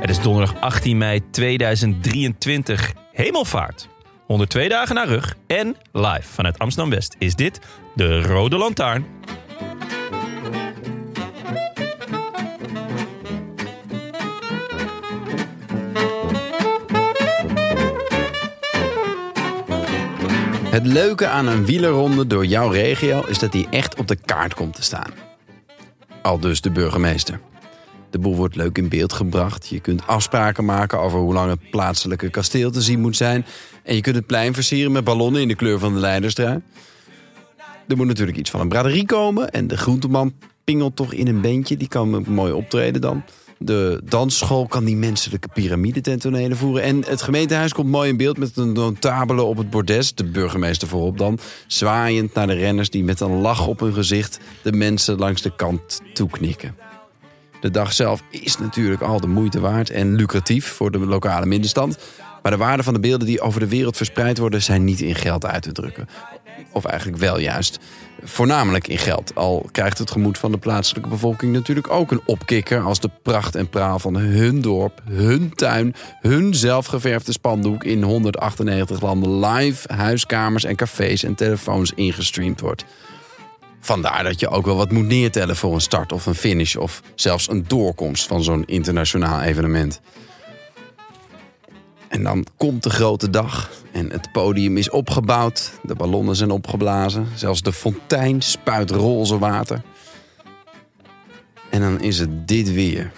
Het is donderdag 18 mei 2023. Hemelvaart. 102 dagen naar rug en live vanuit Amsterdam-West is dit de Rode Lantaarn. Het leuke aan een wielerronde door jouw regio is dat die echt op de kaart komt te staan. Al dus de burgemeester. De boel wordt leuk in beeld gebracht. Je kunt afspraken maken over hoe lang het plaatselijke kasteel te zien moet zijn. En je kunt het plein versieren met ballonnen in de kleur van de leidersdraai. Er moet natuurlijk iets van een braderie komen. En de groenteman pingelt toch in een bandje. Die kan mooi optreden dan. De dansschool kan die menselijke piramide ten tonele voeren. En het gemeentehuis komt mooi in beeld met een notabele op het bordes. De burgemeester voorop dan. Zwaaiend naar de renners die met een lach op hun gezicht de mensen langs de kant toeknikken. De dag zelf is natuurlijk al de moeite waard en lucratief voor de lokale middenstand. Maar de waarde van de beelden die over de wereld verspreid worden, zijn niet in geld uit te drukken. Of eigenlijk wel juist. Voornamelijk in geld. Al krijgt het gemoed van de plaatselijke bevolking natuurlijk ook een opkikker als de pracht en praal van hun dorp, hun tuin, hun zelfgeverfde spandoek in 198 landen live huiskamers en cafés en telefoons ingestreamd wordt. Vandaar dat je ook wel wat moet neertellen voor een start of een finish of zelfs een doorkomst van zo'n internationaal evenement. En dan komt de grote dag en het podium is opgebouwd, de ballonnen zijn opgeblazen, zelfs de fontein spuit roze water. En dan is het dit weer.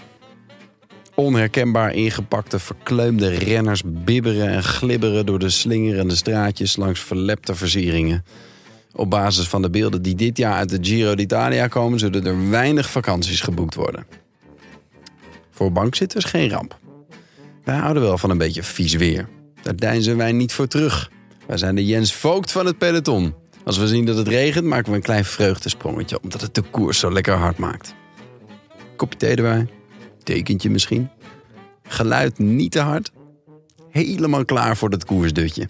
Onherkenbaar ingepakte, verkleumde renners bibberen en glibberen door de slingerende straatjes langs verlepte versieringen. Op basis van de beelden die dit jaar uit de Giro d'Italia komen, zullen er weinig vakanties geboekt worden. Voor bankzitters geen ramp. Wij houden wel van een beetje vies weer. Daar deinzen wij niet voor terug. Wij zijn de Jens Voogd van het peloton. Als we zien dat het regent, maken we een klein vreugdesprongetje, omdat het de koers zo lekker hard maakt. Kopje thee erbij, tekentje misschien. Geluid niet te hard. Helemaal klaar voor dat koersdutje.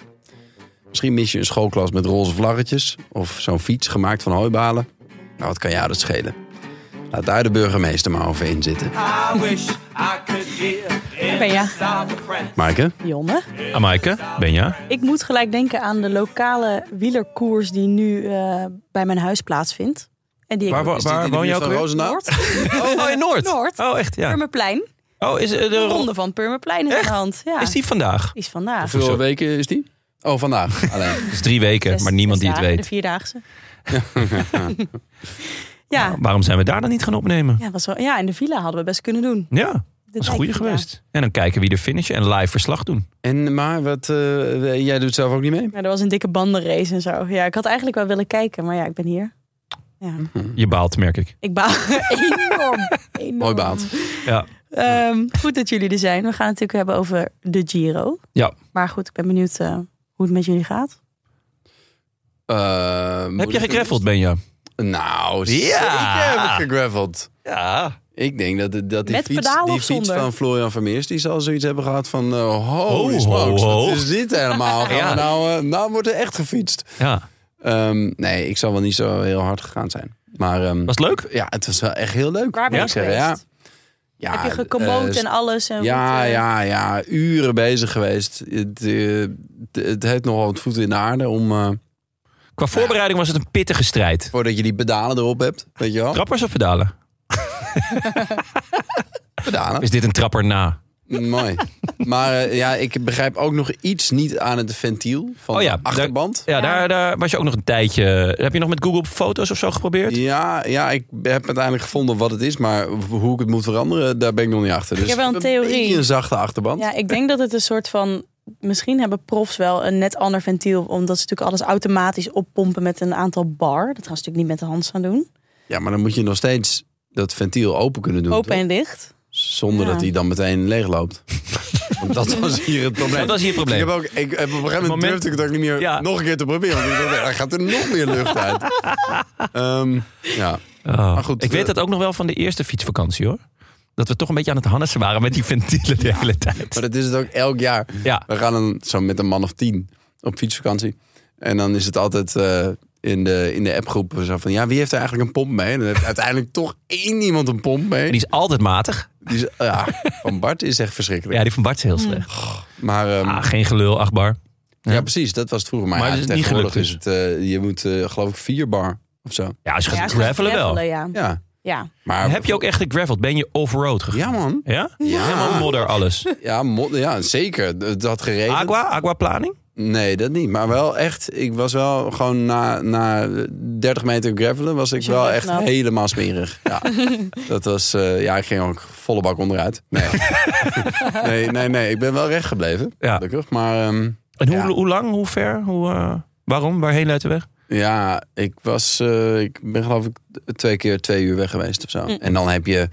Misschien mis je een schoolklas met roze vlaggetjes of zo'n fiets gemaakt van hooibalen. Nou, wat kan jou dat schelen? Laat daar de burgemeester maar over inzitten. I wish I could live in Ben je? the south of France. Maaike? Jonne. Amaike, Benja. Ik moet gelijk denken aan de lokale wielerkoers die nu eh, bij mijn huis plaatsvindt. En die ik Waar, waar, waar woon je ook weer? Roosendaal? Oh, oh, in Noord. Noord. Oh, echt, ja. Purmerplein. Oh, is eh, de De ronde ronde van Purmerplein in de hand. Ja. is die vandaag? Die is vandaag. Hoeveel weken is die? Oh, vandaag alleen. Het is drie weken, Zes- maar niemand zes die het dagen, weet. De vierdaagse. ja. Ja. Waarom zijn we daar dan niet gaan opnemen? was wel, ja, in de villa hadden we best kunnen doen. Ja, dat is lijkt een goeie me geweest. En dan kijken wie er finishen en live verslag doen. En maar, wat, eh, jij doet zelf ook niet mee? Ja, er was een dikke bandenrace en zo. Ja, ik had eigenlijk wel willen kijken, maar ja, ik ben hier. Ja. Je baalt, merk ik. Ik baal enorm. enorm. Mooi baalt. Ja, Ehm, goed dat jullie er zijn. We gaan het natuurlijk hebben over de Giro. ja. Maar goed, ik ben benieuwd eh, hoe het met jullie gaat. Heb je gegreffeld, Benja? Eh, Nou, Ja. zeker heb ik gegraffeld. Ja. Ik denk dat, dat die, Met fiets, pedalen die of fiets zonder? van Florian Vermeers... die zal zoiets hebben gehad van... eh holy Ho, smokes, ho, ho. wat is dit helemaal? Gaan we Ja. nou, eh, nou wordt er echt gefietst. ja. Ehm, nee, ik zal wel niet zo heel hard gegaan zijn. Maar ehm, Was het leuk? ja, het was wel echt heel leuk. Waar ben moet je ik zeggen, ja. geweest? Ja, Heb je gecommode eh, en alles? En Ja, goed, eh, ja, ja. Uren bezig geweest. Het, eh, het, het heeft nogal wat voeten in de aarde om... eh, Qua voorbereiding was het een pittige strijd. voordat je die pedalen erop hebt, weet je wel? Trappers of pedalen? Pedalen. Mm, Is dit een trapper na? Mooi. Maar eh, ja, ik begrijp ook nog iets niet aan het ventiel van Oh ja, de achterband. Ja, Daar, daar was je ook nog een tijdje. Heb je nog met Google foto's of zo geprobeerd? Ja, ja, ik heb uiteindelijk gevonden wat het is, maar hoe ik het moet veranderen, daar ben ik nog niet achter. Dus heb wel een theorie. beetje een zachte achterband. Ja, ik denk dat het een soort van misschien hebben profs wel een net ander ventiel. Omdat ze natuurlijk alles automatisch oppompen met een aantal bar. Dat gaan ze natuurlijk niet met de hand staan doen. Ja, maar dan moet je nog steeds dat ventiel open kunnen doen. Open toch? en dicht. Zonder Ja. dat hij dan meteen leeg loopt. Want dat was hier het probleem. Dat was hier het probleem. Ik heb ook, ik, heb op een gegeven moment moment- durfde ik het ook niet meer Ja. nog een keer te proberen. Want ik dacht, er gaat er nog meer lucht uit. Ehm, ja. Oh. Maar goed, ik eh, weet dat ook nog wel van de eerste fietsvakantie hoor. Dat we toch een beetje aan het hannessen waren met die ventielen de hele tijd. Maar dat is het ook elk jaar. Ja. We gaan dan zo met een man of tien op fietsvakantie. En dan is het altijd eh, in de, in de appgroep zo van... Ja, wie heeft er eigenlijk een pomp mee? En dan heeft uiteindelijk toch één iemand een pomp mee. Die is altijd matig. Die is- ja, van Bart is echt verschrikkelijk. Ja, die van Bart is heel Hmm. slecht. Maar ehm, Ah, geen gelul, acht bar. ja. precies, dat was het vroeger. Maar, Maar ja, het is niet tegenwoordig gelukt dus. is het... eh, je moet eh, geloof ik vier bar of zo. Ja, als je Ja, gaat ze gaan gravelen wel. gravelen, Ja. Ja, ja. maar... Heb je ook echt gegraveld? Ben je offroad gegaan? Ja, man. Ja? Ja. Helemaal modder alles. Ja, mo- ja zeker. D- Dat geregeld. Aqua? Aquaplaning? Nee, dat niet. Maar wel echt, ik was wel gewoon na, na 30 meter gravelen was ik je wel wel echt knap? helemaal smerig. Ja, dat was, eh, ja, ik ging ook volle bak onderuit. Nee, nee, nee, nee. Ik ben wel recht gebleven, Ja. gelukkig. Maar ehm, En hoe, Ja. hoe lang? Hoe ver? Hoe, eh, waarom? Waarheen leidt de weg? ja, ik was, eh, ik ben geloof ik twee keer twee uur weg geweest of zo. En dan heb je,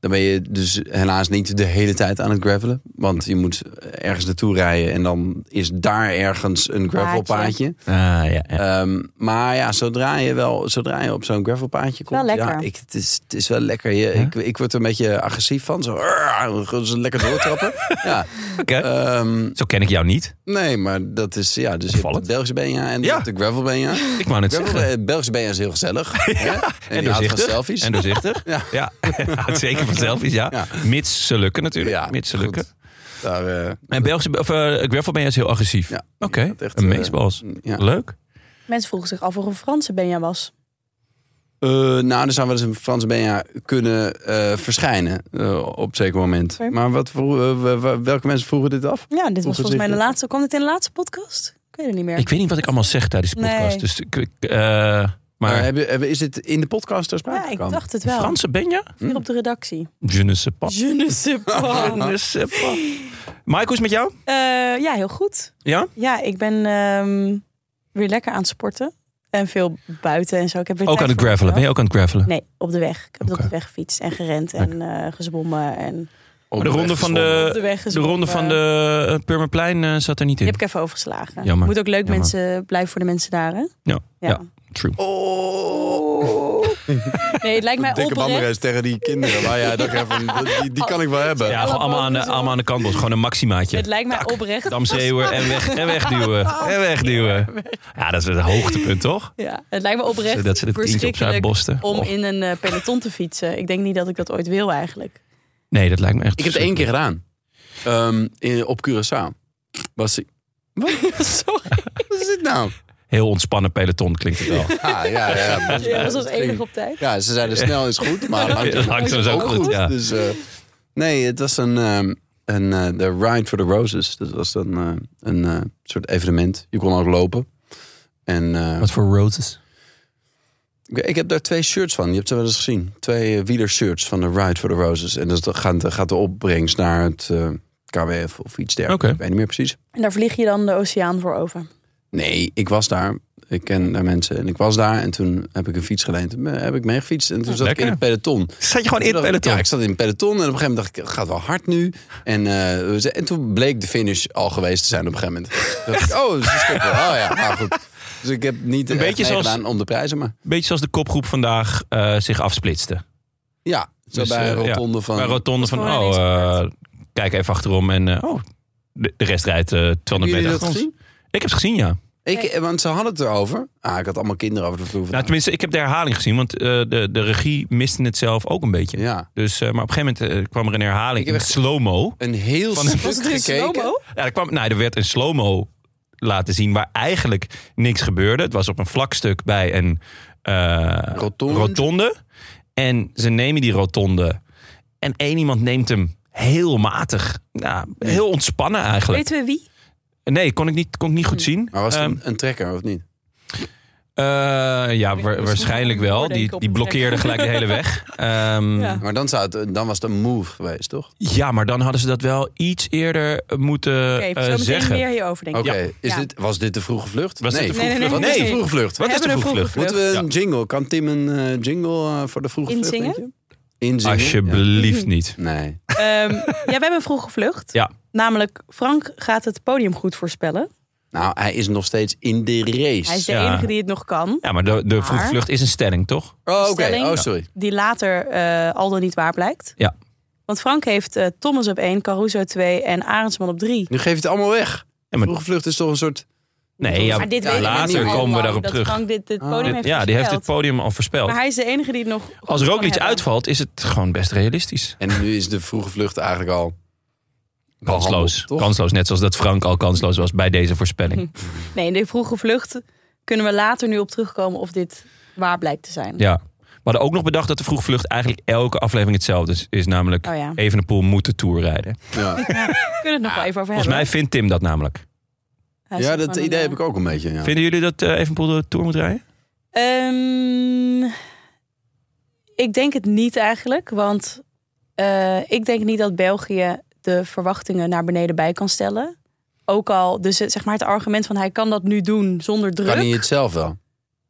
dan ben je dus helaas niet de hele tijd aan het gravelen. Want je moet ergens naartoe rijden en dan is daar ergens een gravelpaadje. Ah, ja, ja. Ehm, maar ja, zodra je, wel, zodra je op zo'n gravelpaadje komt... wel lekker. Ja, ik, het, is, het is wel lekker. Je, ik, ik word er een beetje agressief van. Zo, "Arr", gewoon zo lekker doortrappen. ja, Oké. ehm, Zo ken ik jou niet. nee, maar dat is... Ja, dus je hebt Opvallend. de Belgische Benja en Ja. de gravel Benja. Ik wou net Gravel, zeggen. eh, Belgische Benja is heel gezellig. hè? En En, die houdt van doorzichtig. selfies. En doorzichtig. Ja. ja. ja. zeker van selfies, ja. Ja. Mits ze lukken natuurlijk. Ja, Mits ze lukken. goed. Daar, eh, En Belgische, of, eh gravel ben je dus heel agressief. Ja. Oké, Dat echt, een eh, meesbals. ja. Leuk. Mensen vroegen zich af of er een Franse Benja was. eh, nou, er zou wel eens een Frans Benja kunnen eh, verschijnen eh, op een zeker moment. Oké. Maar wat, vroeg- eh, wa- welke mensen vroegen dit af? Ja, dit was volgens mij de Ongezicht. laatste. Kwam dit in de laatste podcast? Ik weet het niet meer. Ik weet niet wat ik allemaal zeg tijdens de Nee. podcast. Dus ik, ik, eh, maar Maar hebben, hebben- is dit in de podcast ter sprake ja, ik gekomen? dacht het wel. Franse ben je? Hier op de redactie. Je ne sais pas. Je ne sais pas. Je ne sais pas. Mike, hoe is het met jou? Eh, ja, heel goed. Ja? Ja, ik ben ehm, weer lekker aan het sporten. En veel buiten en zo. Ik heb weer Ook aan tijd het voor gravelen. Ben mezelf. je ook aan het gravelen? Nee, op de weg. Ik heb Oké. op de weg gefietst en gerend en eh gezwommen. En Maar de ronde van de, op de weg Eh, de, gezwommen. ronde van de eh, Purmerplein eh, zat er niet Die in. heb ik even overgeslagen. Jammer. Moet ook leuk Jammer. mensen blijven voor de mensen daar, hè? Ja, Ja. Oh. ja, true. Oh, Nee, het lijkt mij Oh, dikke oprecht. bandenrace tegen die kinderen. Maar ja, dat ik even, die, die kan ik wel hebben. Ja, gewoon allemaal aan de, allemaal aan de kantbos. Gewoon een maximaatje. Het lijkt mij oprecht. Dam zeeuwen en, weg, en wegduwen. Oh, En wegduwen. Ja, dat is het hoogtepunt, toch? Ja, het lijkt me oprecht Dat ze de tientje op Oh. verschrikkelijk Zuidbosten. om Och. in een eh, peloton te fietsen. Ik denk niet dat ik dat ooit wil eigenlijk. Nee, dat lijkt me echt... Ik heb het één keer gedaan. Ehm, in- op Curaçao. Was ik... Sorry. Wat is dit nou? Heel ontspannen peloton klinkt het wel. Ah, ja, ja, ja. Je was als enige op tijd. Ja, ze zeiden snel is goed, maar Ja, langzaam, langzaam is ook goed, ja. Dus, eh, nee, het was een, ehm, een eh, de Ride for the Roses. Dat was dan eh, een eh, soort evenement. Je kon ook lopen. En, eh, Wat voor roses? Ik- Ik heb daar twee shirts van. Je hebt ze wel eens gezien. Twee eh, wielershirts van de Ride for the Roses. En dat gaat, de- gaat de opbrengst naar het eh, KWF of iets dergelijks. Oké. Ik weet niet meer precies. En daar vlieg je dan de oceaan voor over. Nee, ik was daar. Ik ken daar mensen. En ik was daar. En toen heb ik een fiets geleend. En eh, Heb ik meegefietst. En toen zat ik in Ah, lekker. het peloton. Zat je gewoon in Toen het dacht ik, peloton? Ja, ik zat in het peloton. En op een gegeven moment dacht ik, het gaat wel hard nu. En, eh, we zijn- en toen bleek de finish al geweest te zijn op een gegeven moment. Toen dacht ik, oh, het is een stuk. Oh ja, nou goed. Dus ik heb niet een beetje beetje zoals- gedaan om de prijzen. Maar Beetje zoals de kopgroep vandaag eh, zich afsplitste. ja, zo Dus, bij eh, een ja. rotonde van... Bij rotonde van, gewoon ineens oh, eh, kijk even achterom en eh, oh, de, de rest rijdt eh, 200 Hebben meter jullie achter dat ons. Ik heb het gezien, ja. Ik, eh, want ze hadden het erover. Ah, ik had allemaal kinderen over de vloer. Nou, vandaag. tenminste, ik heb de herhaling gezien, want eh, de, de regie miste het zelf ook een beetje. ja. Dus, eh, maar op een gegeven moment eh, kwam er een herhaling Ik in heb echt- slow-mo. Een heel Van- stuk Was het in gekeken. slow-mo? Ja, er, kwam, nou, er werd een slow-mo laten zien waar eigenlijk niks gebeurde. Het was op een vlak stuk bij een eh, Rotonde. rotonde. En ze nemen die rotonde. En één iemand neemt hem heel matig. Nou, heel ontspannen eigenlijk. Weten we wie? Hmm. Nee, kon ik niet, kon ik niet goed zien. Maar was het Ehm, een, een trekker of niet? Eh, ja, wa- waarschijnlijk wel. Die, die blokkeerden gelijk de hele weg. Ehm, Ja. Maar dan, zou het, dan was het een move geweest, toch? ja, maar dan hadden ze dat wel iets eerder moeten Oké, eh, zo meteen zeggen. meer hierover Oké, denken. is Ja. dit, was dit de vroege vlucht? Was dit nee, de vroege Nee, nee, vlucht? Wat nee, is de nee. vroege vlucht? Wat We is de hebben een vroege vroege vlucht? vlucht. Moeten we een jingle? Kan Tim een eh, jingle eh, voor de vroege Inzingen? vlucht? denk je? Inzingen? Alsjeblieft niet. Ja. Nee. Ehm, ja, we hebben een vroege vlucht. Ja. Namelijk, Frank gaat het podium goed voorspellen. Nou, hij is nog steeds in de race. Hij is de Ja. enige die het nog kan. Ja, maar de, de vroege Maar- vlucht is een stelling, toch? Oh, oké. Stelling. Oh, sorry. Die later eh, al dan niet waar blijkt. Ja. Want Frank heeft eh, Thomas op 1, Caruso 2 en Arendsman op 3. Nu geef je het allemaal weg. Ja, maar- Vroege vlucht is toch een soort... Nee, ja, maar dit ja, weten later we nu al komen we lang, daarop dat terug. Frank dit, dit podium Dit- heeft ja, die heeft dit voorspeld. podium al voorspeld. Maar hij is de enige die het nog... Als kan Roglic hebben. uitvalt, is het gewoon best realistisch. En nu is de vroege vlucht eigenlijk al... Kansloos. behandeld, toch? Kansloos, net zoals dat Frank al kansloos was bij deze voorspelling. Nee, in de vroege vlucht kunnen we later nu op terugkomen of dit waar blijkt te zijn. Ja. We hadden ook nog bedacht dat de vroege vlucht eigenlijk elke aflevering hetzelfde is. Is namelijk Oh ja. Evenepoel moet de Tour rijden. Ja, We kunnen het nog wel even over Volgens mij hebben. vindt Tim dat namelijk. Hij is ja gewoon dat een, idee eh, heb ik ook een beetje. Ja. Vinden jullie dat eh, Evenepoel de Tour moet rijden? Ehm, ik denk het niet eigenlijk, want eh, ik denk niet dat België de verwachtingen naar beneden bij kan stellen. Ook al, dus eh, zeg maar het argument van hij kan dat nu doen zonder druk. Kan hij het zelf wel?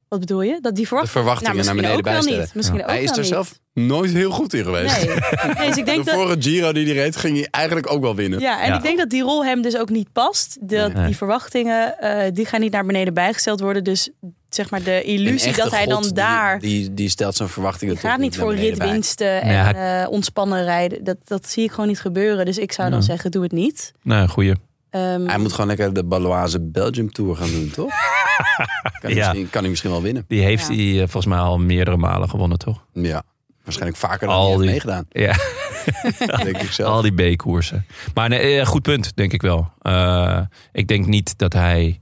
Wat bedoel je? Dat die De verwachtingen, verwachtingen naar beneden ook wel bijstellen. niet. Misschien ook Hij is wel er niet. zelf nooit heel goed in geweest. Nee. nee, dus ik denk de dat. vorige Giro die hij reed, ging hij eigenlijk ook wel winnen. Ja, en Ja. ik denk dat die rol hem dus ook niet past. Dat Nee. Die verwachtingen, eh, die gaan niet naar beneden bijgesteld worden. Dus zeg maar de Een illusie echte dat hij god, dan die- daar... Die, die, stelt zijn verwachtingen Die gaat toch niet voor naar beneden bij. ritwinsten Nee, en hij- eh, ontspannen rijden. Dat, dat zie ik gewoon niet gebeuren. Dus ik zou dan Ja. zeggen, doe het niet. Nou, goeie. Ehm, Hij moet gewoon lekker de Baloise Belgium Tour gaan doen, toch? kan, hij Ja. misschien, kan hij misschien wel winnen. Die heeft Ja. hij eh, volgens mij al meerdere malen gewonnen, toch? Ja, waarschijnlijk vaker dan Al hij heeft die- meegedaan, Ja, denk ik zelf. al die B-koersen. Maar nee, eh, goed punt, denk ik wel. Eh, ik denk niet dat hij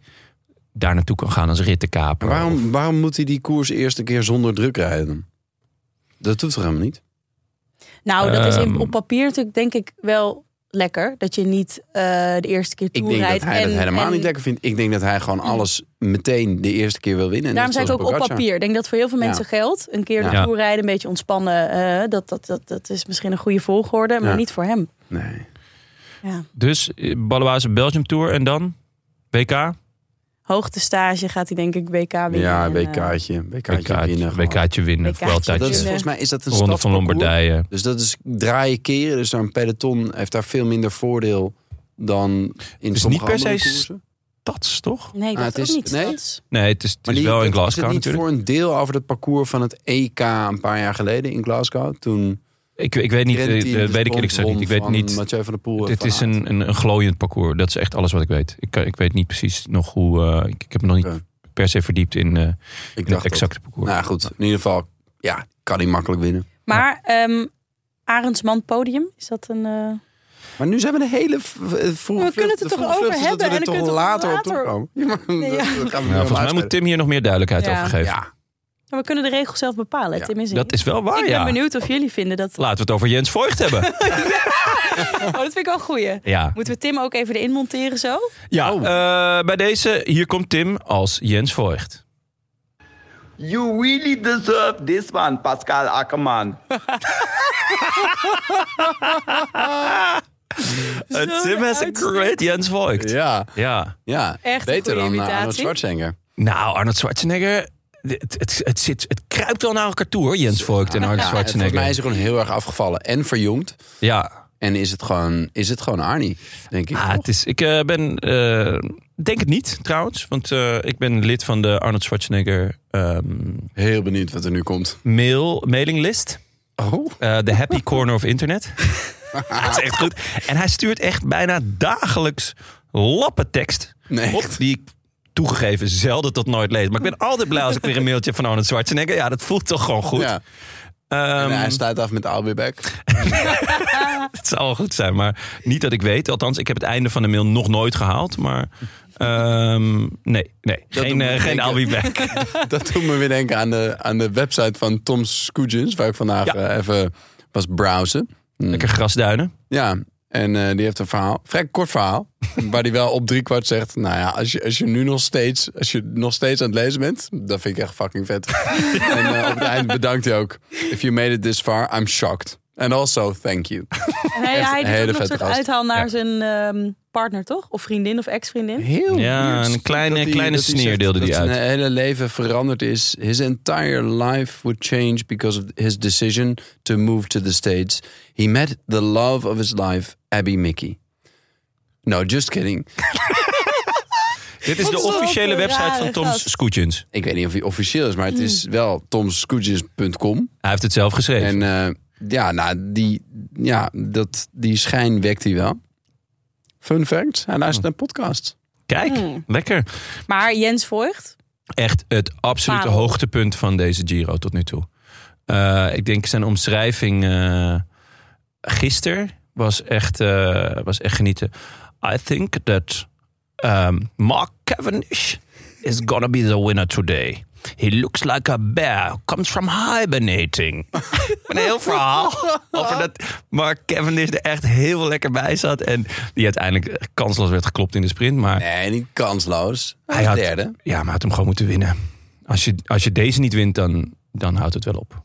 daar naartoe kan gaan als rittenkaper. En waarom, waarom moet hij die koers eerst een keer zonder druk rijden? Dat doet toch helemaal niet? nou, dat is in- Ehm. op papier natuurlijk denk ik wel lekker. Dat je niet eh, de eerste keer Ik toe denk dat rijdt. hij dat en- helemaal en niet lekker vindt. Ik denk dat hij gewoon alles meteen de eerste keer wil winnen. Daarom Net zei ik ook zoals op Pogacar. papier. Ik denk dat voor heel veel Ja. mensen geldt. Een keer de Ja. toer rijden, een beetje ontspannen. eh, dat, dat, dat, dat is misschien een goede volgorde, maar Ja. niet voor hem. Nee. Ja. Dus eh, Balloise Belgium Tour en dan WK? Hoogtestage gaat hij denk ik WK winnen. Ja, En, eh, WK'tje. WK'tje winnen. WK'tje gewoon. WK'tje winnen, WK'tje wel Dat winnen. is, tijdje. volgens mij is dat een Ronde van stafparcours. Lombardije. Dus dat is draaien keren. Dus zo'n peloton heeft daar veel minder voordeel dan in Dus sommige niet per se s- andere koersen. Dat is toch? nee, dat Ah, het ook is- niet. nee? Dat is- Nee, het is, het is die- wel in dat- is Glasgow het niet natuurlijk. voor een deel over het parcours van het EK een paar jaar geleden in Glasgow? Toen Ik, ik weet niet, eh, Trentin dus eh, de weet ik eerlijk gezegd sprint niet. Ik won weet van niet. Mathieu van der Poel. en Het Van is Aert. een, een, een glooiend parcours. Dat is echt alles wat ik weet. Ik, kan- ik weet niet precies nog hoe. eh, ik, ik heb me nog niet Oké. per se verdiept in, eh, in Ik het dacht exacte dat. parcours. Nou ja, goed, in ieder geval ja, kan hij makkelijk winnen. Maar ehm Arendsman podium, is dat een... eh, Maar nu zijn we de hele v- eh, vroege vlucht- Nou, kunnen het de er toch vroege over vlucht, dus hebben dat we en er toch dan kunnen we het later op toch terugkomen. later- Ja, maar Nee, dat- ja. dat gaan we Ja, nu volgens mij wel moet Tim hier nog meer duidelijkheid Ja. over geven. Ja, Ja, we kunnen de regels zelf bepalen. Ja, Tim is in. Dat is wel waar, ik ben ja. benieuwd of jullie vinden dat... Laten we het over Jens Voigt hebben. Oh, dat vind ik wel een goeie. ja. Moeten we Tim ook even erin monteren zo? Oh. Ja, eh, bij deze, hier komt Tim als Jens Voigt. You really deserve this one, Pascal Ackermann. Eh, Tim has a great Jens Voigt. ja, ja. ja. Echt een beter goede dan eh, Arnold imitatie. Schwarzenegger. Nou, Arnold Schwarzenegger. Het, het, het, zit, het kruipt wel naar elkaar toe hoor, Jens Voigt en Arnold Ja, en volgens mij is Schwarzenegger. hij gewoon heel erg afgevallen en verjongd. Ja, En is het gewoon, is het gewoon Arnie, denk ik. ah, het is, ik eh, ben. eh, denk het niet trouwens, want eh, ik ben lid van de Arnold Schwarzenegger ehm, Heel benieuwd wat er nu komt. mail, mailinglist. Oh. Eh, De Happy Corner of Internet. dat is echt goed. En hij stuurt echt bijna dagelijks lappen tekst. Nee, op echt? die ik toegegeven zelden tot nooit lees. Maar ik ben altijd blij als ik weer een mailtje van Arnold Schwarzenegger. Ja, dat voelt toch gewoon goed. Ja. Ehm, en hij staat af met I'll be back. Het zou wel goed zijn, maar niet dat ik weet. Althans, ik heb het einde van de mail nog nooit gehaald. Maar ehm, nee, nee. doet Geen, me eh, geen denken. I'll be back. Dat doet me weer denken aan de, aan de website van Tom Scoogins, waar ik vandaag Ja. eh, even was browsen. Lekker grasduinen. Ja, En eh, die heeft een verhaal, vrij kort verhaal, waar die wel op driekwart zegt... Nou ja, als je, als je nu nog steeds, als je nog steeds aan het lezen bent, dat vind ik echt fucking vet. en eh, op het eind bedankt hij ook. If you made it this far, I'm shocked. And also, thank you. En hij, Echt hij een doet ook hele nog een vette soort gast. uithaal naar zijn ehm, partner, toch? Of vriendin of ex-vriendin. Heel Ja, weird een kleine- dat kleine dat sneer zegt deelde dat die zijn uit. hele leven veranderd is. His entire life would change because of his decision to move to the States. He met the love of his life, Abby Mickey. No, just kidding. Dit is de is dat officiële een website van rare Tom's gast. Scootjens. Ik weet niet of hij officieel is, maar het is wel tomscootjes.com. Hij heeft het zelf geschreven. En eh, ja, nou, die, ja dat, die schijn wekt hij wel. Fun fact, hij luistert naar podcasts. Kijk, Hmm. lekker. Maar Jens Voigt, echt het absolute Parel. hoogtepunt van deze Giro tot nu toe. Eh, ik denk zijn omschrijving eh gisteren was echt, eh, was echt genieten. I think that um, Mark Cavendish is gonna be the winner today. He looks like a bear, comes from hibernating. Een heel verhaal over dat Mark Cavendish er echt heel lekker bij zat. En die uiteindelijk kansloos werd geklopt in de sprint. Maar Nee, niet kansloos. Hij, hij is had, derde. Ja, maar hij had hem gewoon moeten winnen. Als je, als je deze niet wint, dan, dan houdt het wel op.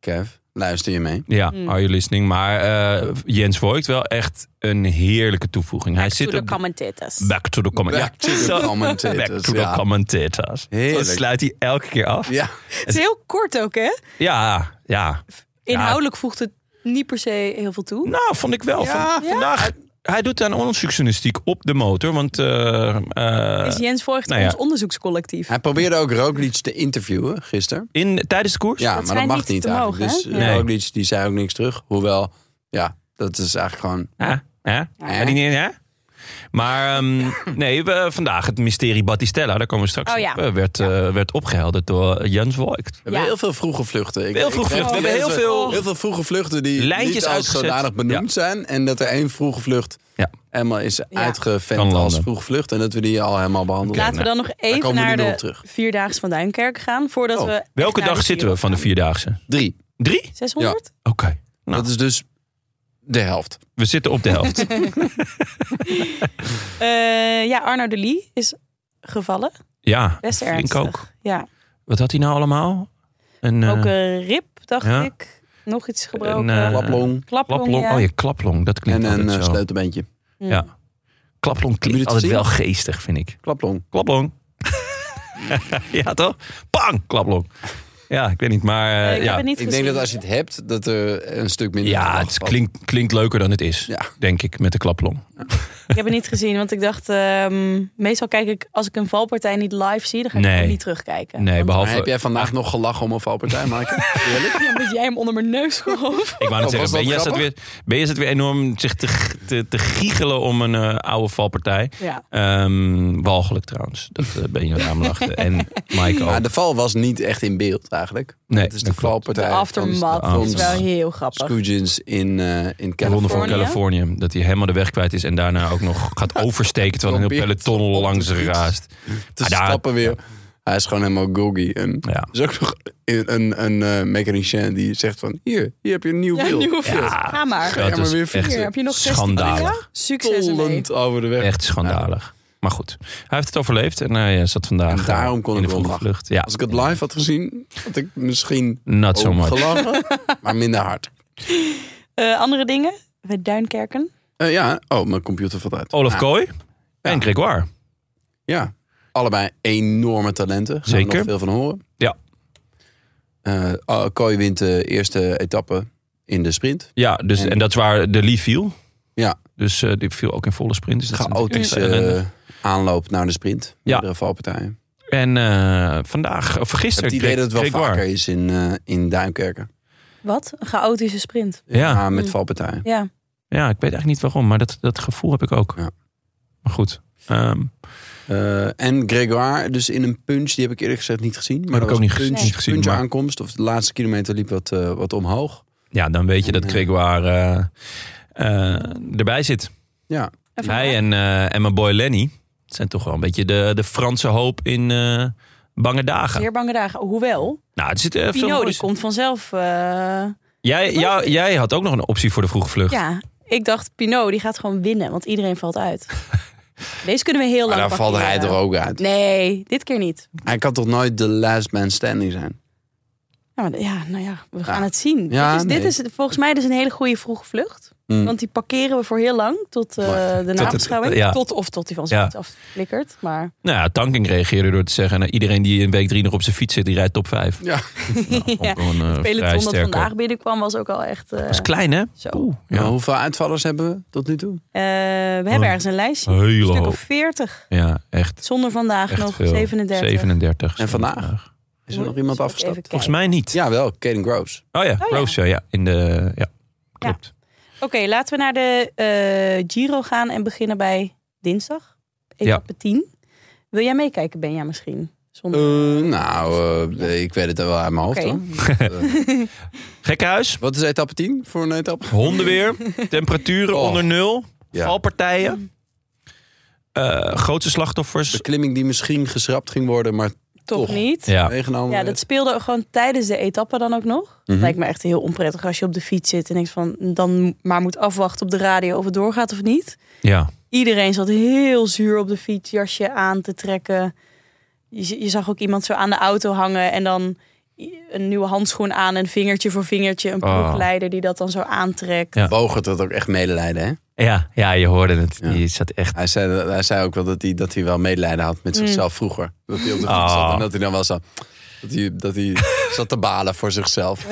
Kev, luister je mee? Ja, Hmm. are you listening? Maar eh, Jens Voigt wel echt een heerlijke toevoeging. Hij to zit the op... commentators. Back to the comment. Back to the commentators, Back to the ja. commentators. Heerlijk. Dat sluit hij elke keer af. Ja. Het is heel kort ook, hè? Ja, ja. Inhoudelijk voegt het niet per se heel veel toe. Nou, vond ik wel. Van- Vandaag, hij doet aan onderzoeksjournalistiek op de motor. Want eh, eh, is Jens Voigt nou ja. ons onderzoekscollectief? Hij probeerde ook Roglic te interviewen gisteren. in, tijdens de koers? Ja, maar dat schijnt mag niet niet te mogen, eigenlijk. Dus hè? eh, Nee. Roglic die zei ook niks terug. Hoewel, ja, dat is eigenlijk gewoon... Ja, ja. ja. die niet, ja? Maar ehm, nee, we, vandaag het mysterie Battistella, daar komen we straks Oh ja. op, eh, werd, eh, werd opgehelderd door Jens Voigt. We hebben Ja. heel veel vroege vluchten. Ik- Heel ik vroege weet vluchten. We niet, hebben er heel zijn veel- heel veel vroege vluchten die Lijntjes niet als uitgezet. zodanig benoemd zijn. En dat er één vroege vlucht Ja. helemaal is Kan uitgevent landen. als vroege vlucht. En dat we die al helemaal behandeld Laten we nou, hebben. dan nog komen even we nu naar nog de op terug. Vierdaagse van Duinkerk gaan. Voordat Oh, we echt Welke naar dag zitten we Giro van de gaan. Vierdaagse? Drie. Drie? 600? Oké, Nou. Dat is dus de helft. we zitten op de helft. Eh, ja, Arno de Lee is gevallen. ja, Best flink ernstig. ook. Ja, Wat had hij nou allemaal? Een eh, ook een rib, dacht ja. ik. Nog iets gebroken. Een, eh, Klaplong Klaplong, klaplong. ja. Oh ja, klaplong, dat klinkt en een altijd eh, zo. sleutelbeentje. Ja. Klaplong Hebben klinkt jullie het altijd gezien? wel geestig, vind ik. Klaplong. Klaplong. ja, toch? Bang! Klaplong. Ja, ik weet niet, maar... eh, ik ja. heb het niet Ik gezien. denk dat als je het hebt, dat er een stuk minder... Ja, het klinkt, klinkt leuker dan het is. Ja. Denk ik, met de klaplong. Ik heb het niet gezien, want ik dacht... ehm, meestal kijk ik, als ik een valpartij niet live zie... dan ga ik Nee. hem niet terugkijken. Nee, Want behalve... Maar heb jij Ah. vandaag nog gelachen om een valpartij, Maaike? Eerlijk? dan moet jij hem onder mijn neus geholpen. Ik wou net Oh, was zeggen, ben dat jij zat weer, grappig? ben jij zat weer enorm zich te, te, te giechelen om een eh, oude valpartij. Ja. Ehm, walgelijk trouwens. Dat eh, ben je aan achter. En Mike Maar ook. de val was niet echt in beeld eigenlijk. Nee, het is de dat klopt. Ah, valpartij Aftermath van, is van wel heel grappig. Scoogins in, eh in De ronde van Californië. Californië. Dat hij helemaal de weg kwijt is. En daarna ook nog gaat oversteken. Terwijl een heel Probeert peloton op de langs fiets raast. Te Ah, daar- stappen weer. Hij is gewoon helemaal gogi. En Ja. er is ook nog een, een, een eh, mechanicien die zegt van... Hier, hier heb je een nieuw Ja, wiel. nieuw wiel. Ja. Ga maar. Ja, Ah, Dat maar is weer echt Hier, heb je nog 16 schandalig. euro? Succes ermee. Tollend over de weg. Echt schandalig. Maar goed, hij heeft het overleefd. En hij eh, zat vandaag En daarom eh, kon in ik de wel vroege lachen. vlucht. Ja. Als ik het live had gezien, had ik misschien Not so ook much. gelachen. maar minder hard. Eh, andere dingen? Bij Duinkerken. Eh, ja, oh, mijn computer valt uit. Olaf Ah, Kooi en Grégoire. Ja, allebei enorme talenten. Gaan Zeker. We nog veel van horen. Ja. Eh, oh, Kooi wint de eerste etappe in de sprint. Ja, dus, en dat is waar de Lee viel. Ja. Dus eh, die viel ook in volle sprint. Dus dat is Chaotische natuurlijk echt ellendig. eh, aanloop naar de sprint. Ja. Meerdere valpartijen. En eh, vandaag, of Ik heb gisteren, het idee dat het wel Grégoire. vaker is in, eh in Duinkerken. Wat? Een chaotische sprint. Ja, Ah, Mm. met valpartijen. Ja. ja, ik weet eigenlijk niet waarom, maar dat, dat gevoel heb ik ook. Ja. Maar goed. ehm, Eh, en Gregoire, dus in een punch, die heb ik eerlijk gezegd niet gezien. Maar Heb dat ik ook was niet een gezien, punch, niet gezien, Punch maar- aankomst, of de laatste kilometer liep wat, eh, wat omhoog. ja, dan weet je dat Nee. Grégoire eh, eh, erbij zit. Ja, Even- Hij en, eh, en mijn boy Lenny zijn toch wel een beetje de, de Franse hoop in eh, bange dagen. Zeer bange dagen. Hoewel, Nou, er zit eh, veel Pino die moois. komt vanzelf. eh, Jij, jou- jij had ook nog een optie voor de vroege vlucht. ja, Ik dacht, Pinot, die gaat gewoon winnen, want iedereen valt uit. Deze kunnen we heel Maar lang dan valt hij parkeren. er ook uit. Nee, dit keer niet. Hij kan toch nooit de last man standing zijn? Ja, maar, ja nou ja, we gaan Ja. het zien. Ja, dit, is, nee. dit is volgens mij dus een hele goede vroege vlucht. Hmm. Want die parkeren we voor heel lang tot eh, de het- nabeschouwing. Tot, ja. of tot die van Ja. zijn fiets afflikkert. Maar Nou ja, Tanking reageerde door te zeggen... nou, iedereen die in week drie nog op zijn fiets zit, die rijdt top vijf. Ja. ja, Gewoon, eh, het vrij peloton dat sterke- vandaag binnenkwam was ook al echt... eh, Dat is klein, hè? zo. Ja. Maar hoeveel uitvallers hebben we tot nu toe? Eh, we hebben ergens een lijstje. Oh. Hele Een stuk hoog. of 40. Ja, echt, Zonder vandaag echt nog veel. 37. 37. En vandaag? Is er nog iemand Zal ik even afgestapt? Volgens mij niet. Ja, wel. Caden Groves. Oh ja, ja. Rose, ja. In de, ja, klopt. Oké, laten we naar de eh, Giro gaan en beginnen bij dinsdag. Etappe 10. Wil jij meekijken, Benja, misschien? Zonder... Eh, nou, eh, ik weet het wel uit mijn hoofd. Oké. hoor. Eh, Gekkenhuis, wat is etappe 10 voor een etappe? hondenweer, temperaturen Oh. onder nul, Ja. valpartijen. eh, grootste slachtoffers. Beklimming die misschien geschrapt ging worden, maar Toch toch. niet? Ja. meegenomen Ja, werd. dat speelde ook gewoon tijdens de etappe dan ook nog. Mhm. Lijkt me echt heel onprettig als je op de fiets zit en denkt van... dan maar moet afwachten op de radio of het doorgaat of niet. Ja. Iedereen zat heel zuur op de fiets, jasje aan te trekken. Je, z- je zag ook iemand zo aan de auto hangen en dan i- een nieuwe handschoen aan... en vingertje voor vingertje een Oh. ploegleider die dat dan zo aantrekt. Ja. Bogert had ook echt medelijden, hè? Ja, ja, je hoorde het. Ja. Die zat echt... Hij zei, hij zei ook wel dat hij, dat hij wel medelijden had met zichzelf vroeger. Dat hij op de fiets Ah. zat en dat hij dan wel zo... Dat hij, dat hij zat te balen voor zichzelf.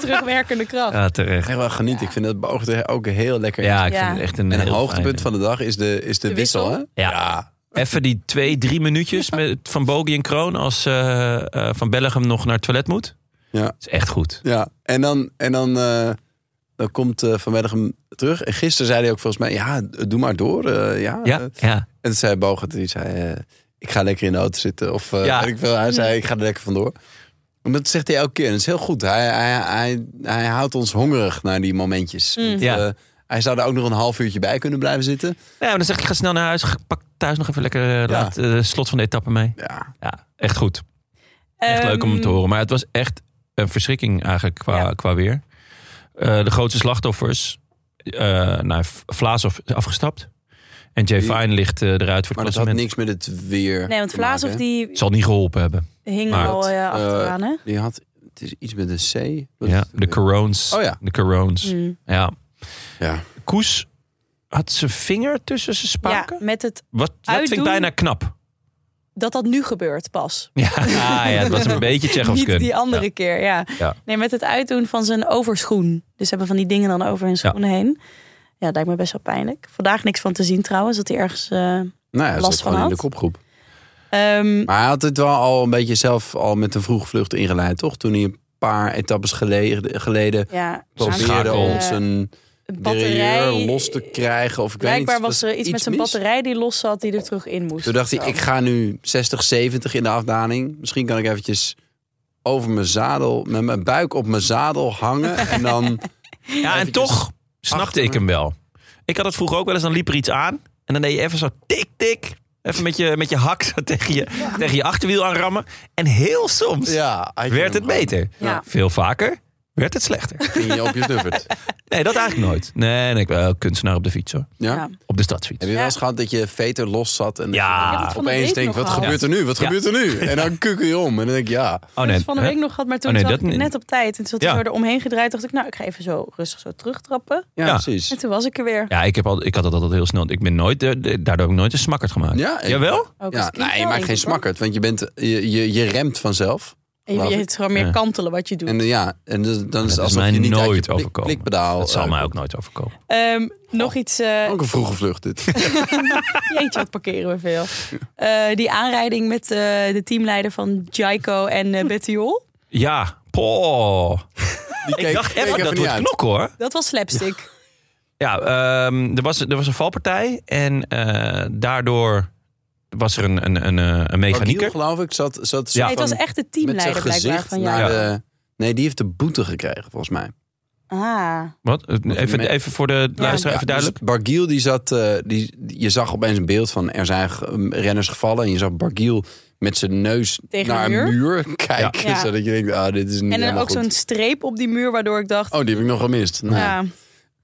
Terugwerkende kracht. Ja, ah, terecht. Echt wel geniet. Ik vind dat Bogert er ook heel lekker is. Ja, ik Ja. vind het echt een En het heel hoogtepunt fijn. van de dag is de, is de, De wissel, wissel. hè? Ja. Even die twee, drie minuutjes met, van Bogie en Kroon als eh, eh, Van Bellegem nog naar het toilet moet. Ja. Dat is echt goed. Ja, en dan, en dan, eh, dan komt eh Van Bergen terug. En gisteren zei hij ook volgens mij, ja, doe maar door. eh, ja. Eh, Ja, ja. En toen zei Bogert, die zei, eh, ik ga lekker in de auto zitten. Of eh, Ja. weet ik veel, hij zei, ik ga er lekker vandoor. En dat zegt hij elke keer. En dat is heel goed. Hij, hij, hij, hij houdt ons hongerig naar die momentjes. Mm. Want, Ja. eh, hij zou er ook nog een half uurtje bij kunnen blijven zitten. Ja, maar dan zeg ik, ga snel naar huis. Pak thuis nog even lekker eh, laat, eh, slot van de etappe mee. Ja, Ja, echt goed. Echt leuk om te Ehm, horen. Maar het was echt een verschrikking eigenlijk qua, Ja. qua weer. Eh, de grootste slachtoffers. eh nou, V- Vlaasov is afgestapt. En Jay Die- Fine ligt eh, eruit voor maar het dat had klassement. niks met het weer Nee, want te maken, Vlaas of hè? die Zal niet geholpen hebben. hing Maar al dat, eh, eh, achteraan, hè? Die had, het is iets met een C. Wat is Ja, het? de Corones. Oh ja. De Corones. Mm. Ja. Ja. Koes had zijn vinger tussen zijn Ja, spaken. met het Wat, dat vind ik Uitdoen. bijna knap. dat dat nu gebeurt pas. Ja, ja het was een beetje Tsjechovs Niet kunnen. die andere keer, ja. Ja. Nee, met het uitdoen van zijn overschoen. Dus hebben van die dingen dan over hun schoenen heen. Ja, lijkt me best wel pijnlijk. Vandaag niks van te zien trouwens, dat hij ergens... eh, Nou ja, dat Last is van gewoon in de had? kopgroep. ehm, Maar hij had het wel al een beetje zelf al met een vroege vlucht ingeleid, toch? Toen hij een paar etappes geleden, geleden ja, probeerde aankomt, eh, ons een een derailleur batterij... los te krijgen. Of ik weet niet, Blijkbaar er was er iets met zijn mis. batterij die los zat, die er terug in moest. Toen dacht hij, ik ga nu 60, 70 in de afdaling. Misschien kan ik eventjes over mijn zadel, met mijn buik op mijn zadel hangen. En dan, Ja, en Eventjes toch snapte achter ik me. hem wel. Ik had het vroeger ook wel eens, dan liep er iets aan. En dan deed je even zo tik, tik. Even met je, met je hak zo tegen, je, tegen je achterwiel aanrammen. En heel soms ja, had je werd hem het beter. Ja. Veel vaker werd het slechter. gewoon- Ging je op je snuffert. Nee, dat eigenlijk nooit. Nee, nee ik ben wel kunstenaar op de fiets hoor. Ja? Ja. Op de stadsfiets. Heb je wel eens gehad dat je veter los zat en Ja. dat Ik je heb het van de opeens week denkt, nog wat gehad. gebeurt er nu? Wat gebeurt er nu? En dan kukkel je om en dan denk ik, ja. Oh Dat nee. is van de hè? week nog gehad, maar toen Oh, nee, zat dat ik niet. net op tijd. En toen zat Ja. hij er omheen gedraaid. dacht ik, nou, ik ga even zo rustig zo terugtrappen. Ja, Ja. precies. En toen was ik er weer. Ja, ik, heb al, ik had dat altijd heel snel. Ik ben nooit, eh, de- daardoor heb ik nooit een smakkerd gemaakt. Ja, ik- Jawel? Ook Ja, als kind nee, je wel, maakt denk geen ik, hoor. smakkerd, want je, bent, je, je, je remt vanzelf. En je, geloof je ik. het is gewoon meer Ja. kantelen wat je doet. En eh, ja, en dus- dan is is het alsof mij je niet uit je nooit blik- overkomen. blikpedaal... Dat zal eh, mij ook nooit overkomen. Ehm, nog Oh. iets. eh Ook een vroege vlucht dit. jeetje, wat parkeren we veel. Eh, die aanrijding met eh, de teamleider van Jaiko en eh Bettiol. Ja, poh. Die Ik dacht even, dat niet wordt uit. knokken hoor. Dat was slapstick. Ja, ehm, er, was, er was een valpartij en eh, daardoor was er een, een, een, eh, een O'Neill, mechanieker. geloof ik, zat, zat Ja. Nee, het was van- echt de met zijn teamleider blijkbaar gezicht van naar Jaiko. de... Nee, die heeft de boete gekregen, volgens mij. Ah, Wat? Even, me- even voor de luisteraar, Ja, even duidelijk. Dus Bargiel, die zat... eh, die, je zag opeens een beeld van er zijn eh, renners gevallen. En je zag Bargiel met zijn neus Tegen naar een een muur kijken. Ja. Zodat je denkt, ah, dit is niet en dan helemaal ook zo'n goed. streep op die muur, waardoor ik dacht. Oh, die heb ik nog gemist. Nou, ja.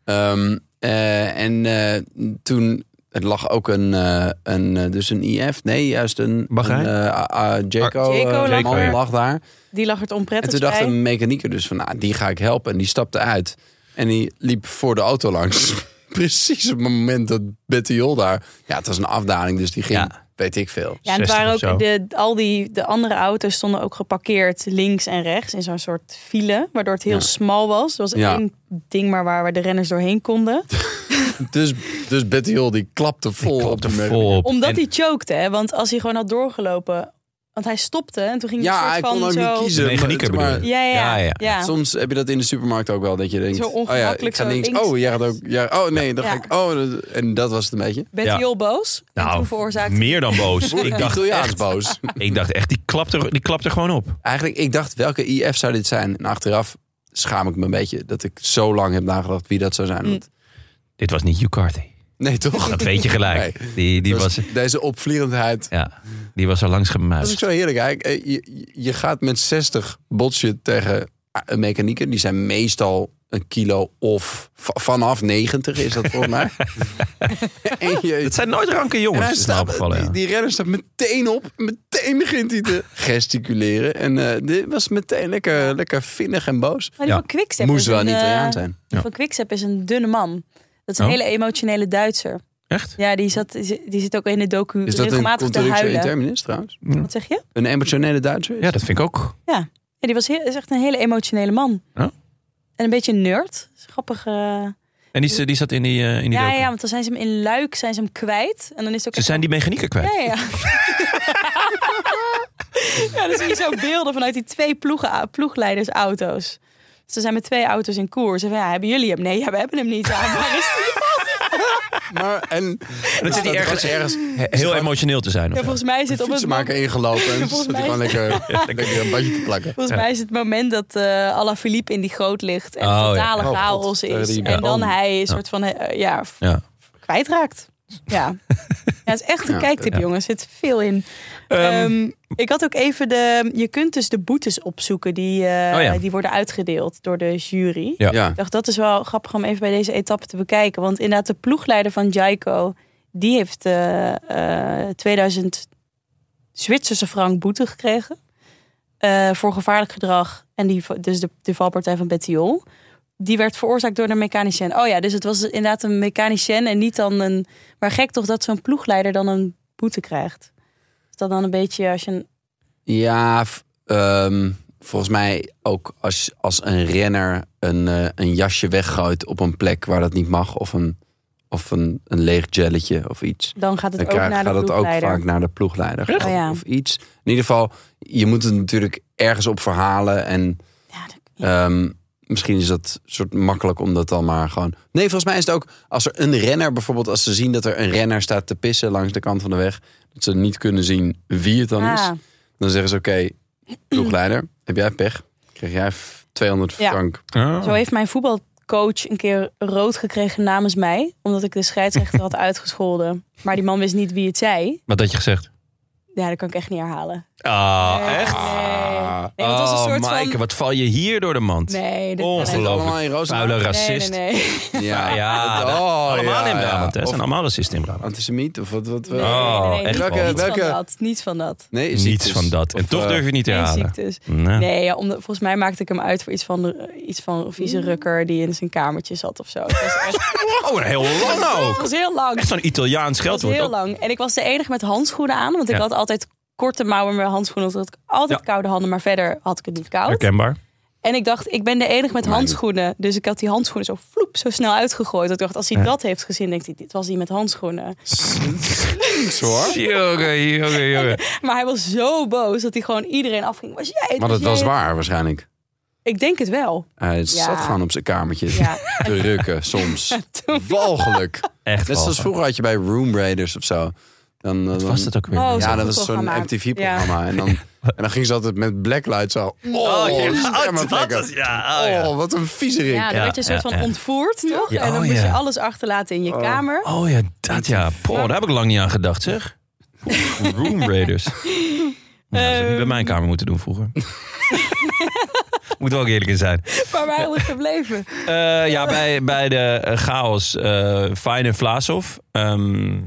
Ehm, Eh, en eh, toen er lag ook een, eh, een, eh, dus een IF, nee, juist een, Bahrein? een eh, ah, ah, Jaco, Jaco eh, lag man er. lag daar. Die lag het En onprettig toen dacht bij. een mechanieker dus van, nou, die ga ik helpen. En die stapte uit. En die liep voor de auto langs. Precies op het moment dat Betty Jol daar... Ja, het was een afdaling, dus die ging, Ja. weet ik veel. Ja, en het 60 waren of zo. ook de, al die de andere auto's stonden ook geparkeerd links en rechts in zo'n soort file, waardoor het heel Ja. smal was. Er was Ja. één ding maar waar we de renners doorheen konden. Dus, dus Betty Jol die klapte vol Ik dus op klopte de vol op. Omdat En- hij chokte, hè? want als hij gewoon had doorgelopen, want hij stopte en toen ging Ja, hij hij een soort kon ook van zo, niet kiezen. De mechanieker maar- bedoel je? Ja, Ja, ja, ja. ja. Soms heb je dat in de supermarkt ook wel, dat je denkt... Zo oh ja, ik ongemakkelijk ga zo links. links. Oh, jij gaat ook... Ja, oh nee, dan Ja. ga ik... Oh, dat- en dat was het een beetje. Betty Ja. heel boos. en toen Nou, veroorzaakte meer dan boos. Ik ik, dacht, dacht boos. ik dacht echt, die klapt er, die klapt er gewoon op. Eigenlijk, ik dacht, welke IF zou dit zijn? En achteraf schaam ik me een beetje dat ik zo lang heb nagedacht wie dat zou Mm. zijn. Want- Dit was niet UCarty. Nee, toch? Dat weet je gelijk. Nee. Die, die, Dus was, Deze opvliegendheid. ja, die was al langs Dat is ook gemaakt. zo heerlijk. Eigenlijk. Eh, Je, je gaat met 60 botshit tegen een mechanieken. Die zijn meestal een kilo of v- vanaf 90 is dat volgens mij. en je, Het zijn nooit ranke jongens. en hij is mij staat, opgevallen, ja. die, die renner staat meteen op. Meteen begint hij te gesticuleren. En eh, dit was meteen lekker, lekker vinnig en boos. Maar Ja. die van Quickstep Moest is wel een, een Italiaan eh, zijn. die Ja. van Quickstep is een dunne man. Dat is een Oh. hele emotionele Duitser. Echt? Ja, die, zat, die zit- die zit ook in de docu Is dat een regelmatig te contradictio in huilen. terminis trouwens? Wat zeg je? Een emotionele Duitser? is? Ja, dat vind ik ook. Ja, die was heel, is echt een hele emotionele man. Ja. En een beetje een nerd. Is Grappig. eh. Ja, En die, is- die zat in die, eh, in die ja, docu. ja, want dan zijn ze hem in Luik zijn ze hem kwijt. En dan is het ook Ze echt zijn die mechanieken kwijt. Ja, ja. ja, dan zie je zo beelden vanuit die twee ploegen, ploegleidersauto's. Ze zijn met twee auto's in koers. En van, ja, hebben jullie hem? Nee, ja, we hebben hem niet. Ja, waar is die? Maar, en, En dan zit hij staat ergens, gewoon ergens heel emotioneel te zijn. of Ja, zo. volgens mij zit op het fietsenmaker ingelopen. En Volgens zat hij mij- gewoon lekker, lekker een bandje te plakken. Volgens mij is het moment dat eh Alaphilippe in die goot ligt en Oh, ja. Oh. totale Oh, God, chaos eh, is. die en dan bal. hij een soort van eh, ja, f- Ja. kwijtraakt. Ja. ja, het is echt een Ja, kijktip, ja. jongens. Er zit veel in. Ehm, ik had ook even de. Je kunt dus de boetes opzoeken die, eh, Oh, ja. die worden uitgedeeld door de jury. Ja. Ja. Ik dacht, dat is wel grappig om even bij deze etappe te bekijken. Want inderdaad, de ploegleider van Jaiko, die heeft eh, eh, 2000 Zwitserse frank boete gekregen. eh, voor gevaarlijk gedrag. En die, dus de, de valpartij van Bettiol. Die werd veroorzaakt door de mechanicien. Oh ja, dus het was inderdaad een mechanicien en niet dan een... Maar gek toch dat zo'n ploegleider dan een boete krijgt. Is dat dan een beetje als je... Een, Ja, v- ehm, volgens mij ook als, als een renner een, eh, een jasje weggooit op een plek waar dat niet mag. Of een, of een, een leeg jelletje of iets. dan gaat het Dan ook krijg- naar de gaat het ook ploegleider. vaak naar de ploegleider. Echt? Of, Oh ja. of iets. In ieder geval, je moet het natuurlijk ergens op verhalen. En Ja, dat- ja. Ehm, misschien is dat soort makkelijk om dat dan maar gewoon. Nee, volgens mij is het ook als er een renner bijvoorbeeld, als ze zien dat er een renner staat te pissen langs de kant van de weg, dat ze niet kunnen zien wie het dan is, Ah, dan zeggen ze: Oké, ploegleider, heb jij pech? Krijg jij f- 200 Ja. frank? Oh. Zo heeft mijn voetbalcoach een keer rood gekregen namens mij. Omdat ik de scheidsrechter had uitgescholden. Maar die man wist niet wie het zei. Wat had je gezegd? Ja, dat kan ik echt niet herhalen. Ah, Nee, echt? Nee, nee want het was een soort Maaike, van... wat val je hier door de mand? Nee, dit Ongelooflijk. Zijn ze allemaal in roze? Vuile Nee, racist. nee, nee. Ja, Ja, Oh, dat- allemaal ja, in Brabant, ja. hè? Of Zijn allemaal racisten in Brabant. antisemiet of wat? wat, wat- Nee, nee, Oh, nee, nee, echt niets wel. van Welke- dat. Niets van dat. Nee, Niets ziektes. van dat. En Of, toch eh, durf je het niet te Geen herhalen. ziektes. Nee. Nee, ja, omdat, volgens mij maakte ik hem uit voor iets van, eh, iets van vieze rukker die in zijn kamertje zat of zo. Het was, echt, Oh, een heel lang het ook. was heel lang. Echt Het zo'n Italiaans was scheldwoord. heel ook. lang. En ik was de enige met handschoenen aan, want ik Ja. had altijd korte mouwen met handschoenen. omdat ik altijd Ja. koude handen, maar verder had ik het niet koud. Herkenbaar. En ik dacht, ik ben de enige met handschoenen. Dus ik had die handschoenen zo vloep, zo snel uitgegooid. Dat ik dacht, als hij dat heeft gezien, denkt hij, dit was hij met handschoenen. Niks hoor. Jongen, jongen, jongen. Maar hij was zo boos dat hij gewoon iedereen afging. Was jij het? Maar dat jij was het? waar waarschijnlijk. Ik denk het wel. Hij zat gewoon op zijn kamertje Ja. te rukken soms. Toen- Walgelijk. Echt Net zoals walgelijk. vroeger had je bij Room Raiders of zo. Dan, eh, dan, Wat was dat ook weer? Oh, Ja, Zo'n dat was zo'n programma. MTV-programma. En, dan, en dan ging ze altijd met blacklight zo. Oh, schermenvlekken. is- ja, oh, ja. Oh, wat een viezerik. Ja, dan Ja, werd je een soort ja, van ja. ontvoerd, toch? Ja, en dan oh, moest je ja. alles achterlaten in je kamer. Oh ja, dat ja. Poh, daar heb ik lang niet aan gedacht, zeg. Room Raiders. Nou, dat zou ik niet bij mijn kamer moeten doen vroeger. Moeten we ook eerlijk in zijn. Waar waren we gebleven? Eh, ja, bij, bij de eh, chaos eh Fijn en Vlaasov. Ehm,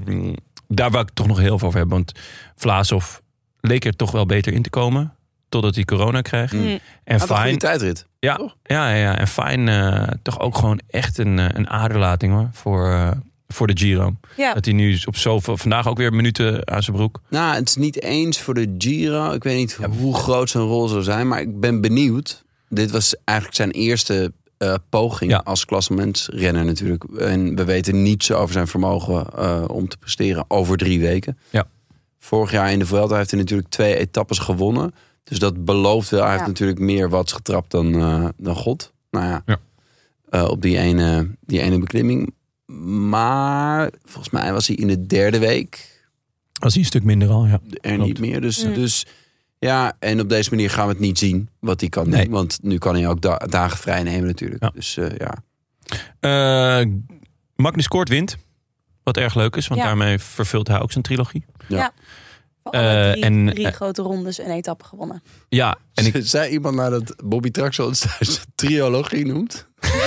daar wou ik toch nog heel veel over hebben. Want Vlaasov leek er toch wel beter in te komen. Totdat hij corona kreeg. Mm. En Had een goede Fijn, tijdrit. ja, toch? ja, ja, ja. En Fijn eh, toch ook gewoon echt een, eh, een aderlating hoor. Voor, eh, voor de Giro. Ja, Dat hij nu op zoveel... Vandaag ook weer minuten aan zijn broek. Nou, het is niet eens voor de Giro. Ik weet niet hoe groot zijn rol zou zijn, maar ik ben benieuwd. Dit was eigenlijk zijn eerste eh, poging Ja. als klassementsrenner natuurlijk. En we weten niets over zijn vermogen eh, om te presteren over drie weken. Ja. Vorig jaar in de Vuelta heeft hij natuurlijk twee etappes gewonnen. Dus dat belooft wel. Hij heeft Ja. natuurlijk meer wat getrapt dan, eh, dan God. Nou ja, Ja. Eh, op die ene, die ene beklimming. Maar volgens mij was hij in de derde week Als hij een stuk minder al, ja. er Klopt. niet meer. Dus, Mm. dus ja, en op deze manier gaan we het niet zien wat hij kan Nee. doen. Want nu kan hij ook da- dagen vrij nemen natuurlijk. Ja. Dus eh, ja. Eh, Magnus Kort wint. Wat erg leuk is, want Ja. daarmee vervult hij ook zijn trilogie. voor alle Eh, drie, en- drie eh, grote rondes en etappe gewonnen. Ja, en ik, Zei iemand nou dat Bobby Traxel het thuis triologie noemt?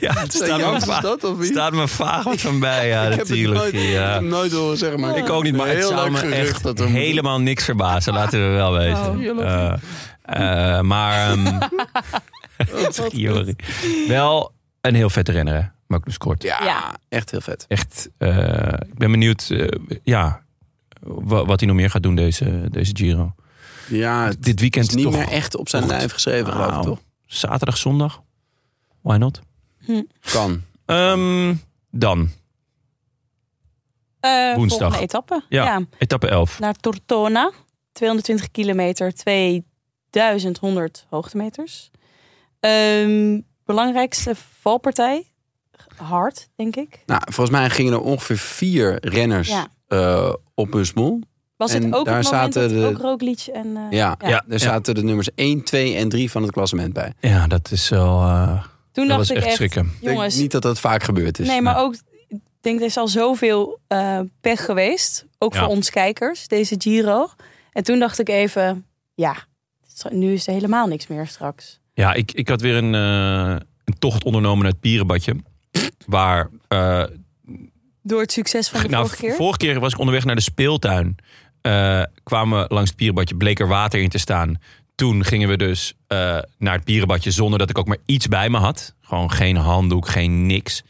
ja, het staat, Zei me Jans vaag, dat of wie? staat me vaag wat van bij, ja, ik de heb het nooit, trilogie. Ja. ik heb het nooit horen zeggen. Maar Ik ook niet, maar het heel zou lang me gerucht echt dat Oh, er- helemaal niks verbazen, laten we wel weten. Eh, eh, maar ehm, trilogie. wel een heel vette renner, hè, Magnus Kort. Ja, Ja. echt heel vet. Echt, eh, ik ben benieuwd eh, ja, wa- wat hij nog meer gaat doen deze, deze Giro. Ja, het Dit weekend is niet toch meer echt op zijn Goed. lijf geschreven, geloof ik Nou, toch? Zaterdag, zondag. Why not? Kan. Ehm, dan, Eh Woensdag. Volgende etappe. Ja. Ja. etappe 11. Naar Tortona. 220 kilometer, 2100 hoogtemeters. Ehm, belangrijkste valpartij. Hard, denk ik. Nou, volgens mij gingen er ongeveer vier renners Ja. eh, op hun smoel. Was En het ook daar het moment zaten dat de- ook Roglic en... eh, Ja, Dus Ja. Ja, ja. daar zaten de nummers 1, 2 en 3 van het klassement bij. Ja, dat is wel. eh, Toen dat dacht was ik echt schrikken. Ik denk jongens... niet dat dat vaak gebeurd is. nee, maar ook... Ik denk, er is al zoveel eh, pech geweest. Ook Ja. voor ons kijkers, deze Giro. En toen dacht ik even... Ja, nu is er helemaal niks meer straks. Ja, ik, ik had weer een, eh, een tocht ondernomen naar het Pierenbadje. Waar. eh, Door het succes van de nou, vorige keer. vorige keer was ik onderweg naar de speeltuin. Eh, kwamen we langs het Pierenbadje, bleek er water in te staan. Toen gingen we dus eh, naar het Pierenbadje zonder dat ik ook maar iets bij me had. Gewoon geen handdoek, geen niks.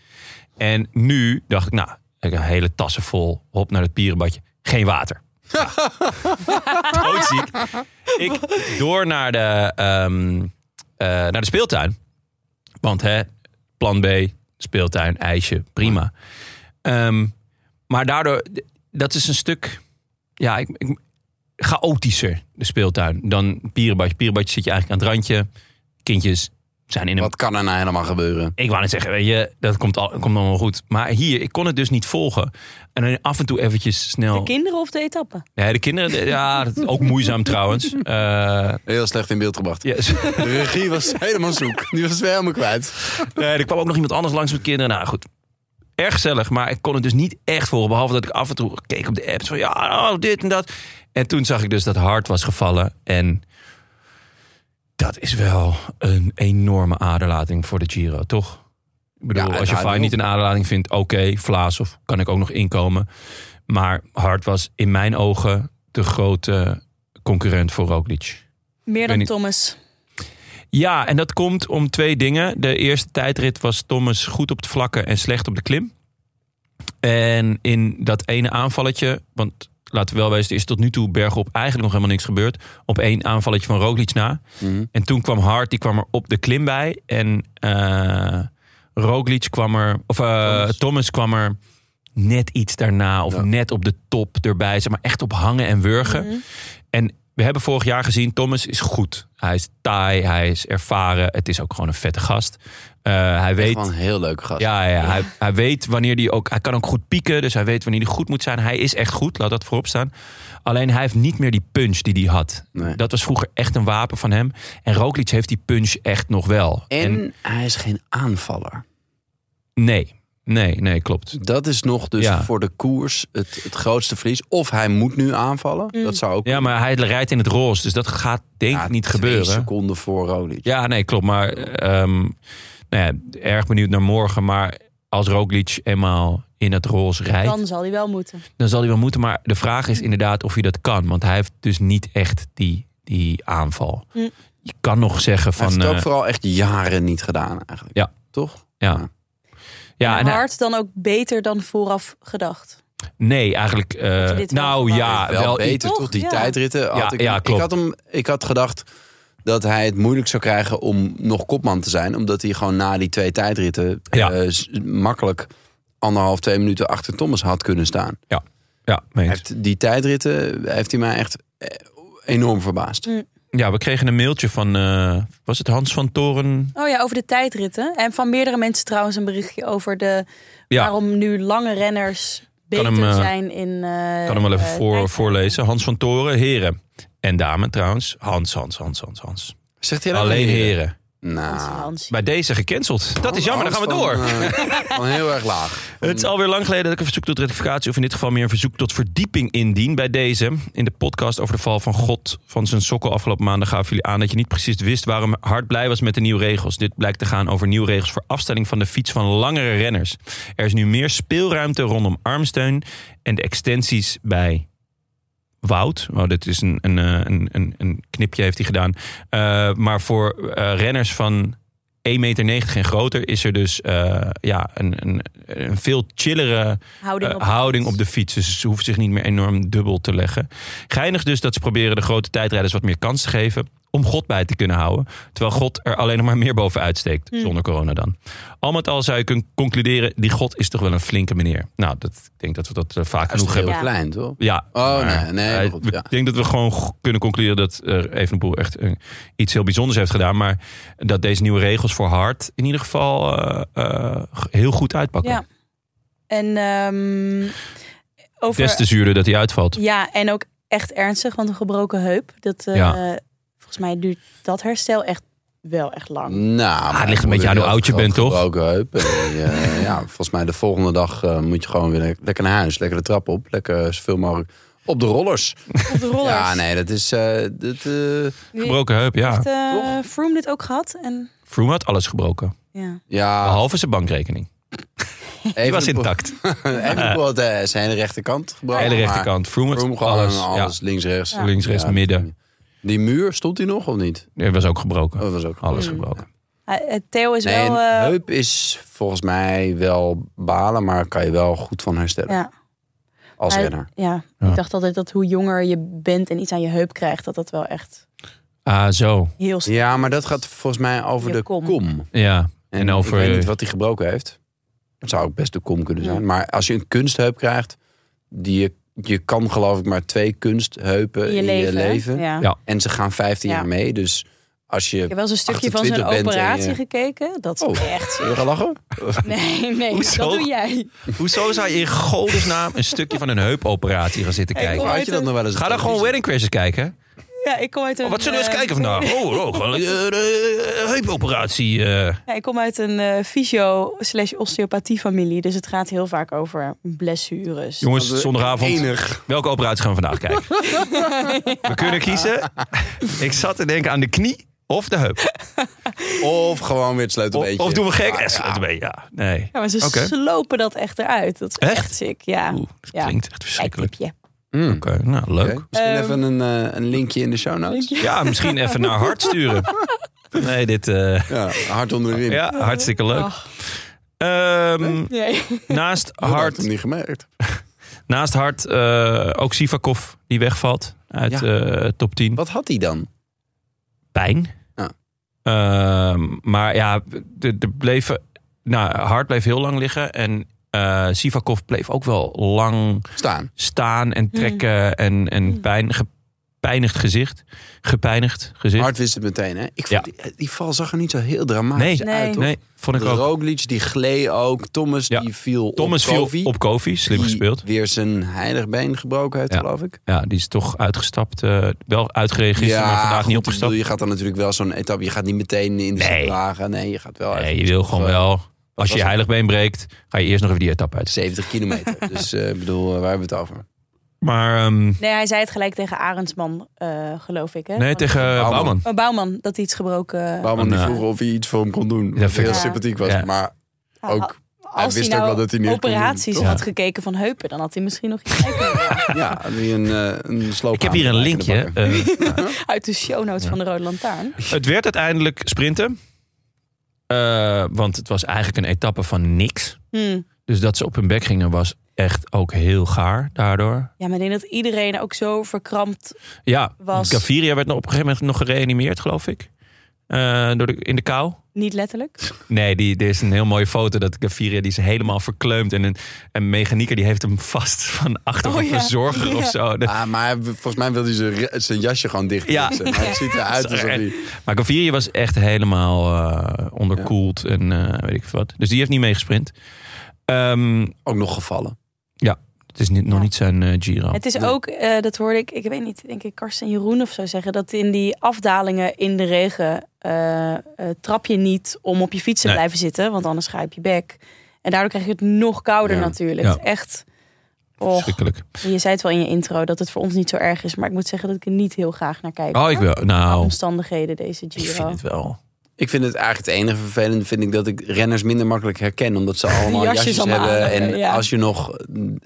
En nu dacht ik, nou, ik heb een hele tassen vol. Hop naar het Pierenbadje. Geen water. Doodziek. Ik door naar de, ehm, eh, naar de speeltuin. Want hè, plan B, speeltuin, ijsje, prima. Ehm, maar daardoor, d- dat is een stuk ja, ik, ik, chaotischer, de speeltuin, dan Pierenbadje. Pierenbadje zit je eigenlijk aan het randje. Kindjes zijn in een Wat kan er nou helemaal gebeuren? ik wou net zeggen, weet je, dat komt, al, komt allemaal wel goed. Maar hier, ik kon het dus niet volgen. En dan af en toe eventjes snel... De kinderen of de etappe? nee, de kinderen, de- ja, dat is ook moeizaam trouwens. Eh, Heel slecht in beeld gebracht. ja, ze- De regie was helemaal zoek. Die was weer helemaal kwijt. nee, er kwam ook nog iemand anders langs met kinderen. Nou goed, erg gezellig, maar ik kon het dus niet echt volgen. Behalve dat ik af en toe keek op de apps van ja, oh, dit en dat. En toen zag ik dus dat hard was gevallen. En dat is wel een enorme aderlating voor de Giro, toch? Ik bedoel, Ja, als je nou, Fine niet een aderlating vindt, oké, Vlaas of kan ik ook nog inkomen. Maar Hart was in mijn ogen de grote concurrent voor Roglic. Meer weet dan niet. Thomas. Ja, en dat komt om twee dingen. De eerste tijdrit was Thomas goed op het vlakken en slecht op de klim. En in dat ene aanvalletje, want laten we wel wezen, er is tot nu toe bergop eigenlijk nog helemaal niks gebeurd. Op één aanvalletje van Roglic na. En toen kwam Hart, die kwam er op de klim bij. En eh Roglic kwam er, of eh, Thomas. kwam er net iets daarna. Of Ja. net op de top erbij. Zeg maar echt op hangen en wurgen. En we hebben vorig jaar gezien, Thomas is goed. Hij is taai, hij is ervaren. Het is ook gewoon een vette gast. Eh, hij weet... Gewoon een heel leuke gast. Ja, ja, Hij, hij weet wanneer die ook. Hij kan ook goed pieken, dus hij weet wanneer hij goed moet zijn. Hij is echt goed, laat dat voorop staan. Alleen hij heeft niet meer die punch die hij had. Nee. Dat was vroeger echt een wapen van hem. En Roglic heeft die punch echt nog wel. En hij is geen aanvaller. nee, Nee, nee, klopt. Dat is nog dus Ja. voor de koers het, het grootste verlies. Of hij moet nu aanvallen. Mm. Dat zou ook Ja, maar hij rijdt in het roze, dus dat gaat denk ik Ja, niet twee gebeuren. seconden voor Roglic. Ja, nee, klopt. Maar ehm, nou ja, erg benieuwd naar morgen. Maar als Roglic eenmaal in het roze rijdt, dan... Dan zal hij wel moeten. zal hij wel moeten. Maar de vraag is inderdaad of hij dat kan. Want hij heeft dus niet echt die, die aanval. Hm. Je kan nog zeggen hij heeft van... het ook eh, vooral echt jaren niet gedaan eigenlijk. Ja. Toch? ja. Ja, Ja, en hij- hard dan ook beter dan vooraf gedacht. nee, eigenlijk... eh, je dit wel nou verwacht. ja, wel, wel, iets. beter, toch? Toch? Die Ja. tijdritten. Had Ja, ik, ja, Ik, klopt. had hem, ik had gedacht dat hij het moeilijk zou krijgen om nog kopman te zijn. Omdat hij gewoon na die twee tijdritten Ja. eh, s- makkelijk anderhalf, twee minuten achter Thomas had kunnen staan. Ja, mee Hij eens. Heeft, die tijdritten heeft hij mij echt eh, enorm verbaasd. ja, we kregen een mailtje van... eh, was het Hans van Toren? Oh ja, over de tijdritten. En van meerdere mensen trouwens een berichtje over de Ja. waarom nu lange renners beter hem, eh, zijn in. eh, Ik kan hem wel even eh, voor, tijdritten. voorlezen. Hans van Toren, heren. En dame trouwens. Hans, Hans, Hans, Hans, Hans. Zegt hij dat? Alleen heren. Hans, Nou, Hans. Bij deze gecanceld. Dat is jammer, dan gaan we eh, door. Van heel erg laag. Het is alweer lang geleden dat ik een verzoek tot rectificatie... of in dit geval meer een verzoek tot verdieping indien bij deze. In de podcast over de val van God van zijn sokkel afgelopen maandag... gaven jullie aan dat je niet precies wist waarom hard blij was met de nieuwe regels. Dit blijkt te gaan over nieuwe regels voor afstelling van de fiets van langere renners. Er is nu meer speelruimte rondom armsteun... en de extensies bij Wout. Oh, dit is een, een, eh, een, een, een knipje heeft hij gedaan. Eh, maar voor eh, renners van 1,90 meter en groter is er dus eh, ja, een, een, een veel chillere Houding eh, op de houding fiets. op de fiets. Dus ze hoeven zich niet meer enorm dubbel te leggen. Geinig dus dat ze proberen de grote tijdrijders wat meer kans te geven om God bij te kunnen houden. Terwijl God er alleen nog maar meer bovenuit steekt, Hmm. zonder corona dan. Al met al zou je kunnen concluderen, die God is toch wel een flinke meneer. Nou, dat, ik denk dat we dat eh, vaak Hij is genoeg toch heel hebben. Ja. klein, toch? Ja. Oh, maar, nee, nee, eh, heel goed, ja. Ik denk dat we gewoon g- kunnen concluderen dat eh Evenepoel echt eh, iets heel bijzonders heeft gedaan. Maar dat deze nieuwe regels voor hard in ieder geval eh, eh, g- heel goed uitpakken. Ja. En ehm over. Des te zuurder dat hij uitvalt. Ja, en ook echt ernstig, want een gebroken heup. Dat, eh, Ja. Volgens mij duurt dat herstel echt wel echt Mm. lang. Nou, maar Ah, het ligt een moet beetje aan hoe wel oud je bent, toch? gebroken heup. En, eh, ja, volgens mij de volgende dag eh, moet je gewoon weer le- lekker naar huis. Lekker de trap op. Lekker zoveel mogelijk op de rollers. Op de rollers. Ja, nee, dat is... eh, dat, eh, Nu Gebroken heup, ja. heeft, eh, Toch? Froome dit ook gehad. En, Froome had alles gebroken. ja. ja, Behalve zijn bankrekening. Oh, Die Ah. even was intact. eh, zijn hele rechterkant gebroken. Hele maar rechterkant. Froome had Vroom Ah, gewoon alles. alles, Ja. links, rechts. Links, rechts, Ja. midden. Die muur, stond die nog of niet? Er was ook gebroken. Oh, dat was ook Alles Mm. gebroken. Hij- eh, Theo is Nee, wel... een eh, heup is volgens mij wel balen, maar kan je wel goed van herstellen ja, als hij- renner. ja. Ja. ik dacht altijd dat hoe jonger je bent en iets aan je heup krijgt, dat dat wel echt Ah, zo. heel snel. Ja, maar dat gaat volgens mij over Je de kom. kom. Ja. En, over... Ik weet niet wat hij gebroken heeft. Het zou ook best de kom kunnen zijn. Maar als je een kunstheup krijgt, die je, je kan geloof ik maar twee kunstheupen in in je leven. Ja. Ja. En ze gaan 15 Ja. jaar mee. Dus als je. Ik heb wel eens een stukje van 28 zijn bent en operatie je- gekeken. Dat is Oh. echt... Wil je gaan lachen? Nee, nee, Hoezo? dat doe jij. Hoezo zou je in godesnaam een stukje van een heupoperatie gaan zitten Hey, kijken? kom Had je dat nog wel eens? Ga dan gewoon Wedding Crashers kijken. Ja, ik kom uit een... Oh, wat zullen we eens eh, kijken vandaag? Oh, oh gewoon een eh, eh, heupoperatie. eh. Ja, ik kom uit een eh fysio slash osteopathie familie. Dus het gaat heel vaak over blessures. Jongens, zondagavond. Enig. Welke operatie gaan we vandaag kijken? We kunnen kiezen. Ik zat te denken aan de knie of de heup. Of gewoon weer het Of, sleutelbeentje. of doen we gek? Ja, Eh, ja. sleutelbeen, Ja, nee. Ja, maar ze Oké. slopen dat echt eruit. Dat is echt, Echt? sick, ja. Oeh, dat Ja. klinkt echt verschrikkelijk. Kijktipje. Mm, Oké, nou, leuk. oké. Misschien Ehm, even een, eh, een linkje in de show notes. Ja, misschien even naar hart sturen. Nee, dit... eh, Ja, hard onder de riem. ja, hartstikke leuk. Ach, Ehm, nee. naast Ik had hart... het niet gemerkt. Naast Hart eh, ook Sivakov die wegvalt uit eh top 10. Wat had hij dan? Pijn. Ja. Ehm, maar ja, de, de bleven, nou, Hart bleef heel lang liggen. En eh, Sivakov bleef ook wel lang Staan. staan en Hmm. trekken. En, en pijn, gepijnigd gezicht. Gepijnigd gezicht. Hard wist het meteen, hè? Ik Ja. vond die, eh, die val zag er niet zo heel dramatisch nee, Nee. uit, toch? nee, vond ik ook. Roglic, die gleed ook. Thomas, Ja. die viel Thomas op viel Kofi. op Kofi, slim die gespeeld. weer zijn heilig been gebroken heeft, Ja. geloof ik. Ja, die is toch uitgestapt. eh, wel uitgereageerd, maar vandaag goed, niet ik opgestapt. bedoel, Je gaat dan natuurlijk wel zo'n etappe. Je gaat niet meteen in de Nee. nee. Nee, je gaat wel Nee, Oh, even... je wil gewoon wel Als je je heiligbeen breekt, ga je eerst nog even die etappe uit. 70 kilometer. dus eh, ik bedoel, eh, waar hebben we het over? Maar ehm, Nee, hij zei het gelijk tegen Arendsman, eh, geloof ik. Hè? nee, Van- tegen eh, Bouwman. Bouwman. Oh, Bouwman, dat hij iets gebroken... Waarom En, niet eh, vroegen of hij iets voor hem kon doen? vind Dat ik heel ook- sympathiek was. Ja. Maar Ah, ook, als wist ook nou wel dat hij niet kon doen, operaties toch? had gekeken van heupen, dan had hij misschien nog iets leuker gedaan. ja, had hij een, eh, een sloop Ik heb hier een aan in de linkje. bakken. eh, uit de show notes van de Rode Lantaarn. Het werd uiteindelijk sprinten. Eh, want het was eigenlijk een etappe van niks. Hmm. Dus dat ze op hun bek gingen was echt ook heel gaar daardoor. Ja, maar ik denk dat iedereen ook zo verkrampt Ja, Was- Gaviria werd nog op een gegeven moment nog gereanimeerd, geloof ik. Eh, door de, in de kou. Niet letterlijk. Nee, die, er is een heel mooie foto dat Gaviria die is helemaal verkleumd. En een, een mechanieker die heeft hem vast van achter Oh een ja. verzorger of Ja. zo. De- Ah, maar hij- volgens mij wilde hij zijn re- zijn jasje gewoon dicht Ja. doen. Maar het ziet eruit alsof hij... Maar Gaviria was echt helemaal eh, onderkoeld en eh, weet ik veel wat. Dus die heeft niet meegesprint. Ehm Ook nog gevallen. Het is niet, nog Ja. niet zijn eh, Giro. Het is ook, eh, dat hoorde ik, ik weet niet, denk ik Karsten Jeroen of zo zeggen, dat in die afdalingen in de regen eh, eh, trap je niet om op je fiets te Nee. blijven zitten, want anders ga je op je bek. En daardoor krijg je het nog kouder Ja. natuurlijk. Ja. Het is Echt. Och, Schrikkelijk. je zei het wel in je intro dat het voor ons niet zo erg is, maar ik moet zeggen dat ik er niet heel graag naar kijk. Oh, ik wil. Qua Nou, omstandigheden deze ik Giro. vind het wel. Ik vind het eigenlijk het enige vervelende vind ik dat ik renners minder makkelijk herken. Omdat ze allemaal jasjes jasjes, allemaal hebben. aan hebben, en ja. als je nog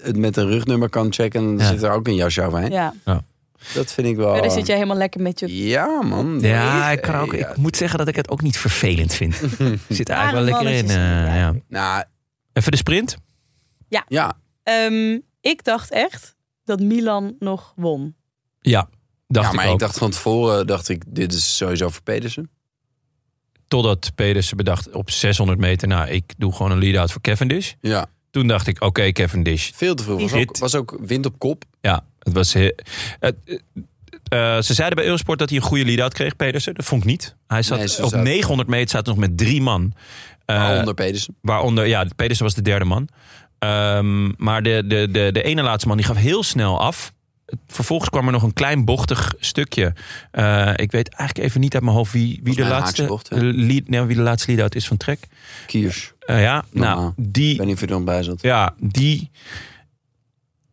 het met een rugnummer kan checken, dan Ja. zit er ook een jasje overheen. Ja, Oh. Dat vind ik wel... ehm, daar zit jij helemaal lekker met je Ja, man. eh, Ja, ik, kan ook, Ja. ik moet zeggen dat ik het ook niet vervelend vind. Zit er Arme eigenlijk wel lekker in. mannetjes. eh, ja. Nou, Even de sprint. ja. Ehm, ik dacht echt dat Milan nog won. Ja, dacht ja, maar ik ik, ook. dacht van tevoren, dacht ik, dit is sowieso voor Pedersen. Totdat Pedersen bedacht op 600 meter, nou, ik doe gewoon een lead-out voor Cavendish. Ja, Toen dacht ik, oké, Cavendish. veel te vroeg. Was Dit- ook, was ook wind op kop. Ja, het was... he- het- eh, eh, ze zeiden bij Eurosport dat hij een goede lead-out kreeg, Pedersen. Dat vond ik niet. Hij zat Nee, ze op zat- 900 meter, zat nog met drie man. Eh, onder Pedersen. Waaronder, ja, Pedersen was de derde man. Ehm, maar de, de, de, de ene laatste man die gaf heel snel af. Vervolgens kwam er nog een klein bochtig stukje. Eh, ik weet eigenlijk even niet uit mijn hoofd wie, wie, Volgens de mij een laatste, haakse bocht, hè? lead, nee, wie de laatste lead-out is van Trek. Kiers. Eh, ja, nou, Normaal. Ik die, weet niet of je er nog bij zat. ja, die,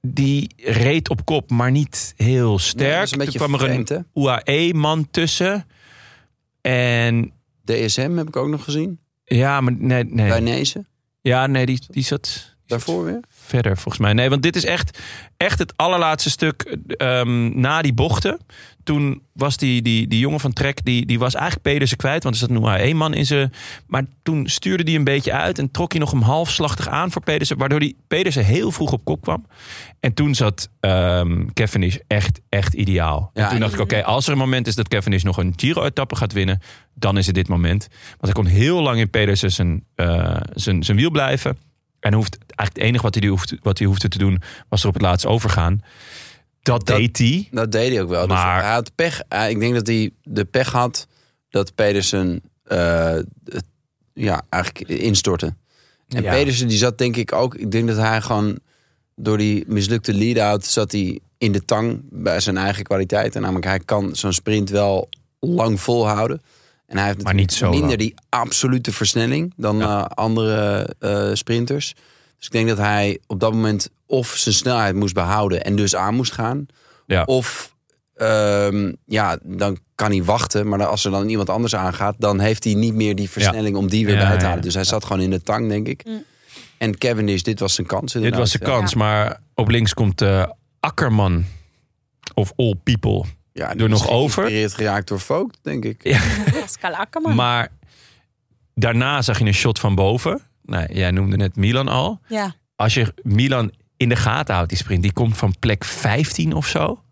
die reed op kop, maar niet heel Nee, dat sterk. is een Toen beetje kwam er een vreemd, hè? UAE-man tussen. En DSM heb ik ook nog gezien. ja, maar nee, Bij nee. Nezen. Ja, nee, die, die zat... Daarvoor weer. verder, volgens mij. Nee, want dit is echt, echt het allerlaatste stuk ehm, na die bochten. Toen was die, die, die jongen van Trek, die, die was eigenlijk Pedersen kwijt. Want er zat nu maar één man in zijn... Maar toen stuurde hij een beetje uit en trok hij nog hem halfslachtig aan voor Pedersen. Waardoor die Pedersen heel vroeg op kop kwam. En toen zat ehm Cavendish echt, echt ideaal. Ja, en toen en- dacht ik, oké, als er een moment is dat Cavendish nog een Giro-etappe gaat winnen... dan is het dit moment. Want hij kon heel lang in Pedersen zijn, eh, zijn, zijn wiel blijven. En hoeft, eigenlijk het enige wat hij, hoeft, wat hij hoefde te doen, was er op het laatst overgaan. Dat, Dat- deed hij. Dat deed hij ook wel. Dus Maar- hij had pech. Hij- ik denk dat hij de pech had dat Pedersen eh, het- ja, eigenlijk instortte. En Ja. Pedersen die zat denk ik ook... Ik denk dat hij gewoon door die mislukte lead-out zat hij in de tang bij zijn eigen kwaliteiten. Namelijk hij kan zo'n sprint wel lang volhouden. En hij heeft Maar natuurlijk niet zo minder lang. die absolute versnelling dan Ja. eh, andere eh, sprinters. Dus ik denk dat hij op dat moment of zijn snelheid moest behouden en dus aan moest gaan. Ja. Of ehm, ja, dan kan hij wachten. Maar dan- als er dan iemand anders aangaat, dan heeft hij niet meer die versnelling om die weer Ja, bij te ja, halen. ja. Dus hij zat gewoon in de tang, denk ik. Mm. En Kevin is, dit was zijn kans. Dit was de inderdaad. kans, maar op links komt eh, Akkerman. Of All People. Ja, die Doe is nog over. geïnspireerd geraakt door Vogt, denk ik. Pascal Akkerman. Maar daarna zag je een shot van boven. Nou, jij noemde net Milan al. ja. als je Milan in de gaten houdt, die sprint, die komt van plek 15 of zo.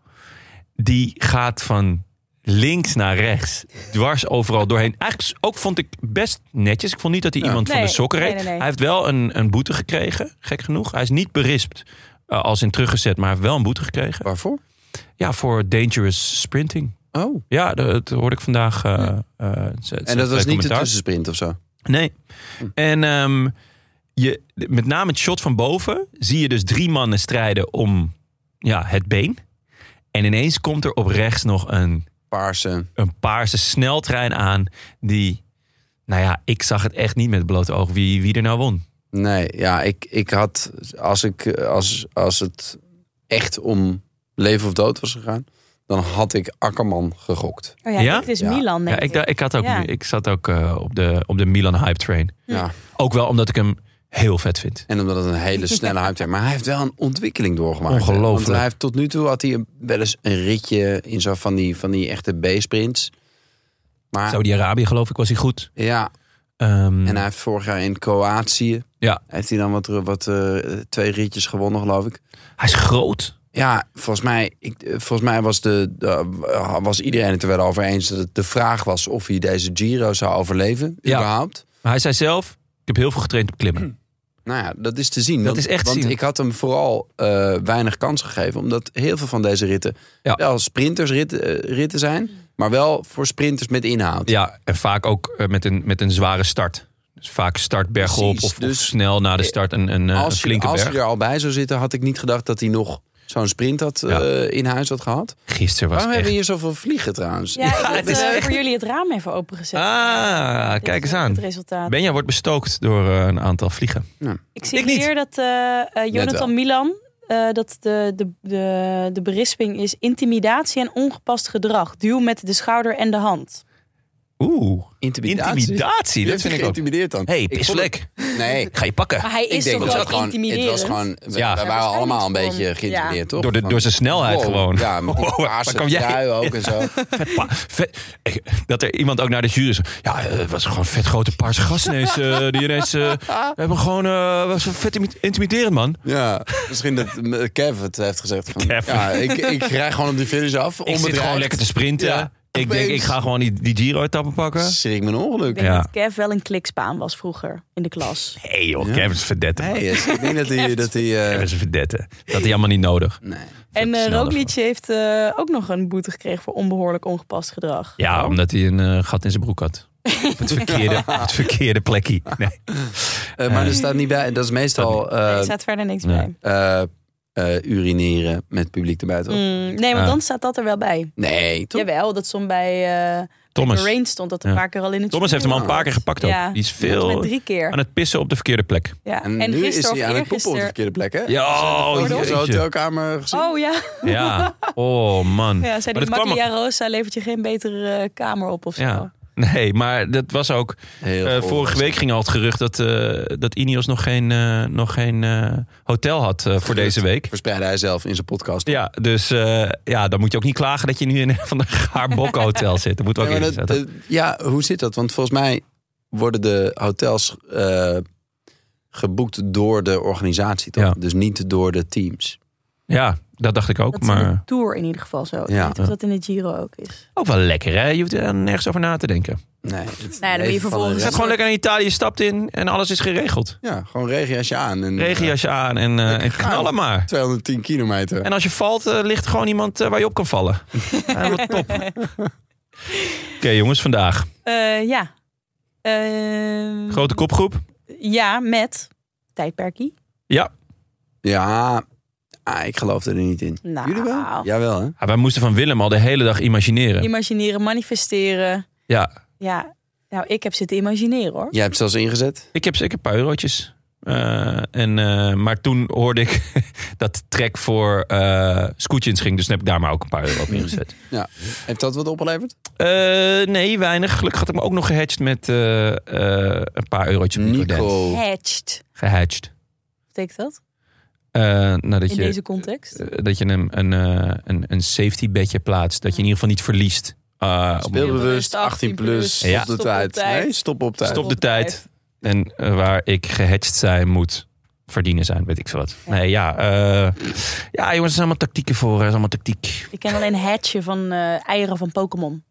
Die gaat van links naar rechts, dwars overal doorheen. Eigenlijk ook vond ik best netjes. Ik vond niet dat hij Ja. iemand van Nee, de sokken reed. nee, nee, nee. Hij heeft wel een, een boete gekregen, gek genoeg. Hij is niet berispt eh, als in teruggezet, maar hij heeft wel een boete gekregen. Waarvoor? Ja, voor dangerous sprinting. Oh. Ja, dat, dat hoorde ik vandaag. eh, eh, ze- ze- En dat bij was niet de Hm. commentaar. tussensprint of zo. Nee. En ehm, je, met name het shot van boven zie je dus drie mannen strijden om ja, het been. En ineens komt er op rechts nog een, Paarse. een paarse sneltrein aan die Nou ja, ik zag het echt niet met blote ogen wie, wie er nou won. Nee, ja, ik, ik had, als, ik, eh, als, als het echt om leven of dood was gegaan, dan had ik Akkerman gegokt. Oh ja, Ja? het is Ja. Milan, denk Ja, ik, da- ik, had ook, Ja. ik zat ook eh, op, de, op de Milan hype train. Ja. Ook wel omdat ik hem heel vet vind. En omdat het een hele snelle hype is. Maar hij heeft wel een ontwikkeling doorgemaakt. hè. Ongelooflijk. Want hij heeft tot nu toe had hij een- wel eens een ritje in zo van die, van die echte B-sprints. Maar Saudi-Arabië geloof ik was hij goed. ja, Ehm, en hij heeft vorig jaar in Kroatië. Ja. Heeft hij dan wat, wat eh, twee ritjes gewonnen, geloof ik. Hij is groot. Ja, volgens mij, ik, eh, volgens mij was, de, de- eh, was iedereen het er wel over eens dat het de vraag was of hij deze Giro zou overleven. Ja. Überhaupt. Maar hij zei zelf, ik heb heel veel getraind op klimmen. Nou ja, dat is te zien. Dat want, is echt Want zien. ik had hem vooral eh, weinig kans gegeven. Omdat heel veel van deze ritten Ja. wel sprintersritten eh, ritten zijn. Maar wel voor sprinters met inhoud. Ja, en vaak ook eh, met, een, met een zware start. Dus vaak start bergop Precies, of, of dus- snel na de start een, een, eh, een als je, flinke als berg. hij er al bij zou zitten, had ik niet gedacht dat hij nog zo'n sprint had, Ja. eh, in huis had gehad. Gisteren was Waarom hebben echt... we hier zoveel vliegen trouwens? Ja, ik had het is eh, echt- voor jullie het raam even opengezet. Ah, Dit kijk is eens ook aan. Het resultaat. Benja wordt bestookt door eh, een aantal vliegen. Ik zie Ik niet. hier dat eh, eh, wel. Jonathan Milan, eh, dat de, de, de, de berisping is intimidatie en ongepast gedrag. Duw met de schouder en de hand. Oeh, Intimidatie. intimidatie. Je Dat hebt vind je ik ook. geïntimideerd dan. hey, Ik vond pislek. het- Nee. Ga je pakken. Maar hij is toch dat wel het gewoon, intimiderend? Het was gewoon, we, Ja. we Ja, waren allemaal een waarschijnlijk beetje gewoon. Ja. geïntimideerd, toch? Door, de, door zijn snelheid Wow, gewoon. Ja, met die Wow, waar paarse kwam jij- trui ook en zo. Vet pa- vet- eh, dat er iemand ook naar de jury is. Ja, eh, het was gewoon een vet grote paarse gast ineens. eh, die ineens... eh, we hebben gewoon... eh was vet imi- intimiderend, man. Ja, misschien dat eh, Kev het heeft gezegd. Van, Kev. ja, ik, ik rij gewoon op die finish af. Ik zit onbedreigd. gewoon lekker te sprinten. Ja, ik denk, ik opeens. ga gewoon die, die Giro-etappen pakken. Schrik mijn Ik ongeluk. denk Ja. dat Kev wel een klikspaan was vroeger in de klas. Hé hey, joh, Kevin is verdette. man. Nee, yes. ik denk dat hij... Dat hij eh, Kevin is een verdette. Dat had hij allemaal niet nodig. nee. En eh snel Roglic heeft eh, ook nog een boete gekregen voor onbehoorlijk ongepast gedrag. Ja, omdat hij een eh, gat in zijn broek had. Op het verkeerde, op het verkeerde plekje. Nee. Eh, maar er staat niet bij. Dat is meestal Nee, eh, er staat verder niks nee. bij. eh, eh, urineren met publiek erbij, toch? Mm, nee, want Ah. dan staat dat er wel bij. Nee, toch? Jawel, dat stond bij eh Thomas. Rain stond dat een Ja. paar keer al in het Thomas heeft hem al een paar keer gepakt ook. Ja. Die is Met veel drie keer. aan het pissen op de verkeerde plek. Ja. En, En, nu is gisteren hij of aan het poepen op de eergisteren- verkeerde plek, hè? Ja, oh, Foto's in zijn jeetje. hotelkamer gezien. Oh ja. Ja, oh man. Ja, zei Maar die dat kwam- Macchia Rosa levert je geen betere eh, kamer op of zo. Ja. Nee, maar dat was ook. Heel eh, goed. vorige week ging al het gerucht dat, eh, dat Ineos nog geen, eh, nog geen eh, hotel had eh, voor deze week. Verspreidde hij zelf in zijn podcast. Ja, dus eh, ja, dan moet je ook niet klagen dat je nu in een van de gaarbokken hotel zit. Dat moet ook Ja, in maar dat- eh, ja, hoe zit dat? Want volgens mij worden de hotels eh, geboekt door de organisatie, toch? Ja. Dus niet door de teams. Ja, dat dacht ik ook. Dat is in de maar Tour in ieder geval zo. Ik Ja. weet niet of dat in de Giro ook is. ook wel lekker, hè? Je hoeft er nergens over na te denken. Je Nee, het dan moet je leven van vervolgens- een gaat renner- gewoon lekker naar Italië, je stapt in en alles is geregeld. Ja, gewoon regenjasje aan. En, Regenjasje aan en, eh en knallen maar. eh, 210 kilometer. En als je valt, eh, ligt gewoon iemand eh, waar je op kan vallen. Ja, wat top. Oké, jongens, vandaag. Eh, ja. Eh, Grote kopgroep. Ja, met tijdperkie. Ja. Ja, ah, ik geloof er niet in. Nou. Jullie wel? Jawel, hè? Ja, Ah, wij moesten van Willem al de hele dag imagineren. Imagineren, manifesteren. Ja, Ja, nou ik heb zitten imagineren hoor. Jij hebt zelfs ingezet. ik heb zeker een paar eurotjes. Eh, en, eh, maar toen hoorde ik dat trek voor eh Scootjins ging. Dus toen heb ik daar maar ook een paar euro op ingezet. Ja. Heeft dat wat opgeleverd? Eh, nee, weinig. Gelukkig had ik me ook nog gehedged met eh, eh, een paar eurotjes. op Nicodent. Nico. Hatched. Gehedged. Wat betekent dat? Eh, nou, dat In je, deze context? eh, dat je hem een, eh, een, een safety bedje plaatst. Dat je in ieder geval niet verliest. Eh, op- Speelbewust, 18 plus, stop Ja. de Stop op tijd. tijd. Nee, stop op tijd. stop de tijd. En eh, waar ik gehedged zijn moet verdienen zijn, weet ik veel wat. Nee, ja. eh, ja, jongens, het zijn allemaal tactieken voor. Het is allemaal tactiek. Ik ken alleen hatchen van eh, eieren van Pokémon.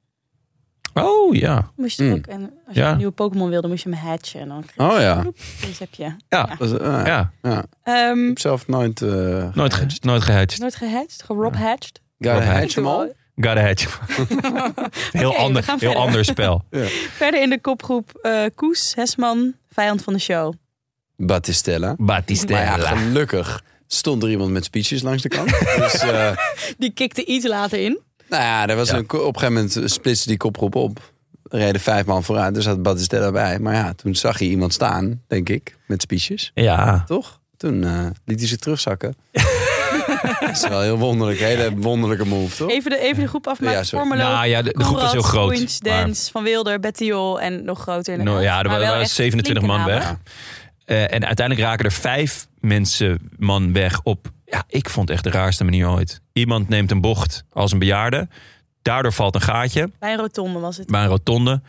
Oh, ja. Moest je Mm. ook, en als je Ja. Ah. een nieuwe Pokémon wilde, moest je hem hatchen. En dan kreeg Oh ja. je dus heb je. Ja, Dat is- ah, ja. ja. Ehm, Ik heb zelf nooit... eh Nooit, ge nooit gehedged. nooit gehatcht, gerob hatched. Gotta Rob hatch 'em all. Gotta hedge. heel Oké, we ander, gaan heel verder. ander spel. Verder in de kopgroep eh, Koes, Hesman, vijand van de show. Battistella. Maar ja, Batistella. gelukkig stond er iemand met speeches langs de kant. dus eh, Die kikte iets later in. nou ja, er was een, ko- op een gegeven moment splitste die kopgroep op. Er reden vijf man vooruit, er zat Battistella bij. Maar ja, toen zag hij iemand staan, denk ik, met speeches. Ja. Toch? Toen eh, liet hij ze terugzakken. dat is wel heel wonderlijk. Hele wonderlijke move, toch? Even de, even de groep afmaken. Ja, sorry. Formelo, Nou Oh. ja, de- de groep was heel Conrad, groot, Koens, maar- Dens, Van Wilder, Betty Jol en nog groter. inderdaad. Nou ja, er Maar wa- wel waren echt 27 man flinke weg. namen. Eh, en uiteindelijk raken er vijf mensen man weg op. Ja, ik vond het echt de raarste manier ooit. Iemand neemt een bocht als een bejaarde. Daardoor valt een gaatje Bij een rotonde was het. bij een rotonde.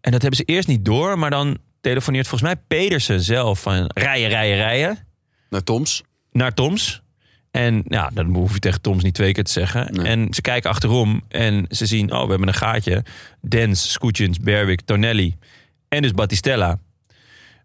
En dat hebben ze eerst niet door. Maar dan telefoneert volgens mij Pedersen zelf van rijden, rijden, rijden. Naar Nou, Toms. naar Toms. En ja, dan hoef je tegen Toms niet twee keer te zeggen. Nee. En ze kijken achterom en ze zien, oh, we hebben een gaatje. Dens, Scootjens, Berwick, Tonelli en dus Battistella.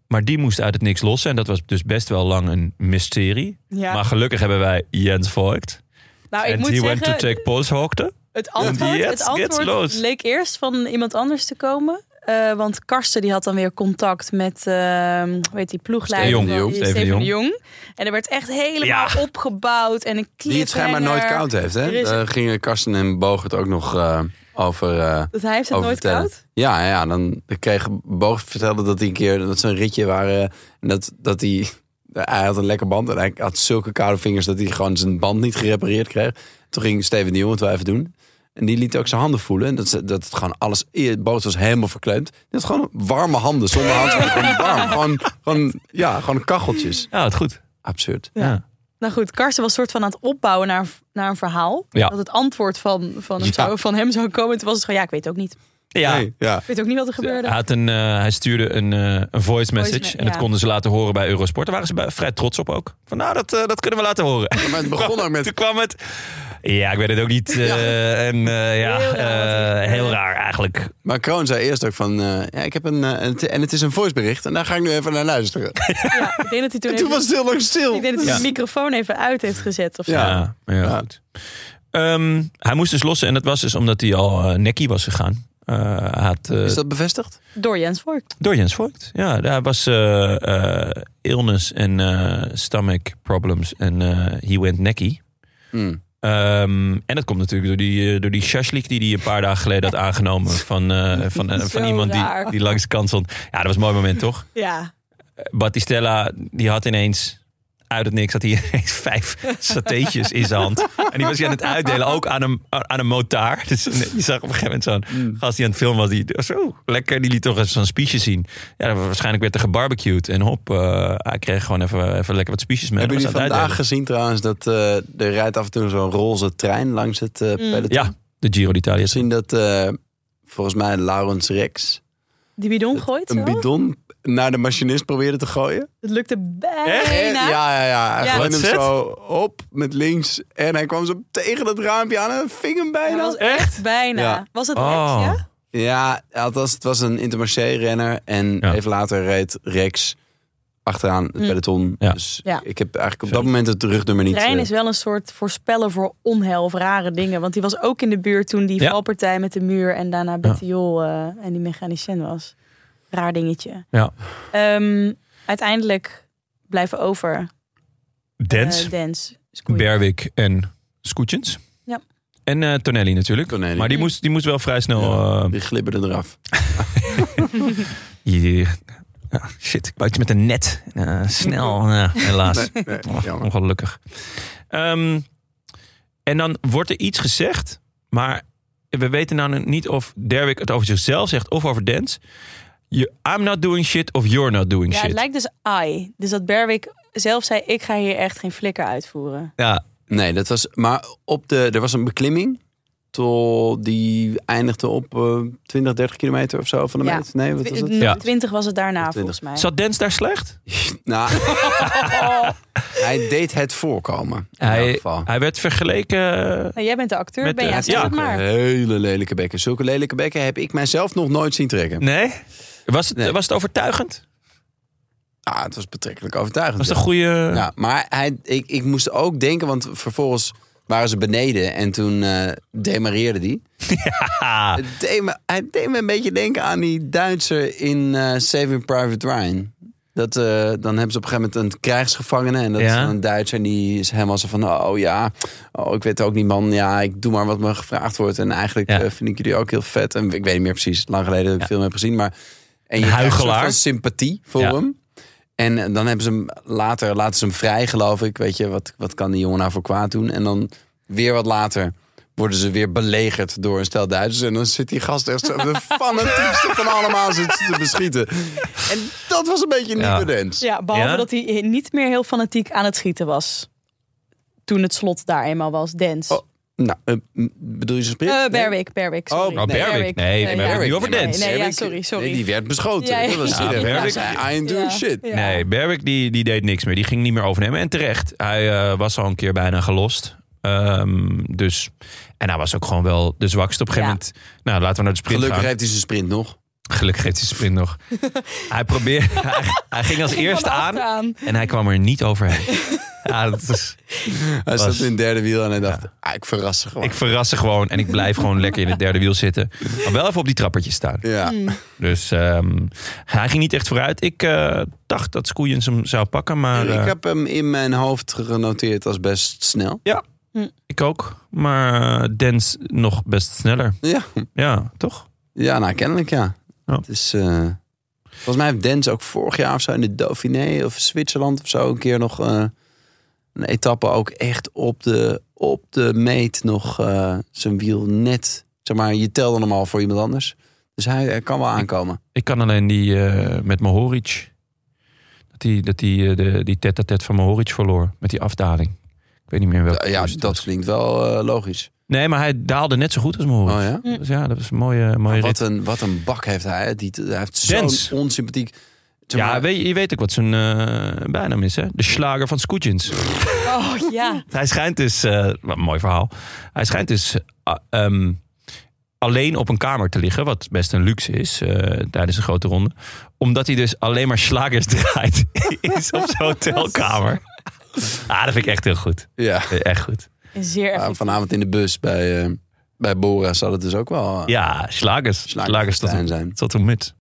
Maar die moest uit het niks lossen. En dat was dus best wel lang een mysterie. Ja. Maar gelukkig hebben wij Jens Voigt. nou, ik En moet he went to zeggen, take polshoogte. het antwoord, Yes, gets het antwoord los. leek eerst van iemand anders te komen. Eh, want Karsten die had dan weer contact met ehm, weet die ploegleider Steven de van- Jong. Steven de Jong. En er werd echt helemaal Ja. opgebouwd en een Die het schijnbaar nooit cliffhanger. koud heeft, hè? Er is- Daar gingen Karsten en Bogert ook nog eh, over... eh, Dat hij heeft het over nooit vertellen. koud. Ja, ja, dan kreeg Boog vertelde dat hij een keer dat ze een ritje waren en dat, dat hij, hij had een lekker band en hij had zulke koude vingers dat hij gewoon zijn band niet gerepareerd kreeg. Toen ging Steven de Jong het wel even doen. En die liet ook zijn handen voelen. En dat, ze- dat het gewoon alles. Boot was helemaal verkleumd. Die had gewoon warme handen. Zonder handschoenen. Gewoon warm. Gewoon, gewoon, ja, gewoon kacheltjes. Ja, het goed. Absurd. Ja. Nou goed, Karsten was soort van aan het opbouwen naar, naar een verhaal. Ja. Dat het antwoord van, van, hem Ja. zou, van hem zou komen. Toen was het gewoon, ja, ik weet ook niet. Ja. Nee, ja. Ik weet ook niet wat er gebeurde. Hij, had een, eh, hij stuurde een, eh, een voice message. me- en dat ja. konden ze laten horen bij Eurosport. Daar waren ze bij- vrij trots op ook. Van nou, dat, eh, dat kunnen we laten horen. Maar het begon ook met. Toen kwam het. Ja, ik weet het ook niet. eh, En eh, ja, Heel raar. eh, heel raar eigenlijk. Maar Kroon zei eerst ook van. eh, ja, ik heb een. eh, een- en het is een voicebericht. En daar ga ik nu even naar luisteren. Ja, ik denk dat hij toen, En toen even- was het heel lang stil. ik denk dat hij Ja. de microfoon even uit heeft gezet. Of zo. Ja. Ja, maar ja, Ja. goed. Ehm, hij moest dus lossen en dat was dus omdat hij al eh, nekkie was gegaan. Eh, hij had, eh, Is dat bevestigd? Door Jens Voigt. Door Jens Voigt. Ja, daar was eh, eh, illness en eh, stomach problems en eh, he went nekkie. Hmm. Ehm, en dat komt natuurlijk door die, eh, door die shashlik die hij een paar dagen geleden had aangenomen van, eh, van, eh, van Zo iemand die, raar. die langs de kant stond. Ja, dat was een mooi moment toch? Ja. Battistella, die had ineens uit het niks had hij ineens vijf satéetjes in zijn hand. En die was hij aan het uitdelen, ook aan een, aan een motaar. Dus je zag op een gegeven moment zo'n Mm. gast die aan het filmen was. Die, zo, lekker, die liet toch eens zo'n spiesje zien. Ja, waarschijnlijk werd er gebarbecued. En hop, eh, hij kreeg gewoon even, even lekker wat spiesjes mee. Hebben Dat jullie was aan het vandaag uitdelen. gezien trouwens dat eh, er rijdt af en toe zo'n roze trein langs het Mm. eh peloton? Ja, de Giro d'Italia. Gezien dat eh, volgens mij Laurens Rex Die bidon gooit zo. een bidon naar de machinist probeerde te gooien. Dat lukte En, bijna. ja, ja, ja. Hij nou? Ja. gooide Wat hem zet? zo op met links en hij kwam zo tegen dat raampje aan en ving hem Dat bijna. was echt bijna. Ja. Was het Oh. echt, ja? Ja, althans, het was een Intermarché-renner. En Ja. even later reed Rex achteraan het peloton. Ja. Dus Mm. Ja. ik heb eigenlijk op dat moment het rugnummer niet... Rijn eh, is wel een soort voorspeller voor onheil of rare dingen. Want die was ook in de buurt toen die Ja. valpartij met de muur en daarna Betty Jol eh, en die mechanicien was. Raar dingetje. Ja. Ehm, uiteindelijk blijven over Dance, eh, Dance. Scoei. Berwick en Scootjens. Ja. Mm. En eh, Tonelli natuurlijk. Tonelli. Maar die moest, die moest wel vrij snel... eh, Die glibberde eraf. Hier. Ja, shit, ik wou iets met een net. Eh, snel, ja, helaas. Nee, Och, jammer. ongelukkig. Ehm, en dan wordt er iets gezegd, maar we weten nou niet of Derwick het over zichzelf zegt of over Dens. Je- I'm not doing shit of you're not doing Ja, shit. het lijkt dus I. Dus dat Berwick zelf zei, ik ga hier echt geen flikker uitvoeren. Ja, Nee, dat was. Maar op de, er was een beklimming. Tot, die eindigde op eh, 20, 30 kilometer of zo van de Ja. meet. Nee, wat was het? Ja. 20 was het daarna, 20. volgens mij. Oh, zat Dens daar slecht? Nou, hij deed het voorkomen. In elk Hij, geval. hij werd vergeleken. Nou, jij bent de acteur, Met ben de- jij? Ja, Zeg het maar. Hele lelijke bekken. Zulke lelijke bekken heb ik mijzelf nog nooit zien trekken. Nee? Was het, Nee. Was het overtuigend? Ah, het was betrekkelijk overtuigend. Was het een goede. Ja, Nou, maar hij, ik, ik moest ook denken, want vervolgens waren ze beneden en toen eh demareerde die. Ah, Het deed me, hij deed me een beetje denken aan die Duitser in eh, Saving Private Ryan. Dat, eh, dan hebben ze op een gegeven moment een krijgsgevangene. En dat Ja. is dan een Duitser die is helemaal zo van... Oh ja, oh, ik weet ook niet man. Ja, ik doe maar wat me gevraagd wordt. En eigenlijk Ja. eh, vind ik jullie ook heel vet. En ik weet niet meer precies. Lang geleden heb ik veel meer gezien. Maar, en je Een krijgt een soort huichelaar. van sympathie voor Ja. hem. En eh, dan hebben ze hem later... Laten ze hem vrij geloof ik. Weet je, wat, wat kan die jongen nou voor kwaad doen? En dan weer wat later worden ze weer belegerd door een stel Duitsers. En dan zit die gast echt zo de fanatiekste van allemaal zit ze te beschieten. En dat was een beetje Ja. nieuwe dans. Ja, behalve Ja? dat hij niet meer heel fanatiek aan het schieten was. Toen het slot daar eenmaal was. Dance. Oh, nou, eh, m- bedoel je zo'n sprit? Eh, Nee. Berwick, Berwick. sorry. oh, Berwick. Nee, we hebben het Berwick. nu over maar Dance. Nee, nee, ja, Berwick- sorry, sorry. Nee, die werd beschoten. Ja, ja. Dat was Ja, ja, Berwick- I ain't doing Ja. shit. Ja. Nee, Berwick die, die deed niks meer. Die ging niet meer overnemen. En terecht. Hij eh, was al een keer bijna gelost. Ehm, dus, en hij was ook gewoon wel de zwakste op een gegeven Ja. moment. Nou, laten we naar de sprint Gelukkig gaan. heeft hij zijn sprint nog. Gelukkig heeft hij de sprint nog. hij, probeerde, hij, hij ging als Ik kwam eerste aan erachteraan. en hij kwam er niet overheen. ja, dat is, Hij Was- zat in het derde wiel en hij dacht, ah, ik verras ze gewoon. ik verras ze gewoon en ik blijf gewoon lekker in het derde wiel zitten. Maar wel even op die trappertjes staan. ja. Mm. Dus ehm, hij ging niet echt vooruit. Ik eh, dacht dat Skoeiens hem zou pakken, maar... eh, ik heb hem in mijn hoofd genoteerd als best snel. Ja, Hm. ik ook. Maar Dens nog best sneller. Ja, Ja, toch? ja nou kennelijk ja. Ja. Het is, eh, volgens mij heeft Dens ook vorig jaar of zo in de Dauphiné of Zwitserland of zo een keer nog eh, een etappe ook echt op de, op de meet nog eh, zijn wiel net. Zeg maar, je telde hem al voor iemand anders. Dus hij, eh, kan wel aankomen. Ik kan alleen die eh, met Mohoric. Dat die, dat die, eh, de, die tête-à-tête van Mohoric verloor. Met die afdaling. Ik weet niet meer welke. Ja, Eh, ja, koers het dat was. klinkt wel eh, logisch. Nee, maar hij daalde net zo goed als Mohoric. Oh ja? Dus ja, dat was een mooie, mooie Wat rit. een, wat een bak heeft hij. hè. Die, hij heeft Dens. zo'n onsympathiek... zeg Ja, maar- weet, je- je weet ook wat zijn eh, bijnaam is, hè? De slager van Skoetjens. Oh ja. Hij schijnt dus, eh, wat een mooi verhaal. Hij schijnt dus ah, ehm, alleen op een kamer te liggen, wat best een luxe is eh, tijdens een grote ronde. Omdat hij dus alleen maar slagers draait is op zijn hotelkamer. Ah, dat vind ik echt heel goed. ja. Echt goed. Zeer Ja, effectief. vanavond in de bus bij, eh, bij Bora zal het dus ook wel eh, Ja, slagers. Slagers tot slagerfestijn een, zijn. tot een muts.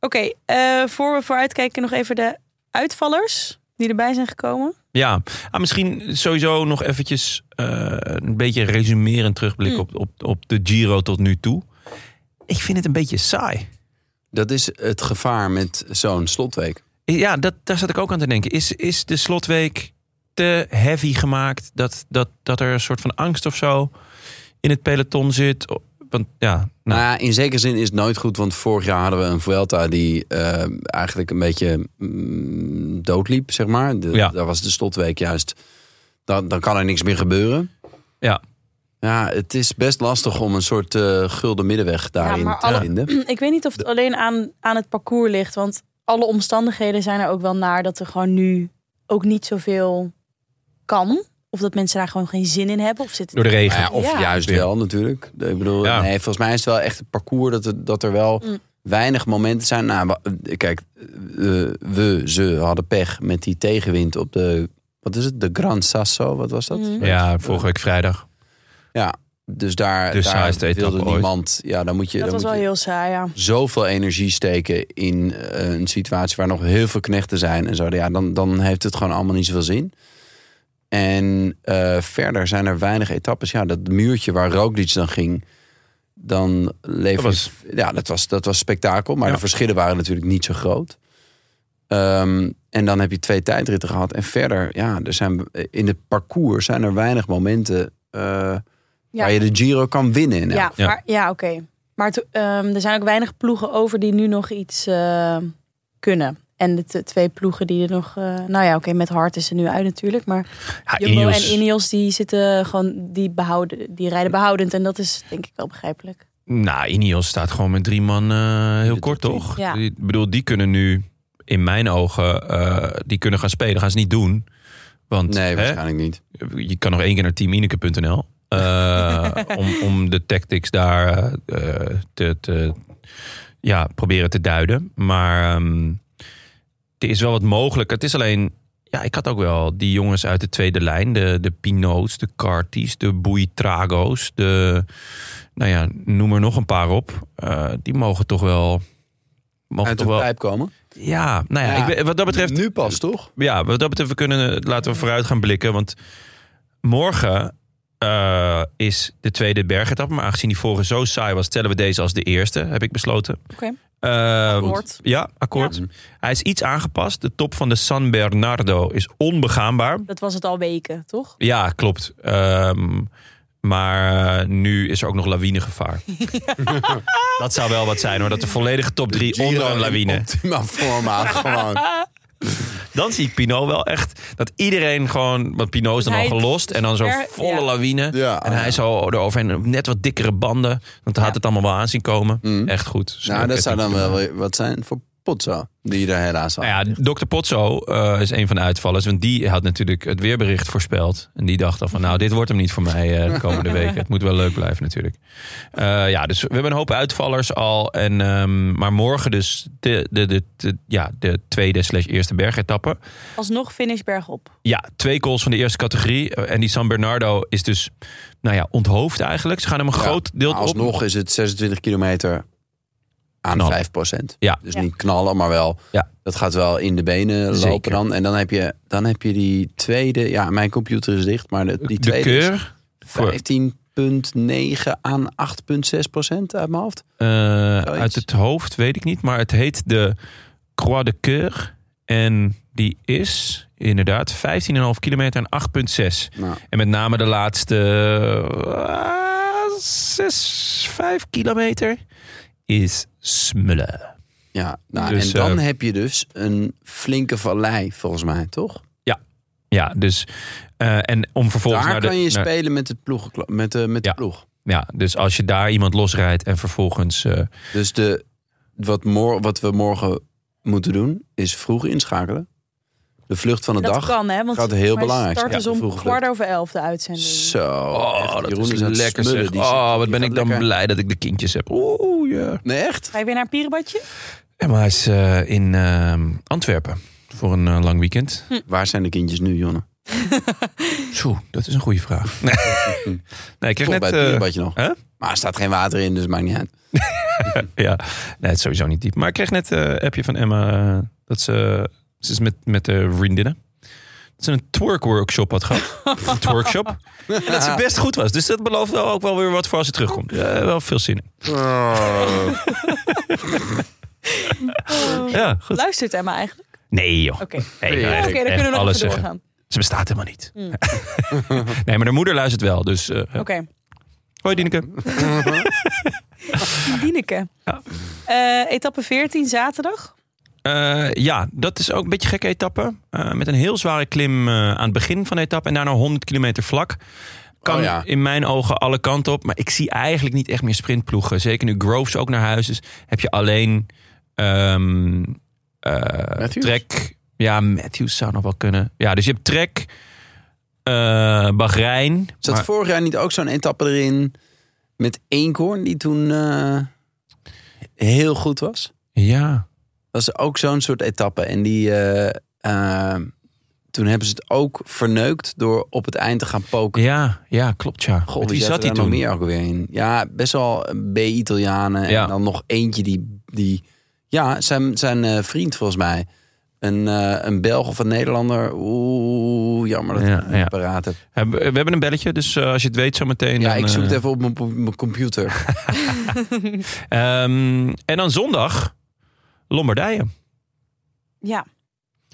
Oké, eh, voor we vooruitkijken nog even de uitvallers die erbij zijn gekomen. Ja, ah, misschien sowieso nog eventjes eh, een beetje resumerend terugblik Mm. op, op, op de Giro tot nu toe. Ik vind het een beetje saai. Dat is het gevaar met zo'n slotweek. Ja, dat, daar zat ik ook aan te denken. Is, is de slotweek te heavy gemaakt? Dat, dat, dat er een soort van angst of zo in het peloton zit? O- Want ja, Nou nou, ja, in zekere zin is het nooit goed, want vorig jaar hadden we een Vuelta die eh, eigenlijk een beetje mm, doodliep, zeg maar. De, Ja. Daar was de slotweek juist. Dan, dan kan er niks meer gebeuren. ja. Ja, het is best lastig om een soort eh, gulden middenweg daarin maar te alle- vinden. Ik weet niet of het alleen aan, aan het parcours ligt, want alle omstandigheden zijn er ook wel naar dat er gewoon nu ook niet zoveel kan. Of dat mensen daar gewoon geen zin in hebben. Of zitten door de regen. Nou ja, of Ja. juist Ja. wel natuurlijk. Ik bedoel, Ja. nee, volgens mij is het wel echt het parcours dat, er- dat er wel Mm. weinig momenten zijn. Nou, wa- kijk, eh, we, ze hadden pech met die tegenwind op de, wat is het, de Gran Sasso, wat was dat? Mhm. ja, vorige week vrijdag. Dus daar, De daar saaiste etappe wilde ooit. niemand, ja, dan moet je, dat dan was wel moet je heel saai, ja. zoveel energie steken in eh, een situatie waar nog heel veel knechten zijn en zo. Ja, dan, dan heeft het gewoon allemaal niet zoveel zin. En eh, verder zijn er weinig etappes. Ja, dat muurtje waar Roglic dan ging, dan leverde... Dat was- Ja, dat was, dat was spektakel. Maar Ja. de verschillen waren natuurlijk niet zo groot. Ehm, en dan heb je twee tijdritten gehad. En verder, ja, er zijn, in het parcours zijn er weinig momenten... eh, Ja, waar je de Giro kan winnen. in elk ja, Ja. maar- ja oké. Maar het, ehm, er zijn ook weinig ploegen over die nu nog iets eh, kunnen. En de t- twee ploegen die er nog... eh, nou ja, oké, met Hart is er nu uit natuurlijk, maar... Ja, Jumbo Ineos. en Ineos die zitten gewoon die behouden, die rijden behoudend en dat is denk ik wel begrijpelijk. Nou, Ineos staat gewoon met drie man eh, heel De kort, top tien. toch? Ja. Die- Ik bedoel, die kunnen nu, in mijn ogen, eh, die kunnen gaan spelen. Gaan ze niet doen. Want Nee, hè, waarschijnlijk niet. je kan nog één keer naar teamineke.nl. eh, om, om de tactics daar eh, te, te ja, proberen te duiden. Maar ehm, er is wel wat mogelijk. Het is alleen, ja, ik had ook wel die jongens uit de tweede lijn. De, de Pinots, de Carties, de Boeitrago's. De, nou ja, noem er nog een paar op. eh, die mogen toch wel mogen uit toch de wel... pijp komen. Ja, nou ja, Ja. Ik ben- wat dat betreft... Nu pas, toch? ja, wat dat betreft, we kunnen, eh, laten we vooruit gaan blikken. Want morgen eh, is de tweede bergetap. Maar aangezien die vorige zo saai was, tellen we deze als de eerste, heb ik besloten. Oké. Eh, Akkoord. Ja, akkoord. Hij is iets aangepast. De top van de San Bernardo is onbegaanbaar. Dat was het al weken, toch? Ja, klopt. Ehm, maar eh, nu is er ook nog lawinegevaar. dat zou wel wat zijn hoor. Dat de volledige top drie Giro onder een in lawine. Optima forma, gewoon. Dan zie ik Pinot wel echt. Dat iedereen gewoon. Want Pinot is dan Hij- al gelost. En dan zo'n Ja. volle lawine. Ja. en hij zo eroverheen. en Net wat dikkere banden. Want hij had het allemaal wel aanzien komen. Echt goed. Dus Nou, dat zou dan Snoepketting. wel weer wat zijn voor Potso. Die er helaas aan. Nou ja, Dr. Potso eh, is een van de uitvallers. Want die had natuurlijk het weerbericht voorspeld. En die dacht al van, nou, dit wordt hem niet voor mij eh, de komende weken. Het moet wel leuk blijven natuurlijk. Eh, ja, dus we hebben een hoop uitvallers al. En, ehm, maar morgen dus de, de, de, de- ja, de tweede slash eerste bergetappe. Alsnog finish bergop. Ja, twee goals van de eerste categorie. Eh, En die San Bernardo is dus, nou ja, onthoofd eigenlijk. Ze gaan hem een groot deel Maar op. Alsnog is het 26 kilometer aan Knallen. 5 procent. Ja. Dus Ja. niet knallen, maar wel. Ja. Dat gaat wel in de benen Zeker. lopen dan. En dan heb, je, dan heb je die tweede. Ja, mijn computer is dicht, maar de, die De tweede is keur. voor- 15,9 aan 8,6 procent uit mijn hoofd. Eh, Zoiets. uit het hoofd weet ik niet, maar het heet de Croix de Coeur. En die is inderdaad 15,5 kilometer en 8,6. Nou, En met name de laatste eh, zes, 5 kilometer is smullen. ja, nou, Dus, en dan eh, heb je dus een flinke vallei, volgens mij, toch? Ja, dus eh, en om vervolgens Daar naar de, kan je naar- spelen met, het ploeg, met, de, met de Ja. ploeg. ja, dus als je daar iemand losrijdt en vervolgens eh, Dus de, wat, mor, wat we morgen moeten doen, is vroeg inschakelen. De vlucht van de Dat dag. kan, hè? Want gaat heel volgens mij belangrijk zijn. Start is Ja, om vroege vlucht. kwart over elf de uitzending. Zo. echt, oh, dat Jeroen is, aan het lekker smullen. zeg. Die zit- Oh, wat die ben gaat ik dan lekker. blij dat ik de kindjes heb. Oeh, ja. Nee, echt? Ga je weer naar een pierenbadje? Ja, maar hij is eh, in ehm, Antwerpen voor een eh, lang weekend. Waar zijn de kindjes nu, Jonne? Zo, dat is een goede vraag. Nee, nee ik kreeg Toch net... bij het eh, bierbadje nog. hè? Maar er staat geen water in, dus het maakt niet uit. ja, nee, het is sowieso niet diep. Maar ik kreeg net een appje van Emma eh, dat ze... Ze is met, met de vriendinnen. Dat ze een twerk-workshop had gehad. een twerkshop. En dat ze best goed was. Dus dat belooft wel ook wel weer wat voor als ze terugkomt. Ja, wel veel zin in. Oh. Ja, goed. Luistert Emma eigenlijk? Nee joh. Oké. Nee, Nee. joh, Oké, echt- dan echt kunnen we nog alles even zeggen. doorgaan. Hmm. Ze bestaat helemaal niet. nee, maar de moeder luistert wel. Dus eh, ja. Oké. hoi Dineke. Dieneke. Ja. Eh, etappe 14, zaterdag. Eh, ja, dat is ook een beetje een gekke etappe. Eh, met een heel zware klim eh, aan het begin van de etappe en daarna 100 kilometer vlak. Kan Oh ja. in mijn ogen alle kanten op. Maar ik zie eigenlijk niet echt meer sprintploegen. Zeker nu Groves ook naar huis is, heb je alleen ehm eh, Matthews? Trek. Ja, Matthews zou nog wel kunnen. Ja, dus je hebt Trek, eh Bahrein. Zat maar- vorig jaar niet ook zo'n etappe erin met Eenkhoorn, die toen eh, heel goed was? Ja, Dat is ook zo'n soort etappe. En die, eh, eh, toen hebben ze het ook verneukt door op het eind te gaan poken. ja, ja, klopt ja. Goh, Met wie zat hij er nog meer ook weer in? Ja, best wel B-Italianen. Ja. En dan nog eentje die... die ja, zijn, zijn eh, vriend volgens mij. Een, eh, een Belg of een Nederlander. Oeh, jammer dat ik Ja, het niet ja. paraat heb. Hebben- We hebben een belletje, dus eh, als je het weet zometeen. Ja, dan, ik zoek eh, het even op mijn po- mijn computer. Ehm, en dan zondag Lombardije. Ja,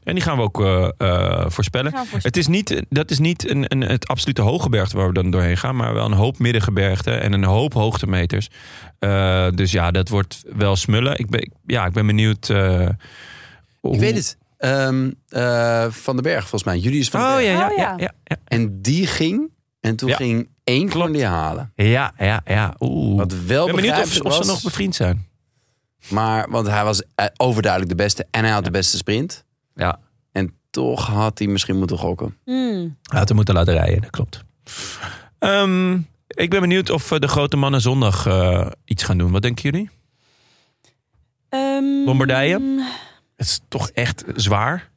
En die gaan we ook eh, eh, voorspellen. gaan we voor Het is niet, eh, dat is niet een, een, het absolute hoge bergte waar we dan doorheen gaan. Maar wel een hoop middengebergte en een hoop hoogtemeters. Eh, dus ja, dat wordt wel smullen. Ik ben, ik- ja, ik ben benieuwd. eh, hoe- Ik weet het. Ehm, eh, van den Berg volgens mij. Julius van Oh den ja, ja, Berg. Oh, ja. ja. ja, ja. En die ging. En toen Ja. ging één van Klopt. die halen. Ja, ja, ja. Oeh. Wat wel Ik ben benieuwd of, begrijpelijk of ze was, nog bevriend zijn. Maar, want hij was eh, overduidelijk de beste. En hij had de beste sprint. Ja. En toch had hij misschien moeten gokken. Hmm. Laten we moeten laten rijden, dat klopt. Ehm, ik ben benieuwd of eh, de grote mannen zondag eh, iets gaan doen. Wat denken jullie? Ehm, Lombardije? Het is toch echt zwaar.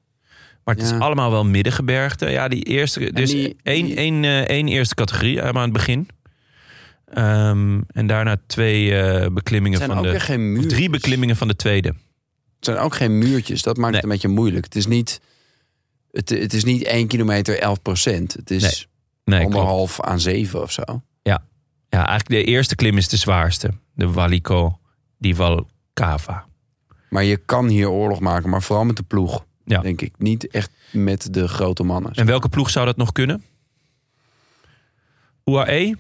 Maar het Ja. is allemaal wel middengebergte. Ja, die eerste. Er is die- één, die- één, eh, één eerste categorie helemaal aan het begin. Ehm, en daarna twee eh, beklimmingen zijn van ook de. weer geen of muren. drie beklimmingen van de tweede. zijn ook geen muurtjes. Dat maakt Nee. het een beetje moeilijk. Het is niet, het, het is niet 1 kilometer 11 procent. Het is Nee, klopt. anderhalf aan 7 of zo. Ja, eigenlijk de eerste klim is de zwaarste. De Walico di Valcava. Maar je kan hier oorlog maken, maar vooral met de ploeg. Ja. Denk ik. Niet echt met de grote mannen. En welke ploeg zou dat nog kunnen? UAE?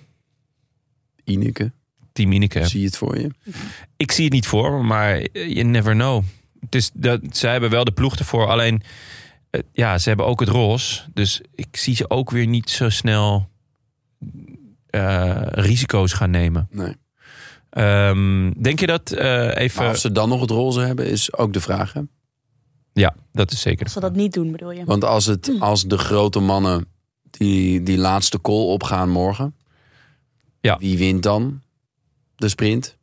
Ineke, Team Ineke. zie je het voor je? Ik zie het niet voor me, maar you never know. Het is dat, zij hebben wel de ploeg ervoor. Alleen, eh, ja, ze hebben ook het roze. Dus ik zie ze ook weer niet zo snel eh, risico's gaan nemen. Nee. Ehm, denk je dat eh, even... Maar of ze dan nog het roze hebben, is ook de vraag. Hè? Ja, dat is zeker. Als ze dat niet doen, bedoel je? Want als, Hm. het, als de grote mannen die, die laatste call opgaan morgen. Ja. Wie wint dan? De sprint.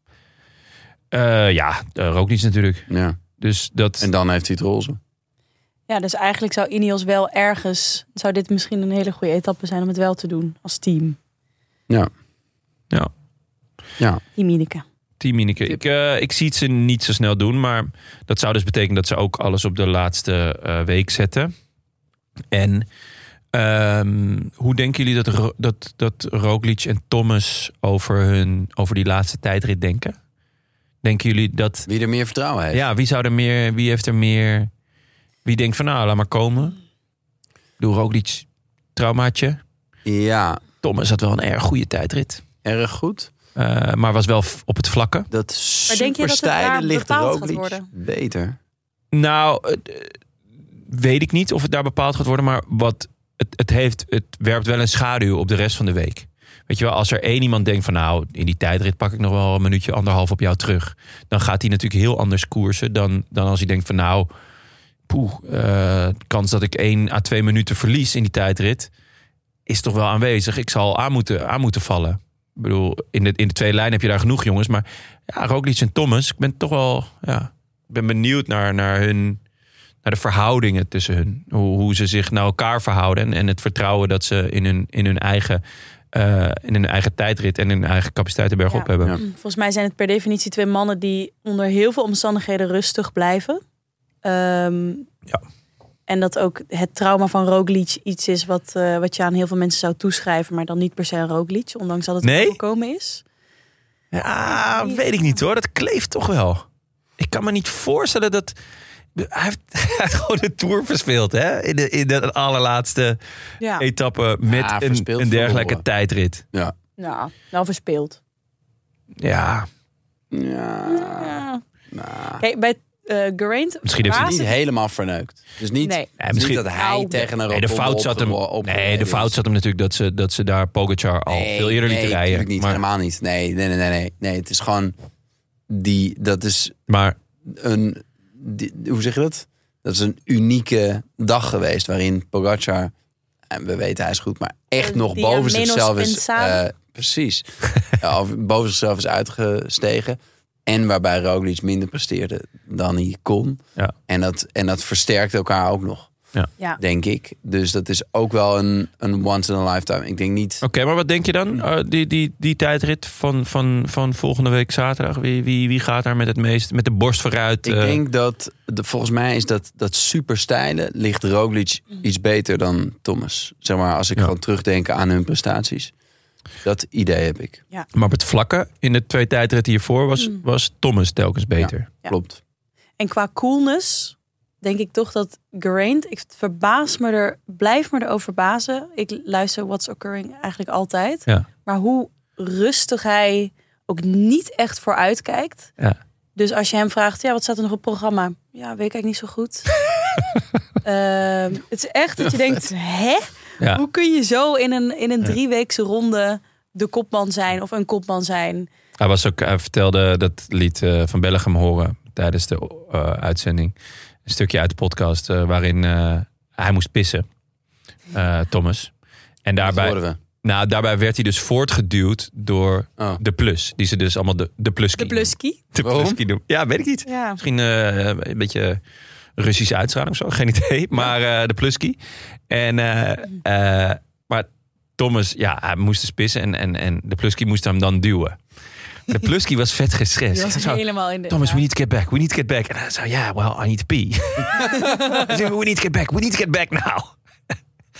Eh, ja, uh, Roglic natuurlijk. Ja. Dus dat... En dan heeft hij het roze. Ja, dus eigenlijk zou Ineos wel ergens... Zou dit misschien een hele goede etappe zijn om het wel te doen als team. Ja. Ja. Ja. Team Ineke. Team Ineke. Ik, eh, ik zie het ze niet zo snel doen. Maar dat zou dus betekenen dat ze ook alles op de laatste eh, week zetten. En ehm, hoe denken jullie dat, Ro- dat, dat Roglic en Thomas over, hun, over die laatste tijdrit denken? Denken jullie dat... Wie er meer vertrouwen heeft. Ja, wie zou er meer... Wie heeft er meer... Wie denkt van nou, laat maar komen. Doe Roglic traumaatje. Ja, Thomas had wel een erg goede tijdrit. erg goed. Eh, maar was wel f- op het vlakke. Dat denk je dat het daar superstijle ligt bepaald gaat Roglic worden? beter. Nou, eh, eh, weet ik niet of het daar bepaald gaat worden. Maar wat het, het, heeft, het werpt wel een schaduw op de rest van de week. Weet je wel, als er één iemand denkt van nou, in die tijdrit pak ik nog wel een minuutje, anderhalf op jou terug. Dan gaat hij natuurlijk heel anders koersen dan, dan als hij denkt van nou, poeh, eh, de kans dat ik één à twee minuten verlies in die tijdrit is toch wel aanwezig. Ik zal aan moeten, aan moeten vallen. Ik bedoel, in de, in de twee lijnen heb je daar genoeg jongens. Maar ja, Roglic en Thomas, ik ben toch wel, ja, ik ben benieuwd naar, naar hun. Naar de verhoudingen tussen hun. Hoe, hoe ze zich naar elkaar verhouden. En, en het vertrouwen dat ze in hun, in hun, eigen, eh, in hun eigen tijdrit en hun eigen capaciteiten bergop Ja. hebben. Ja. Volgens mij zijn het per definitie twee mannen die onder heel veel omstandigheden rustig blijven. Ehm, Ja. En dat ook het trauma van Roglic iets is wat, eh, wat je aan heel veel mensen zou toeschrijven, maar dan niet per se aan Roglic, ondanks dat het Nee? voorkomen is. Ja, weet ik niet hoor. Dat kleeft toch wel. Ik kan me niet voorstellen dat. Hij heeft, hij heeft gewoon de tour verspeeld, hè? In de, in de allerlaatste Ja, etappe met Ja, een, verspeeld een dergelijke verloren. tijdrit. Ja. nou, nou verspeeld. Ja, Ja. Ja. Nou, Kijk, bij eh Geraint Misschien heeft hij baas- niet helemaal verneukt. Dus niet, Nee. Nou, het is Ja, misschien- niet dat hij Au. tegen een Nee, de rotonde fout zat hem, opge- opgereden nee, de fout is. zat hem natuurlijk dat ze, dat ze daar Pogacar al Nee, veel eerder lieten nee, rijden. natuurlijk niet, maar, helemaal niet. Nee, nee, nee, nee, nee. Nee, het is gewoon... Die, dat is maar een... die- hoe zeg je dat? Dat is een unieke dag geweest waarin Pogacar... En we weten, hij is goed, maar echt Eh, nog dia boven menos zichzelf is... pensado. eh, precies. ja, of boven zichzelf is uitgestegen. En waarbij Roglic minder presteerde dan hij kon. Ja. En, dat, en dat versterkt elkaar ook nog, ja. denk ik. Dus dat is ook wel een, een once in a lifetime. Ik denk niet... Oké, maar wat denk je dan? Eh, die, die, die tijdrit van, van, van volgende week zaterdag. Wie, wie, wie gaat daar met het meest met de borst vooruit? Ik eh? denk dat, de, volgens mij is dat, dat superstijlen ligt Roglic Mhm. iets beter dan Thomas. Zeg maar, als ik Ja. gewoon terugdenk aan hun prestaties. Dat idee heb ik. Maar op het vlakke in de twee tijdritten hiervoor was, Hmm. was Thomas telkens beter. Ja. Klopt. En qua coolness denk ik toch dat Geraint, ik verbaas me er, blijf me erover verbazen. Ik luister What's Occurring eigenlijk altijd. Ja. Maar hoe rustig hij ook niet echt vooruit kijkt. Ja. Dus als je hem vraagt, ja, wat staat er nog op het programma? Ja, weet ik eigenlijk niet zo goed. Ehm, het is echt dat je denkt, hè? Ja. Hoe kun je zo in een, in een drieweekse ronde de kopman zijn of een kopman zijn? Hij, was ook, hij vertelde dat lied eh, van Bellegem horen tijdens de eh, uitzending. Een stukje uit de podcast eh, waarin eh, hij moest pissen, eh, Thomas. En Dat daarbij, horen we. nou, daarbij werd hij dus voortgeduwd door Oh. de plus. Die ze dus allemaal de, de plus De pluski. De Waarom? pluski noemen. Ja, weet ik niet. Ja. Misschien eh, een beetje Russische uitstraling of zo, geen idee. Maar eh, de pluski. En, eh, eh, maar Thomas, ja, hij moest dus pissen en, en, en de pluski moest hem dan duwen. De Plusky was vet gestrest. Die was Hij zou, helemaal in de... Thomas, ja. we need to get back. We need to get back. En hij zei, yeah, well, I need to pee. Hij zei, we need to get back. We need to get back now.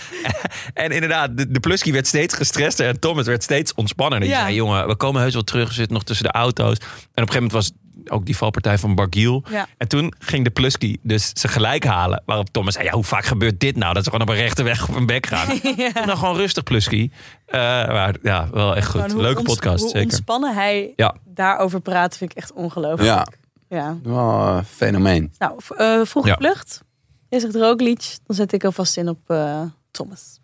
en inderdaad, de, de Plusky werd steeds gestrester en Thomas werd steeds ontspannender. Die Ja. zei, jongen, we komen heus wel terug. We zitten nog tussen de auto's. En op een gegeven moment was ook die valpartij van Bargiel. Ja. En toen ging de Plusky dus ze gelijk halen. Waarop Thomas zei, ja, hoe vaak gebeurt dit nou? Dat ze gewoon op een rechte weg op een bek gaan. Doe nou gewoon rustig, Plusky. Eh, maar ja, wel echt goed. Gewoon hoe Leuke ons- podcast, hoe zeker. ontspannen hij Ja. daarover praat, vind ik echt ongelooflijk. Ja, Ja. wel eh, fenomeen. Nou, v- eh vroege Ja. vlucht. Is het rookliedje? Dan zet ik alvast in op eh, Thomas.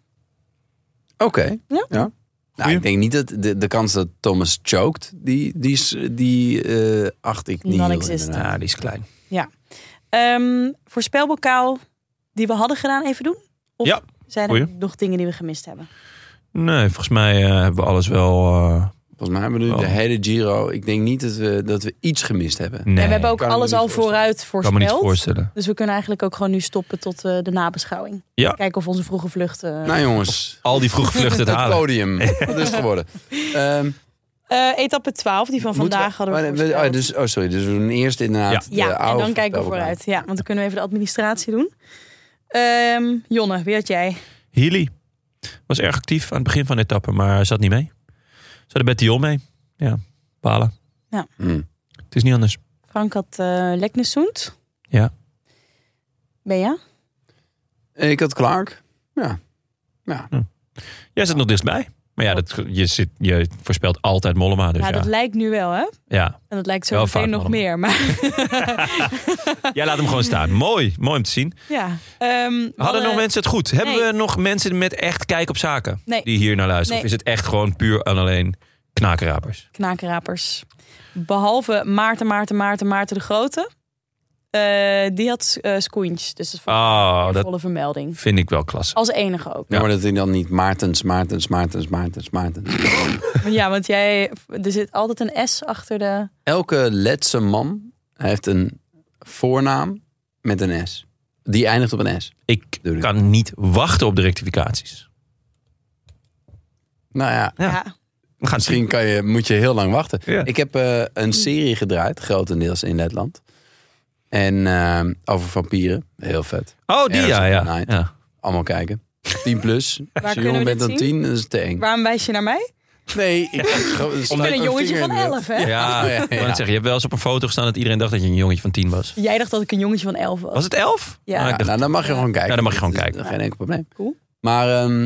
Oké. Ja. Nou, ik denk niet dat de, de kans dat Thomas choked, die, die, is- die eh, acht ik niet. heel Non-existent. inderdaad. Ja, die is klein. Ehm voorspelbokaal die we hadden gedaan even doen? Of Ja, zijn er goeie. nog dingen die we gemist hebben? Nee, volgens mij eh, hebben we alles wel... eh, Volgens mij hebben we nu Oh. de hele Giro. Ik denk niet dat we, dat we iets gemist hebben. nee, en we hebben ook kan me alles niet al voorstellen. vooruit kan me niet voorspeld. voorstellen. Dus we kunnen eigenlijk ook gewoon nu stoppen tot eh, de nabeschouwing. Ja. Kijken of onze vroege vlucht... eh, Nou jongens, Al die vroeg vluchten te het halen. podium. Wat is het geworden? Ehm, eh, etappe 12, die van moeten vandaag hadden we, maar we- oh, voorspeld. dus, oh, sorry. Dus we doen eerst inderdaad de Ja, en oude dan kijken we voorspelbokaal. vooruit. Ja, want dan kunnen we even de administratie doen. Ehm, Jonne, wie had jij? Healy was erg actief aan het begin van de etappe, maar zat niet mee. Zat er Bettiol mee. Ja, balen. Hm. Het is niet anders. Frank had eh Leknesund. Ja. Dus Bea? Ik had Clark. Ja. Jij zit nog dichtstbij. Maar ja, dat, je, zit, je voorspelt altijd Mollema. Dus ja, ja, Nou, dat lijkt nu wel, hè? ja. En dat lijkt zo Wel meteen vaak, nog allemaal. meer. Maar Jij laat hem gewoon staan. Mooi, mooi om te zien. ja. Ehm, we Hadden nog mensen het goed? Hebben nee. we nog mensen met echt kijk op zaken Nee. die hier naar luisteren? Nee. Of is het echt gewoon puur en alleen knakenrapers? Knakenrapers. Behalve Maarten, Maarten, Maarten, Maarten de Grote. Eh, die had eh Skoentjes. Dus dat vond ik Oh, een dat volle vermelding. vind ik wel klasse. Als enige ook. Ja, maar dat hij dan niet Maartens, Maartens, Maartens, Maartens, Maartens. Ja, want jij, er zit altijd een S achter de... Elke letse man heeft een voornaam met een S. Die eindigt op een S. Ik Doe dit. kan niet wachten op de rectificaties. Nou ja, Ja. Ja. We gaan zien. misschien kan je, moet je heel lang wachten. Ja. Ik heb eh, een serie gedraaid, grotendeels in Letland. En eh, over vampieren. Heel vet. Oh, die Ergens ja, op ja. de night. ja. Allemaal kijken. 10 plus. Als je kunnen we jonger bent dit dan 10, zien? dat is te eng. Waarom wijs je naar mij? Nee, ik Ik ben een jongetje van elf. 11, hè? Ja, Ja, ja, ik wou net ja. zeggen, je hebt wel eens op een foto gestaan dat iedereen dacht dat je een jongetje van tien was. Jij dacht dat ik een jongetje van 11 was. Was het elf? Ja. Ah, ik Ja, dacht, nou, dan mag je gewoon kijken. Ja, dan mag je gewoon Dat is kijken. Geen enkel probleem. Cool. Maar ehm,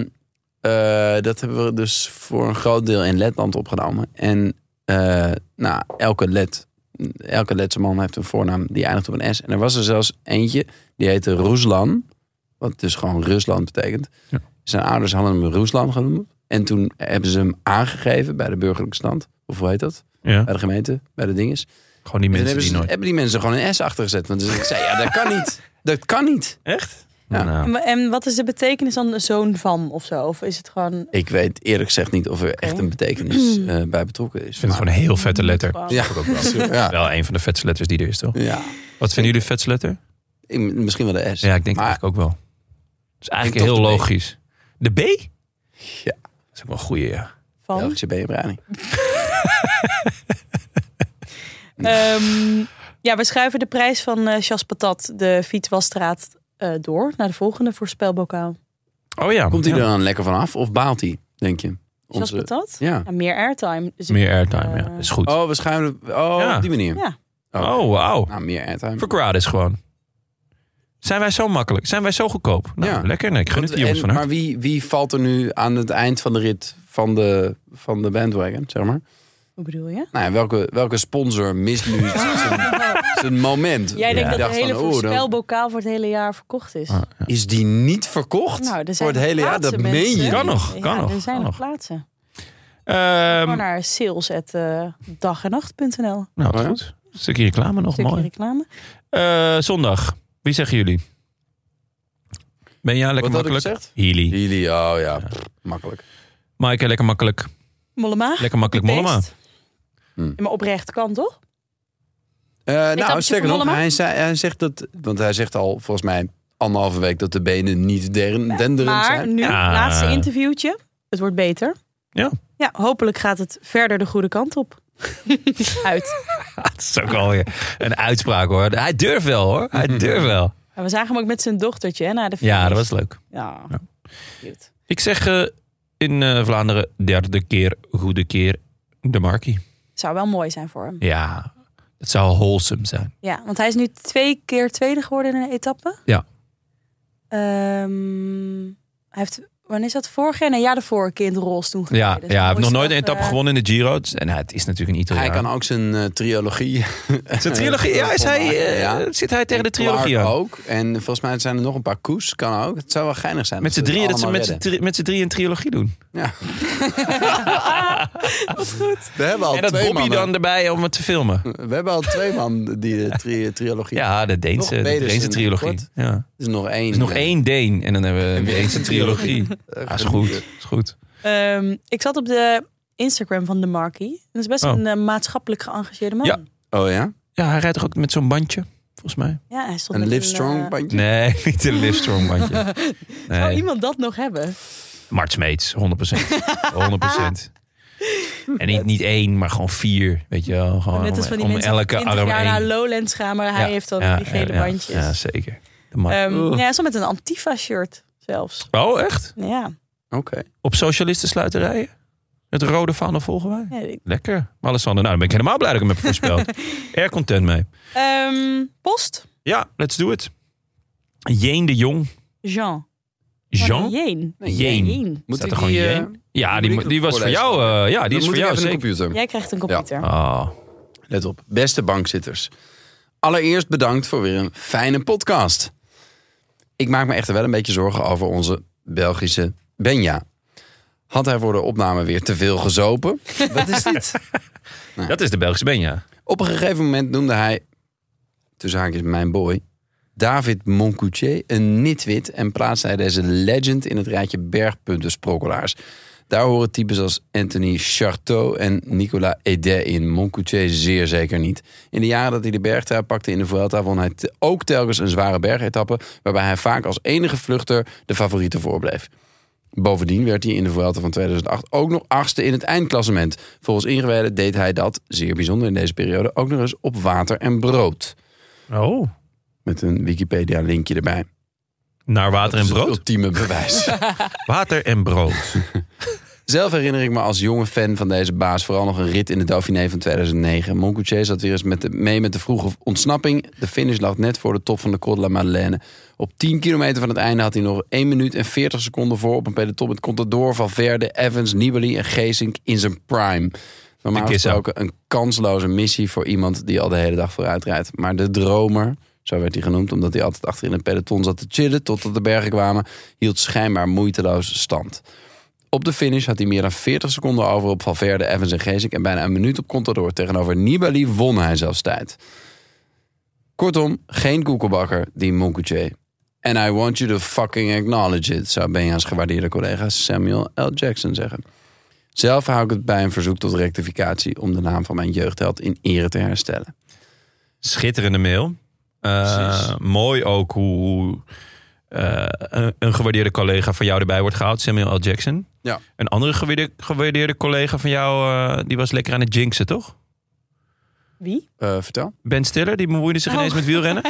eh, dat hebben we dus voor een groot deel in Letland opgenomen. En eh, nou, elke Let, elke Letse man heeft een voornaam die eindigt op een S. En er was er zelfs eentje, die heette Ruslan. Wat dus gewoon Rusland betekent. Ja. Zijn ouders hadden hem Ruslan genoemd. En toen hebben ze hem aangegeven bij de burgerlijke stand. Of hoe heet dat? ja. Bij de gemeente, bij de dinges. Gewoon die En mensen toen nou, hebben, die ze, nooit... hebben die mensen gewoon een S achtergezet. Want ze- ik zei, ja, dat kan niet. Dat kan niet. Echt? Ja. Nou, En wa- En wat is de betekenis dan zoon van of zo? Of is het gewoon... Ik weet eerlijk gezegd niet of er echt een betekenis Mm. eh, bij betrokken is. ik vind het gewoon een heel vette letter. gewoon- ja. ja. Wel een van de vetste letters die er is, toch? ja. Wat vinden jullie de vetste letter? Ik- misschien wel de S. Ja, ik denk Maar- eigenlijk ook wel. Het is eigenlijk Ik denk heel toch de B. logisch. De B? Ja. Dat is ook wel een goeie, ja. Van? Belgische beenbreiding. Ehm, ja, we schuiven de prijs van eh Chas Patat, de fietswasstraat, eh, door naar de volgende voorspelbokaal. Oh ja. Komt hij ja. er dan lekker vanaf of baalt hij, denk je? Chas Patat? Ja. Ja, meer airtime. Dus ik- Meer airtime, ja. eh, is goed. Oh, Oh, we schuiven... Oh, Ja. op die manier. Ja. Oh. wauw. Nou, meer airtime. Verquad is gewoon. Zijn wij zo makkelijk? Zijn wij zo goedkoop? Nou, Ja. lekker. Nee, ik gun het die Want- jongens en- van harte. maar wie, wie valt er nu aan het eind van de rit van de, van de bandwagon, zeg maar? Hoe bedoel je? Nou ja, welke, welke sponsor mist nu zijn, zijn moment? Jij Ik denkt dat dacht de hele van, oeh, dan- voorspelbokaal voor het hele jaar verkocht is. oh, Ah, Is die niet verkocht? Nou, er zijn Voor het nog hele jaar? Dat plaatsen, meen mensen. je. Kan nog, kan ja, nog, Er zijn kan nog nog. plaatsen. Ehm, Gewoon naar eh, sales.dagenacht.nl. nou, wat Oh, Ja. goed. Stukje reclame nog, Stukje mooi. reclame. Eh, zondag. Wie zeggen jullie? Ben jij lekker Wat had ik makkelijk? gezegd? Healy. Jullie, oh ja, pff, makkelijk. Maaike, lekker makkelijk. Mollema. Lekker makkelijk Beest. Mollema. Hm. Ja, Maar oprecht kan toch? Eh, nou, tappetje sterker van nog, Mollema? hij, zei, hij zegt dat... Want hij zegt al, volgens mij, anderhalve week dat de benen niet dern- denderend Maar zijn. nu, Ja. laatste interviewtje. Het wordt beter. Ja. Ja, hopelijk gaat het verder de goede kant op. uit. Dat is ook alweer een uitspraak hoor. Hij durft wel hoor. Hij durft wel. Maar we zagen hem ook met zijn dochtertje hè, naar de Ja, finish. dat was leuk. Ja. Cute. Ik zeg eh, in eh, Vlaanderen derde keer, goede keer, de Markie. Zou wel mooi zijn voor hem. Ja, het zou wholesome zijn. Ja, want hij is nu twee keer tweede geworden in een etappe. Ja. Ehm, hij heeft, wanneer is dat? Vorig jaar? Nee, ja, de vorige keer in de rolstoel gereden. Ja, Dus ja hij heeft nog moest nooit een toch, etappe eh, gewonnen in de Giro. Het is- En het is natuurlijk een Italiaan. Hij kan ook zijn eh, trilogie. Zijn trilogie, ja, is hij, eh, Ja. zit hij tegen de Clark trilogie aan. ook. En volgens mij zijn er nog een paar koes. Kan ook. Het zou wel geinig zijn. Met als z'n we het drieën, dat ze allemaal met z'n redden. drie, met z'n drieën een trilogie doen. Ja. Wat goed. We hebben al en dat twee Bobby mannen. dan erbij om het te filmen. We hebben al twee man die eh, tri trilogie. Ja, de Deense, de Pedersen Deense trilogie. kort. Ja. Er Er is nog één. is Dus nog één Deen en dan hebben we de Deense trilogie. Eh, Ja, is goed. Is goed. Ehm, ik zat op de Instagram van de Markie. Dat is best Oh. een eh, maatschappelijk geëngageerde man. Ja. Oh ja? Ja, hij rijdt toch ook met zo'n bandje, volgens mij? Ja, hij stond Een met Live eh, Strong bandje? Nee, niet een Livestrong bandje. Zou Nee, iemand dat nog hebben? Mart Smeets, 100%. 100%. En niet, niet één, maar gewoon vier. Weet je wel, gewoon Net als Oh, om, van die om mensen elke die arm 20 jaar naar één. Lowlands gaan, maar hij Ja, heeft dan ja, die ja, gele ja. bandjes. Ja, zeker. De man. Ehm, Ugh. ja, hij stond met een Antifa-shirt zelfs. Oh, echt? Ja, Oké. Op socialisten sluiterijen? Het rode vaandel volgen wij? ja ik- Lekker. Alessander, nou dan ben ik helemaal blij dat ik hem heb voorspeld. Erg content mee. Ehm, Post, Ja, let's do it. Jeen de Jong. Jean. Jean? Jeen. Nee, Jeen. Jeen. Moet Staat ik er gewoon die, eh, Jeen? Ja, moet die, ik die was voor voorlezen? jou. eh, ja, die is dan voor moet ik jou even een zeker. computer. Jij krijgt een computer. Oh, Let op. Beste bankzitters. Allereerst bedankt voor weer een fijne podcast. Ik maak me echter wel een beetje zorgen over onze Belgische Benja. Had hij voor de opname weer te veel gezopen? Wat is dit? dat is de Belgische Benja. Op een gegeven moment noemde hij, tussen haakjes mijn boy, David Moncoutier een nitwit en plaatste hij deze legend in het rijtje bergpuntensprokkelaars. Daar horen types als Anthony Charteau en Nicolas Edet in. Moncoutier zeer zeker niet. In de jaren dat hij de bergtrui pakte in de Vuelta won hij te- ook telkens een zware bergetappe... waarbij hij vaak als enige vluchter de favoriete voorbleef. Bovendien werd hij in de Vuelta van 2008 ook nog achtste in het eindklassement. Volgens ingewijden deed hij dat, zeer bijzonder in deze periode, ook nog eens op water en brood. Oh. Met een Wikipedia-linkje erbij. Naar water en Dat is het brood. ultieme bewijs. Water en brood. Zelf herinner ik me als jonge fan van deze baas vooral nog een rit in de Dauphiné van 2009. Moncoutier zat weer eens met de, mee met de vroege ontsnapping. De finish lag net voor de top van de Col de la Madeleine. Op 10 kilometer van het einde had hij nog 1 minuut en 40 seconden voor op een peloton met Contador, Valverde, Evans, Nibali en Geesink in zijn prime. Normaal Ik is zo. gesproken een kansloze missie voor iemand die al de hele dag vooruit rijdt. Maar de dromer, zo werd hij genoemd omdat hij altijd achterin een peloton zat te chillen totdat de bergen kwamen, hield schijnbaar moeiteloos stand. Op de finish had hij meer dan 40 seconden over op Valverde, Evans en Geesink... en bijna een minuut op Contador. Tegenover Nibali won hij zelfs tijd. Kortom, geen koekenbakker, die Moncoutier. And I want you to fucking acknowledge it... zou Benja's gewaardeerde collega Samuel L. Jackson zeggen. Zelf hou ik het bij een verzoek tot rectificatie... om de naam van mijn jeugdheld in ere te herstellen. Schitterende mail. Eh, Precies. mooi ook hoe, hoe, eh, een, een gewaardeerde collega van jou erbij wordt gehaald. Samuel L. Jackson. Ja. Een andere gewaardeerde, gewaardeerde collega van jou, eh, die was lekker aan het jinxen, toch? Wie? Eh, vertel. Ben Stiller, die bemoeide zich ineens met wielrennen.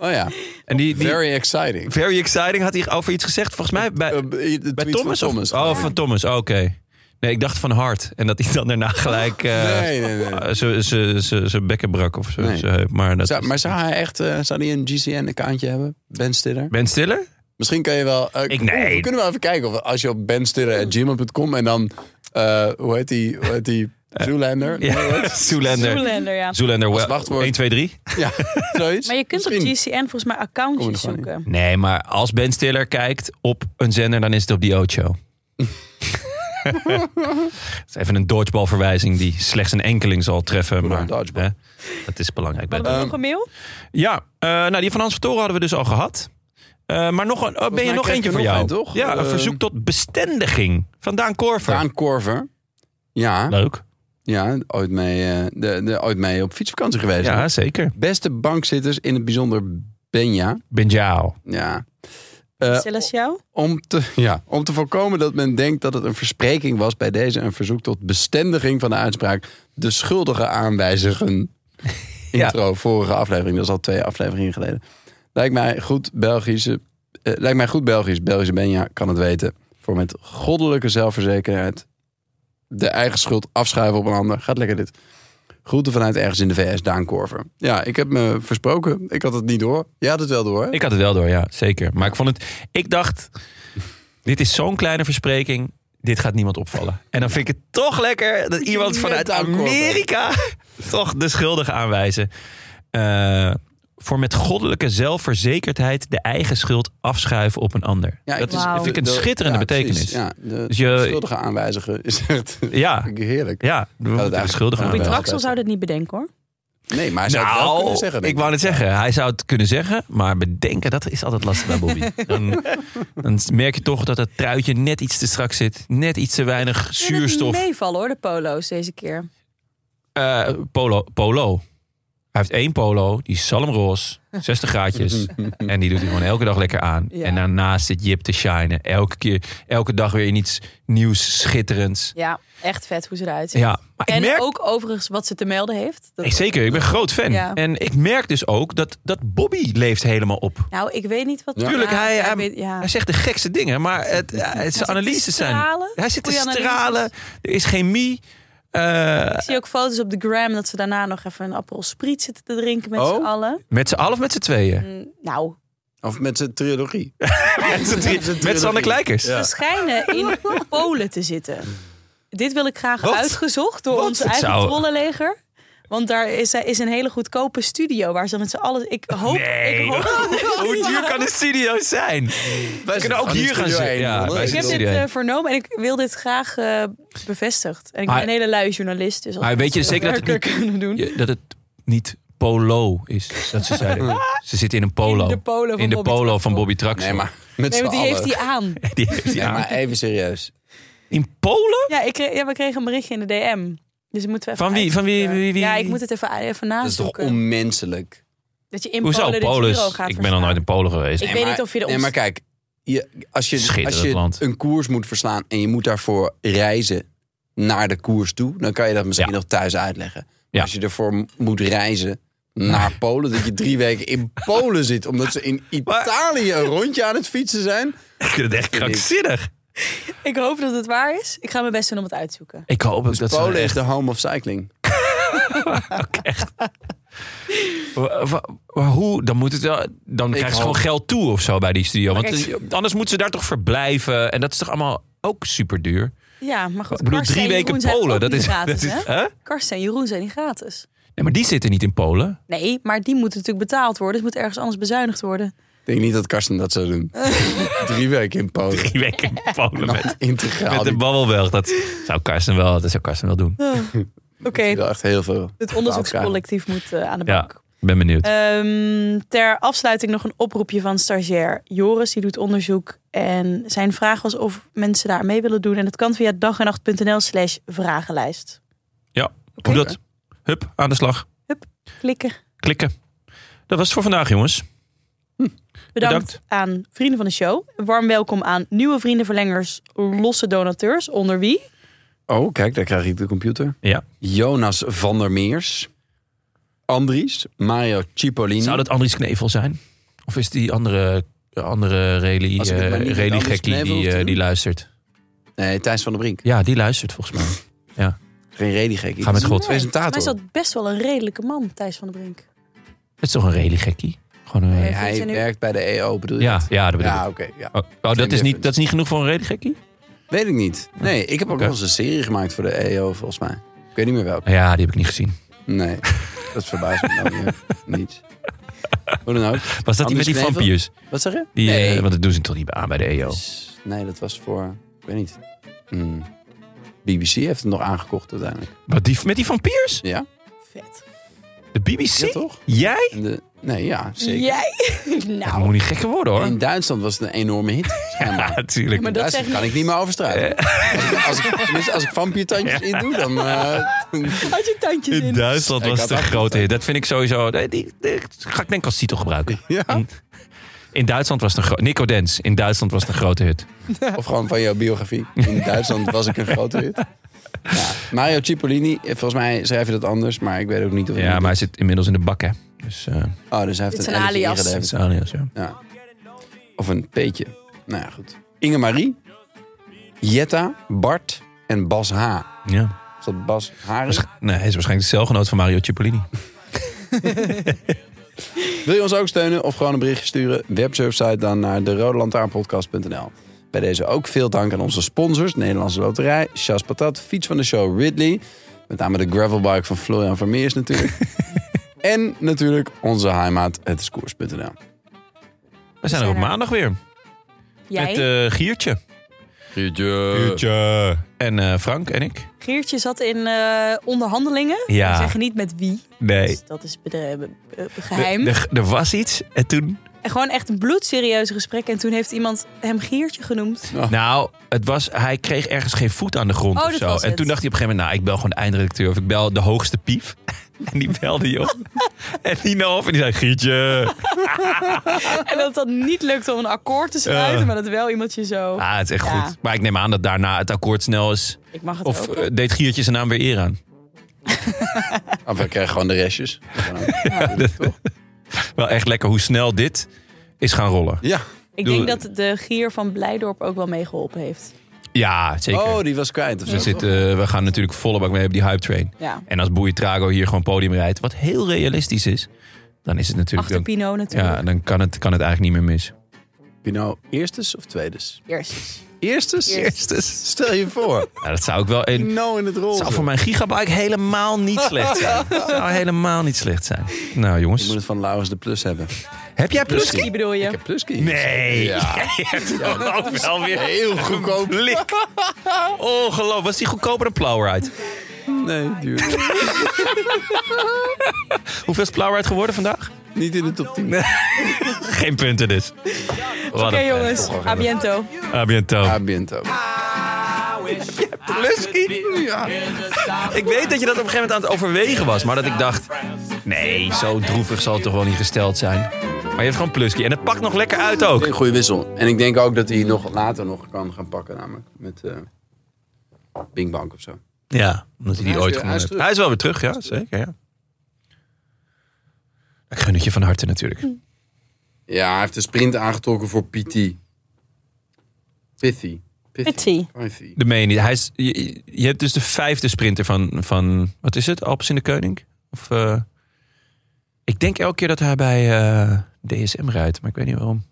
Oh ja, En die, die very, very exciting. exciting had hij over iets gezegd. Volgens mij bij, Eh, de bij tweet van Thomas. of- Thomas. Oh, van Thomas. Oh, Oké. Nee, ik dacht van Hart. En dat hij dan daarna gelijk eh, Ah, Nee, nee, nee. eh, ze- ze- ze- zijn bekken brak of zo. Nee. zijn heup. Maar, dat Zou, is- maar zou hij echt eh, zou hij een GCN-accountje hebben? Ben Stiller? Ben Stiller? Misschien kan je wel. eh, Ik- nee. oeh, We kunnen wel even kijken of als je op benstiller.gmail.com en dan. eh, hoe heet die? Hoe heet die? Zoolander? Nee, hoe heet Eh, Ja, het? Zoolander. Zoolander, ja. Zoolander, Als wel- wachtwoord. 1, 2, 3. Ja, zoiets. Maar je kunt Misschien. op GCN volgens mij Kom er accountjes gewoon in. zoeken. Nee, maar als Ben Stiller kijkt op een zender, dan is het op die Ocho. Dat is even een dodgeballverwijzing die slechts een enkeling zal treffen. Goed, Maar een dodgeball. hè, dat is belangrijk. Bij Hadden we nog een mail? Ja, eh, nou die van Hans van Toren hadden we dus al gehad. Eh, maar nog een, oh, ben je mij nog kreeg eentje je voor nog jou? een, toch? Ja, een Eh, verzoek tot bestendiging van Daan Korver. Daan Korver. Ja, Leuk. ja ooit, mee, eh, de, de, ooit mee op fietsvakantie geweest. Ja, zeker. Beste bankzitters, in het bijzonder Benja. Benjao. Ja. Eh, oh, Celestiaal? om, te, ja, om te voorkomen dat men denkt dat het een verspreking was bij deze een verzoek tot bestendiging van de uitspraak de schuldige aanwijzigen. Intro, vorige aflevering, dat is al twee afleveringen geleden. Lijkt mij goed Belgische, eh, lijkt mij goed Belgisch, Belgische Benja kan het weten. Voor met goddelijke zelfverzekerheid de eigen schuld afschuiven op een ander. Gaat lekker dit. Groeten vanuit ergens in de VS, Daan Korver. Ja, ik heb me versproken. Ik had het niet door. Je had het wel door, hè? Ik had het wel door, ja, zeker. Maar ik vond het. Ik dacht, dit is zo'n kleine verspreking. Dit gaat niemand opvallen. En dan vind ik het toch lekker dat iemand Met vanuit aankorven. Amerika toch de schuldige aanwijzen. Eh, voor met goddelijke zelfverzekerdheid de eigen schuld afschuiven op een ander. Ja, dat is, Wauw. vind ik een de- schitterende ja, precies. betekenis. Ja, Ja, de Dus je- schuldige aanwijzigen is echt ja, heerlijk. we moeten de eigenlijk- schuldige Ja, Piet wel. aanwijzen. Draxel zou dat niet bedenken hoor. Nee, maar hij zou het wel Nou, kunnen zeggen. denk ik wou het zeggen. Hij zou het kunnen zeggen, maar bedenken, dat is altijd lastig bij Bobby. Dan, dan merk je toch dat het truitje net iets te strak zit. Net iets te weinig zuurstof. meevallen hoor, de polo's deze keer. Eh, polo, polo. Hij heeft één polo, die is salmroos, 60 graadjes. en die doet hij gewoon elke dag lekker aan. Ja. En daarnaast zit Jip te shinen. Elke, keer, elke dag weer in iets nieuws, schitterends. Ja, echt vet hoe ze eruit ziet. Ja, maar ik En merk... ook overigens wat ze te melden heeft. Dat- Nee, zeker, ik ben groot fan. Ja. En ik merk dus ook dat, dat Bobby leeft helemaal op. Nou, ik weet niet wat. Ja. Tuurlijk, hij- hij- weet- ja. Hij zegt de gekste dingen, maar het, ja, het zijn te analyses zijn. stralen. Hij zit te Goeie analyses. stralen. Er is chemie. Eh, Ik zie ook foto's op de gram dat ze daarna nog even een appel spriet zitten te drinken met Oh. z'n allen. met z'n allen of met z'n tweeën? Mm, Nou, Of met zijn trilogie. Met z'n drie- met Sander Kleikers. ze schijnen in Polen te zitten. Dit wil ik graag Wat? uitgezocht door Wat? ons Het eigen zou- trollenleger. Want daar is, is een hele goedkope studio waar ze met z'n allen... Ik hoop, Nee. ik hoop dat dit- Hoe duur kan een studio zijn? We kunnen ook gewoon in hier gaan Studio zitten. één, Ja, wij man. Ik heb zitten dit in Studio eh, één. vernomen en ik wil dit graag eh, bevestigd. En ik Maar- ben een hele lui journalist. Dus als maar weet je mensen zeker dat het werker kunnen doen. Je- dat het niet polo is. Dat ze zeiden. ze zitten in een polo. In de polo van In de Bobby polo Traxel. van Bobby Traxel. Nee, maar met Nee, z'n want die heeft allen. die aan. Die heeft die Nee, aan. maar even serieus. In Polen? Ja, ik kreeg, ja, we kregen een berichtje in de DM. Dus dat moeten we even Van wie? Van wie? uitzoeken. wie, wie? Ja, ik moet het even, even Dat is toch nazoeken. Dat, onmenselijk? je in Hoezo? Polen, Polen de is- Giro gaat Ik ben al nooit in verslaan. Polen geweest. Ik Nee, weet maar- niet of je de Nee, ons- maar kijk. Je, als je, Schitterend als je land. een koers moet verslaan en je moet daarvoor reizen naar de koers toe, dan kan je dat misschien Ja. nog thuis uitleggen. Maar Ja. Als je ervoor m- moet reizen naar Polen, dat je drie weken in Polen zit, omdat ze in Italië een rondje aan het fietsen zijn. Ik vind het echt krankzinnig. Ik hoop dat het waar is. Ik ga mijn best doen om het uit te zoeken. Ik hoop ook dat ze Polen is echt de home of cycling. Wa- wa- wa- hoe? Dan, moet het wel, dan krijgen ze hoop- gewoon geld toe of zo bij die studio. Want kijk, eh, anders moeten ze daar toch verblijven. En dat is toch allemaal ook super duur. Ja, maar goed. Ik bedoel, Karsten drie en weken Jeroen zijn Polen. ook Dat niet is, gratis, dat is, hè? hè? Karsten en Jeroen zijn niet gratis. Nee, maar die zitten niet in Polen. Nee, maar die moeten natuurlijk betaald worden. Dus moet ergens anders bezuinigd worden. Ik denk niet dat Karsten dat zou doen. Drie weken in Polen. Drie weken in Polen met, Integraal. met de Die- babbelbelg. Dat zou Karsten wel, dat zou Karsten wel doen. Oké, die wil echt heel veel. het onderzoekscollectief moet eh, aan de Ja, bak. ik ben benieuwd. Ehm, ter afsluiting nog een oproepje van stagiair Joris. Die doet onderzoek. En zijn vraag was of mensen daar mee willen doen. En dat kan via dag en nacht.nl slash vragenlijst. ja, hoe dat? Hup, aan de slag. Klikken. Klikken. Dat was het voor vandaag, jongens. Bedankt, Bedankt. aan vrienden van de show. Warm welkom aan nieuwe vriendenverlengers, losse donateurs. Onder wie? Oh, kijk, daar krijg ik de computer. Ja. Jonas van der Meers. Andries. Mario Cipollini. Zou dat Andries Knevel zijn? Of is die andere, andere rally, Als ik het maar niet eh met rally Andries gekkie Knevel die, hoef te eh, die doen. luistert? Nee, Thijs van der Brink. Ja, die luistert volgens mij. Geen redigek. Ga met God. Maar presentator. is dat best wel een redelijke man, Thijs van der Brink. Het is toch een rally gekkie? Gewoon een... Nee. Vindt ze Hij nu- werkt bij de EO, bedoel je? Ja, dat? ja, dat bedoel ik. Ja, oké. ja. Oh, oh, dat, is difference. niet, dat is niet genoeg voor een rally gekkie? Weet ik niet. Nee, ik heb ook Oké. wel eens een serie gemaakt voor de EO, volgens mij. Ik weet niet meer welke. Ja, die heb ik niet gezien. Nee, dat verbaast me nou weer. Niet. Hoe dan ook. Was dat die met Anders die Knevel? vampiers? Wat zeg je? Die, eh, nee. want dat doen ze toch niet aan bij de E EO? nee, dat was voor... Ik weet niet. Hmm. BBC heeft het nog aangekocht uiteindelijk. Wat, die, met die vampiers? Ja? Vet. De BBC? Ja, toch? Jij? En de, nee, ja, zeker. Jij? Dat nou, moet niet gekker worden hoor. In Duitsland was het een enorme hit. Ja, schijnbaar. natuurlijk. maar In dat Duitsland zegt kan ik niet meer overstrijden. Als ik, tenminste, als ik vampiertandjes in doe, dan... eh, Had je tandjes in. In Duitsland Ik was had het een afgesproken. grote hit. Dat vind ik sowieso. Die, die, die ga ik denk ik als titel gebruiken. ja. In, In Duitsland was het een gro- Nico Dens. In Duitsland was het een grote hit. Of gewoon van jouw biografie. In Duitsland was ik een grote hit. Ja. Mario Cipollini, eh, volgens mij schrijf je dat anders, maar ik weet ook niet of... Ja, maar hij zit inmiddels in de bak, hè. Dus eh, Oh, dus hij heeft Dit een, is een L'tje alias. dat ingeleverd. is alias, ja. Ja. Of een peetje. Nou ja, goed. Inge-Marie, Jetta, Bart en Bas H. ja. Is dat Bas Haris? Waarsch- Nee, hij is waarschijnlijk de celgenoot van Mario Cipollini. Wil je ons ook steunen of gewoon een berichtje sturen? Websurfsite dan naar de Bij deze ook veel dank aan onze sponsors: Nederlandse Loterij, Chas Patat, Fiets van de Show Ridley. Met name de gravelbike van Florian Vermeers natuurlijk. en natuurlijk onze heimaat, het is koers.nl. We zijn er op zijn er. maandag weer. Jij, Met eh, Giertje. Giertje. En eh, Frank en ik. Geertje zat in eh, onderhandelingen. Ja. We zeggen niet met wie. Nee. Dus dat is bede- be- be- geheim. Er er was iets en toen En gewoon echt een bloedserieuze gesprek. En toen heeft iemand hem Geertje genoemd. Nou, het was, hij kreeg ergens geen voet aan de grond Oh, of dat zo. was En het. toen dacht hij op een gegeven moment, nou, ik bel gewoon de eindredacteur. Of ik bel de hoogste pief. En die belde je op. en die nam op en die zei, Gietje. En dat dat niet lukte om een akkoord te sluiten. Ja. Maar dat wel iemand je zo... Ah, het is echt Ja. goed. Maar ik neem aan dat daarna het akkoord snel is. Ik mag het Of ook. eh, deed Giertje zijn naam weer eer aan. Of we krijgen gewoon de restjes. Wel echt lekker hoe snel dit is gaan rollen. Ja. Ik Doe- denk dat de gier van Blijdorp ook wel meegeholpen heeft. Ja, zeker. Oh, die was kwijt. Of eh, we, zo. zitten, eh, we gaan natuurlijk volle bak mee op die hype train. Ja. En als Boei Trago hier gewoon podium rijdt, wat heel realistisch is, dan is het natuurlijk... Achter Dan, Pino natuurlijk. ja, dan kan het, kan het eigenlijk niet meer mis. Pino, eerstes of tweedes? Eerst. Eerstes? Eerstes. Stel je voor. Ja, dat zou ik wel. En Pino in het rol. zou voor mijn gigabyte helemaal niet slecht zijn. zou helemaal niet slecht zijn. Nou, Je moet jongens. het van Laurens de Plus hebben. Heb jij pluski? Pluski bedoel je? Ik heb Pluski. Nee. Ja. Jij hebt gewoon ook wel weer Heel goedkoop. blik. Ongelooflijk. Was die goedkoper dan Plowride? Nee, duur. Hoeveel is Plowride geworden vandaag? Niet in de top 10. Geen punten dus. Oké, Oké jongens, a biento. A biento. Ah, Binto. Pluski? Ja. Ik weet dat je dat op een gegeven moment aan het overwegen was. Maar dat ik dacht, nee, zo droevig zal het toch wel niet gesteld zijn. Maar je hebt gewoon Pluski. En het pakt nog lekker uit ook. Een goede wissel. En ik denk ook dat hij nog later nog kan gaan pakken, namelijk met eh Bing Bang of zo. Ja, omdat hij hij die is ooit weer- gewonnen hij is heeft. terug. Hij is wel weer terug, ja, zeker. Ja. Ik gun het je van harte Hm. natuurlijk. Ja, hij heeft de sprint aangetrokken voor PT. Pithy. Pithy. Pithy. De meen je niet. Hij is, je, je hebt dus de vijfde sprinter van, van wat is het? Alpes in de Koning? Of, eh, ik denk elke keer dat hij bij eh, DSM rijdt, maar ik weet niet waarom.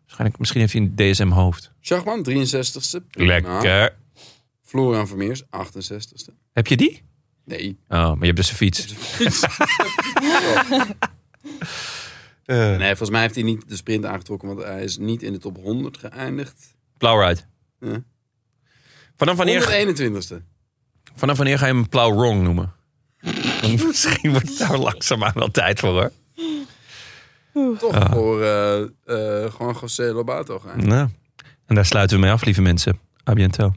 Waarschijnlijk, misschien heeft hij een DSM-hoofd. Schachman, 63ste. Prima. Lekker. Florian Vermeers, 68ste. Heb je die? Nee. Oh, maar je hebt dus een fiets. Nee, volgens mij heeft hij niet de sprint aangetrokken, want hij is niet in de top 100 geëindigd. Plowride. Ja. Vanaf wanneer... 121ste. Vanaf wanneer ga je hem Plow Wrong noemen? Want Misschien wordt het daar langzaamaan wel tijd voor hoor. Toch voor eh eh Juan José Lobato gaan. Nou, en daar sluiten we mee af, lieve mensen. A biento.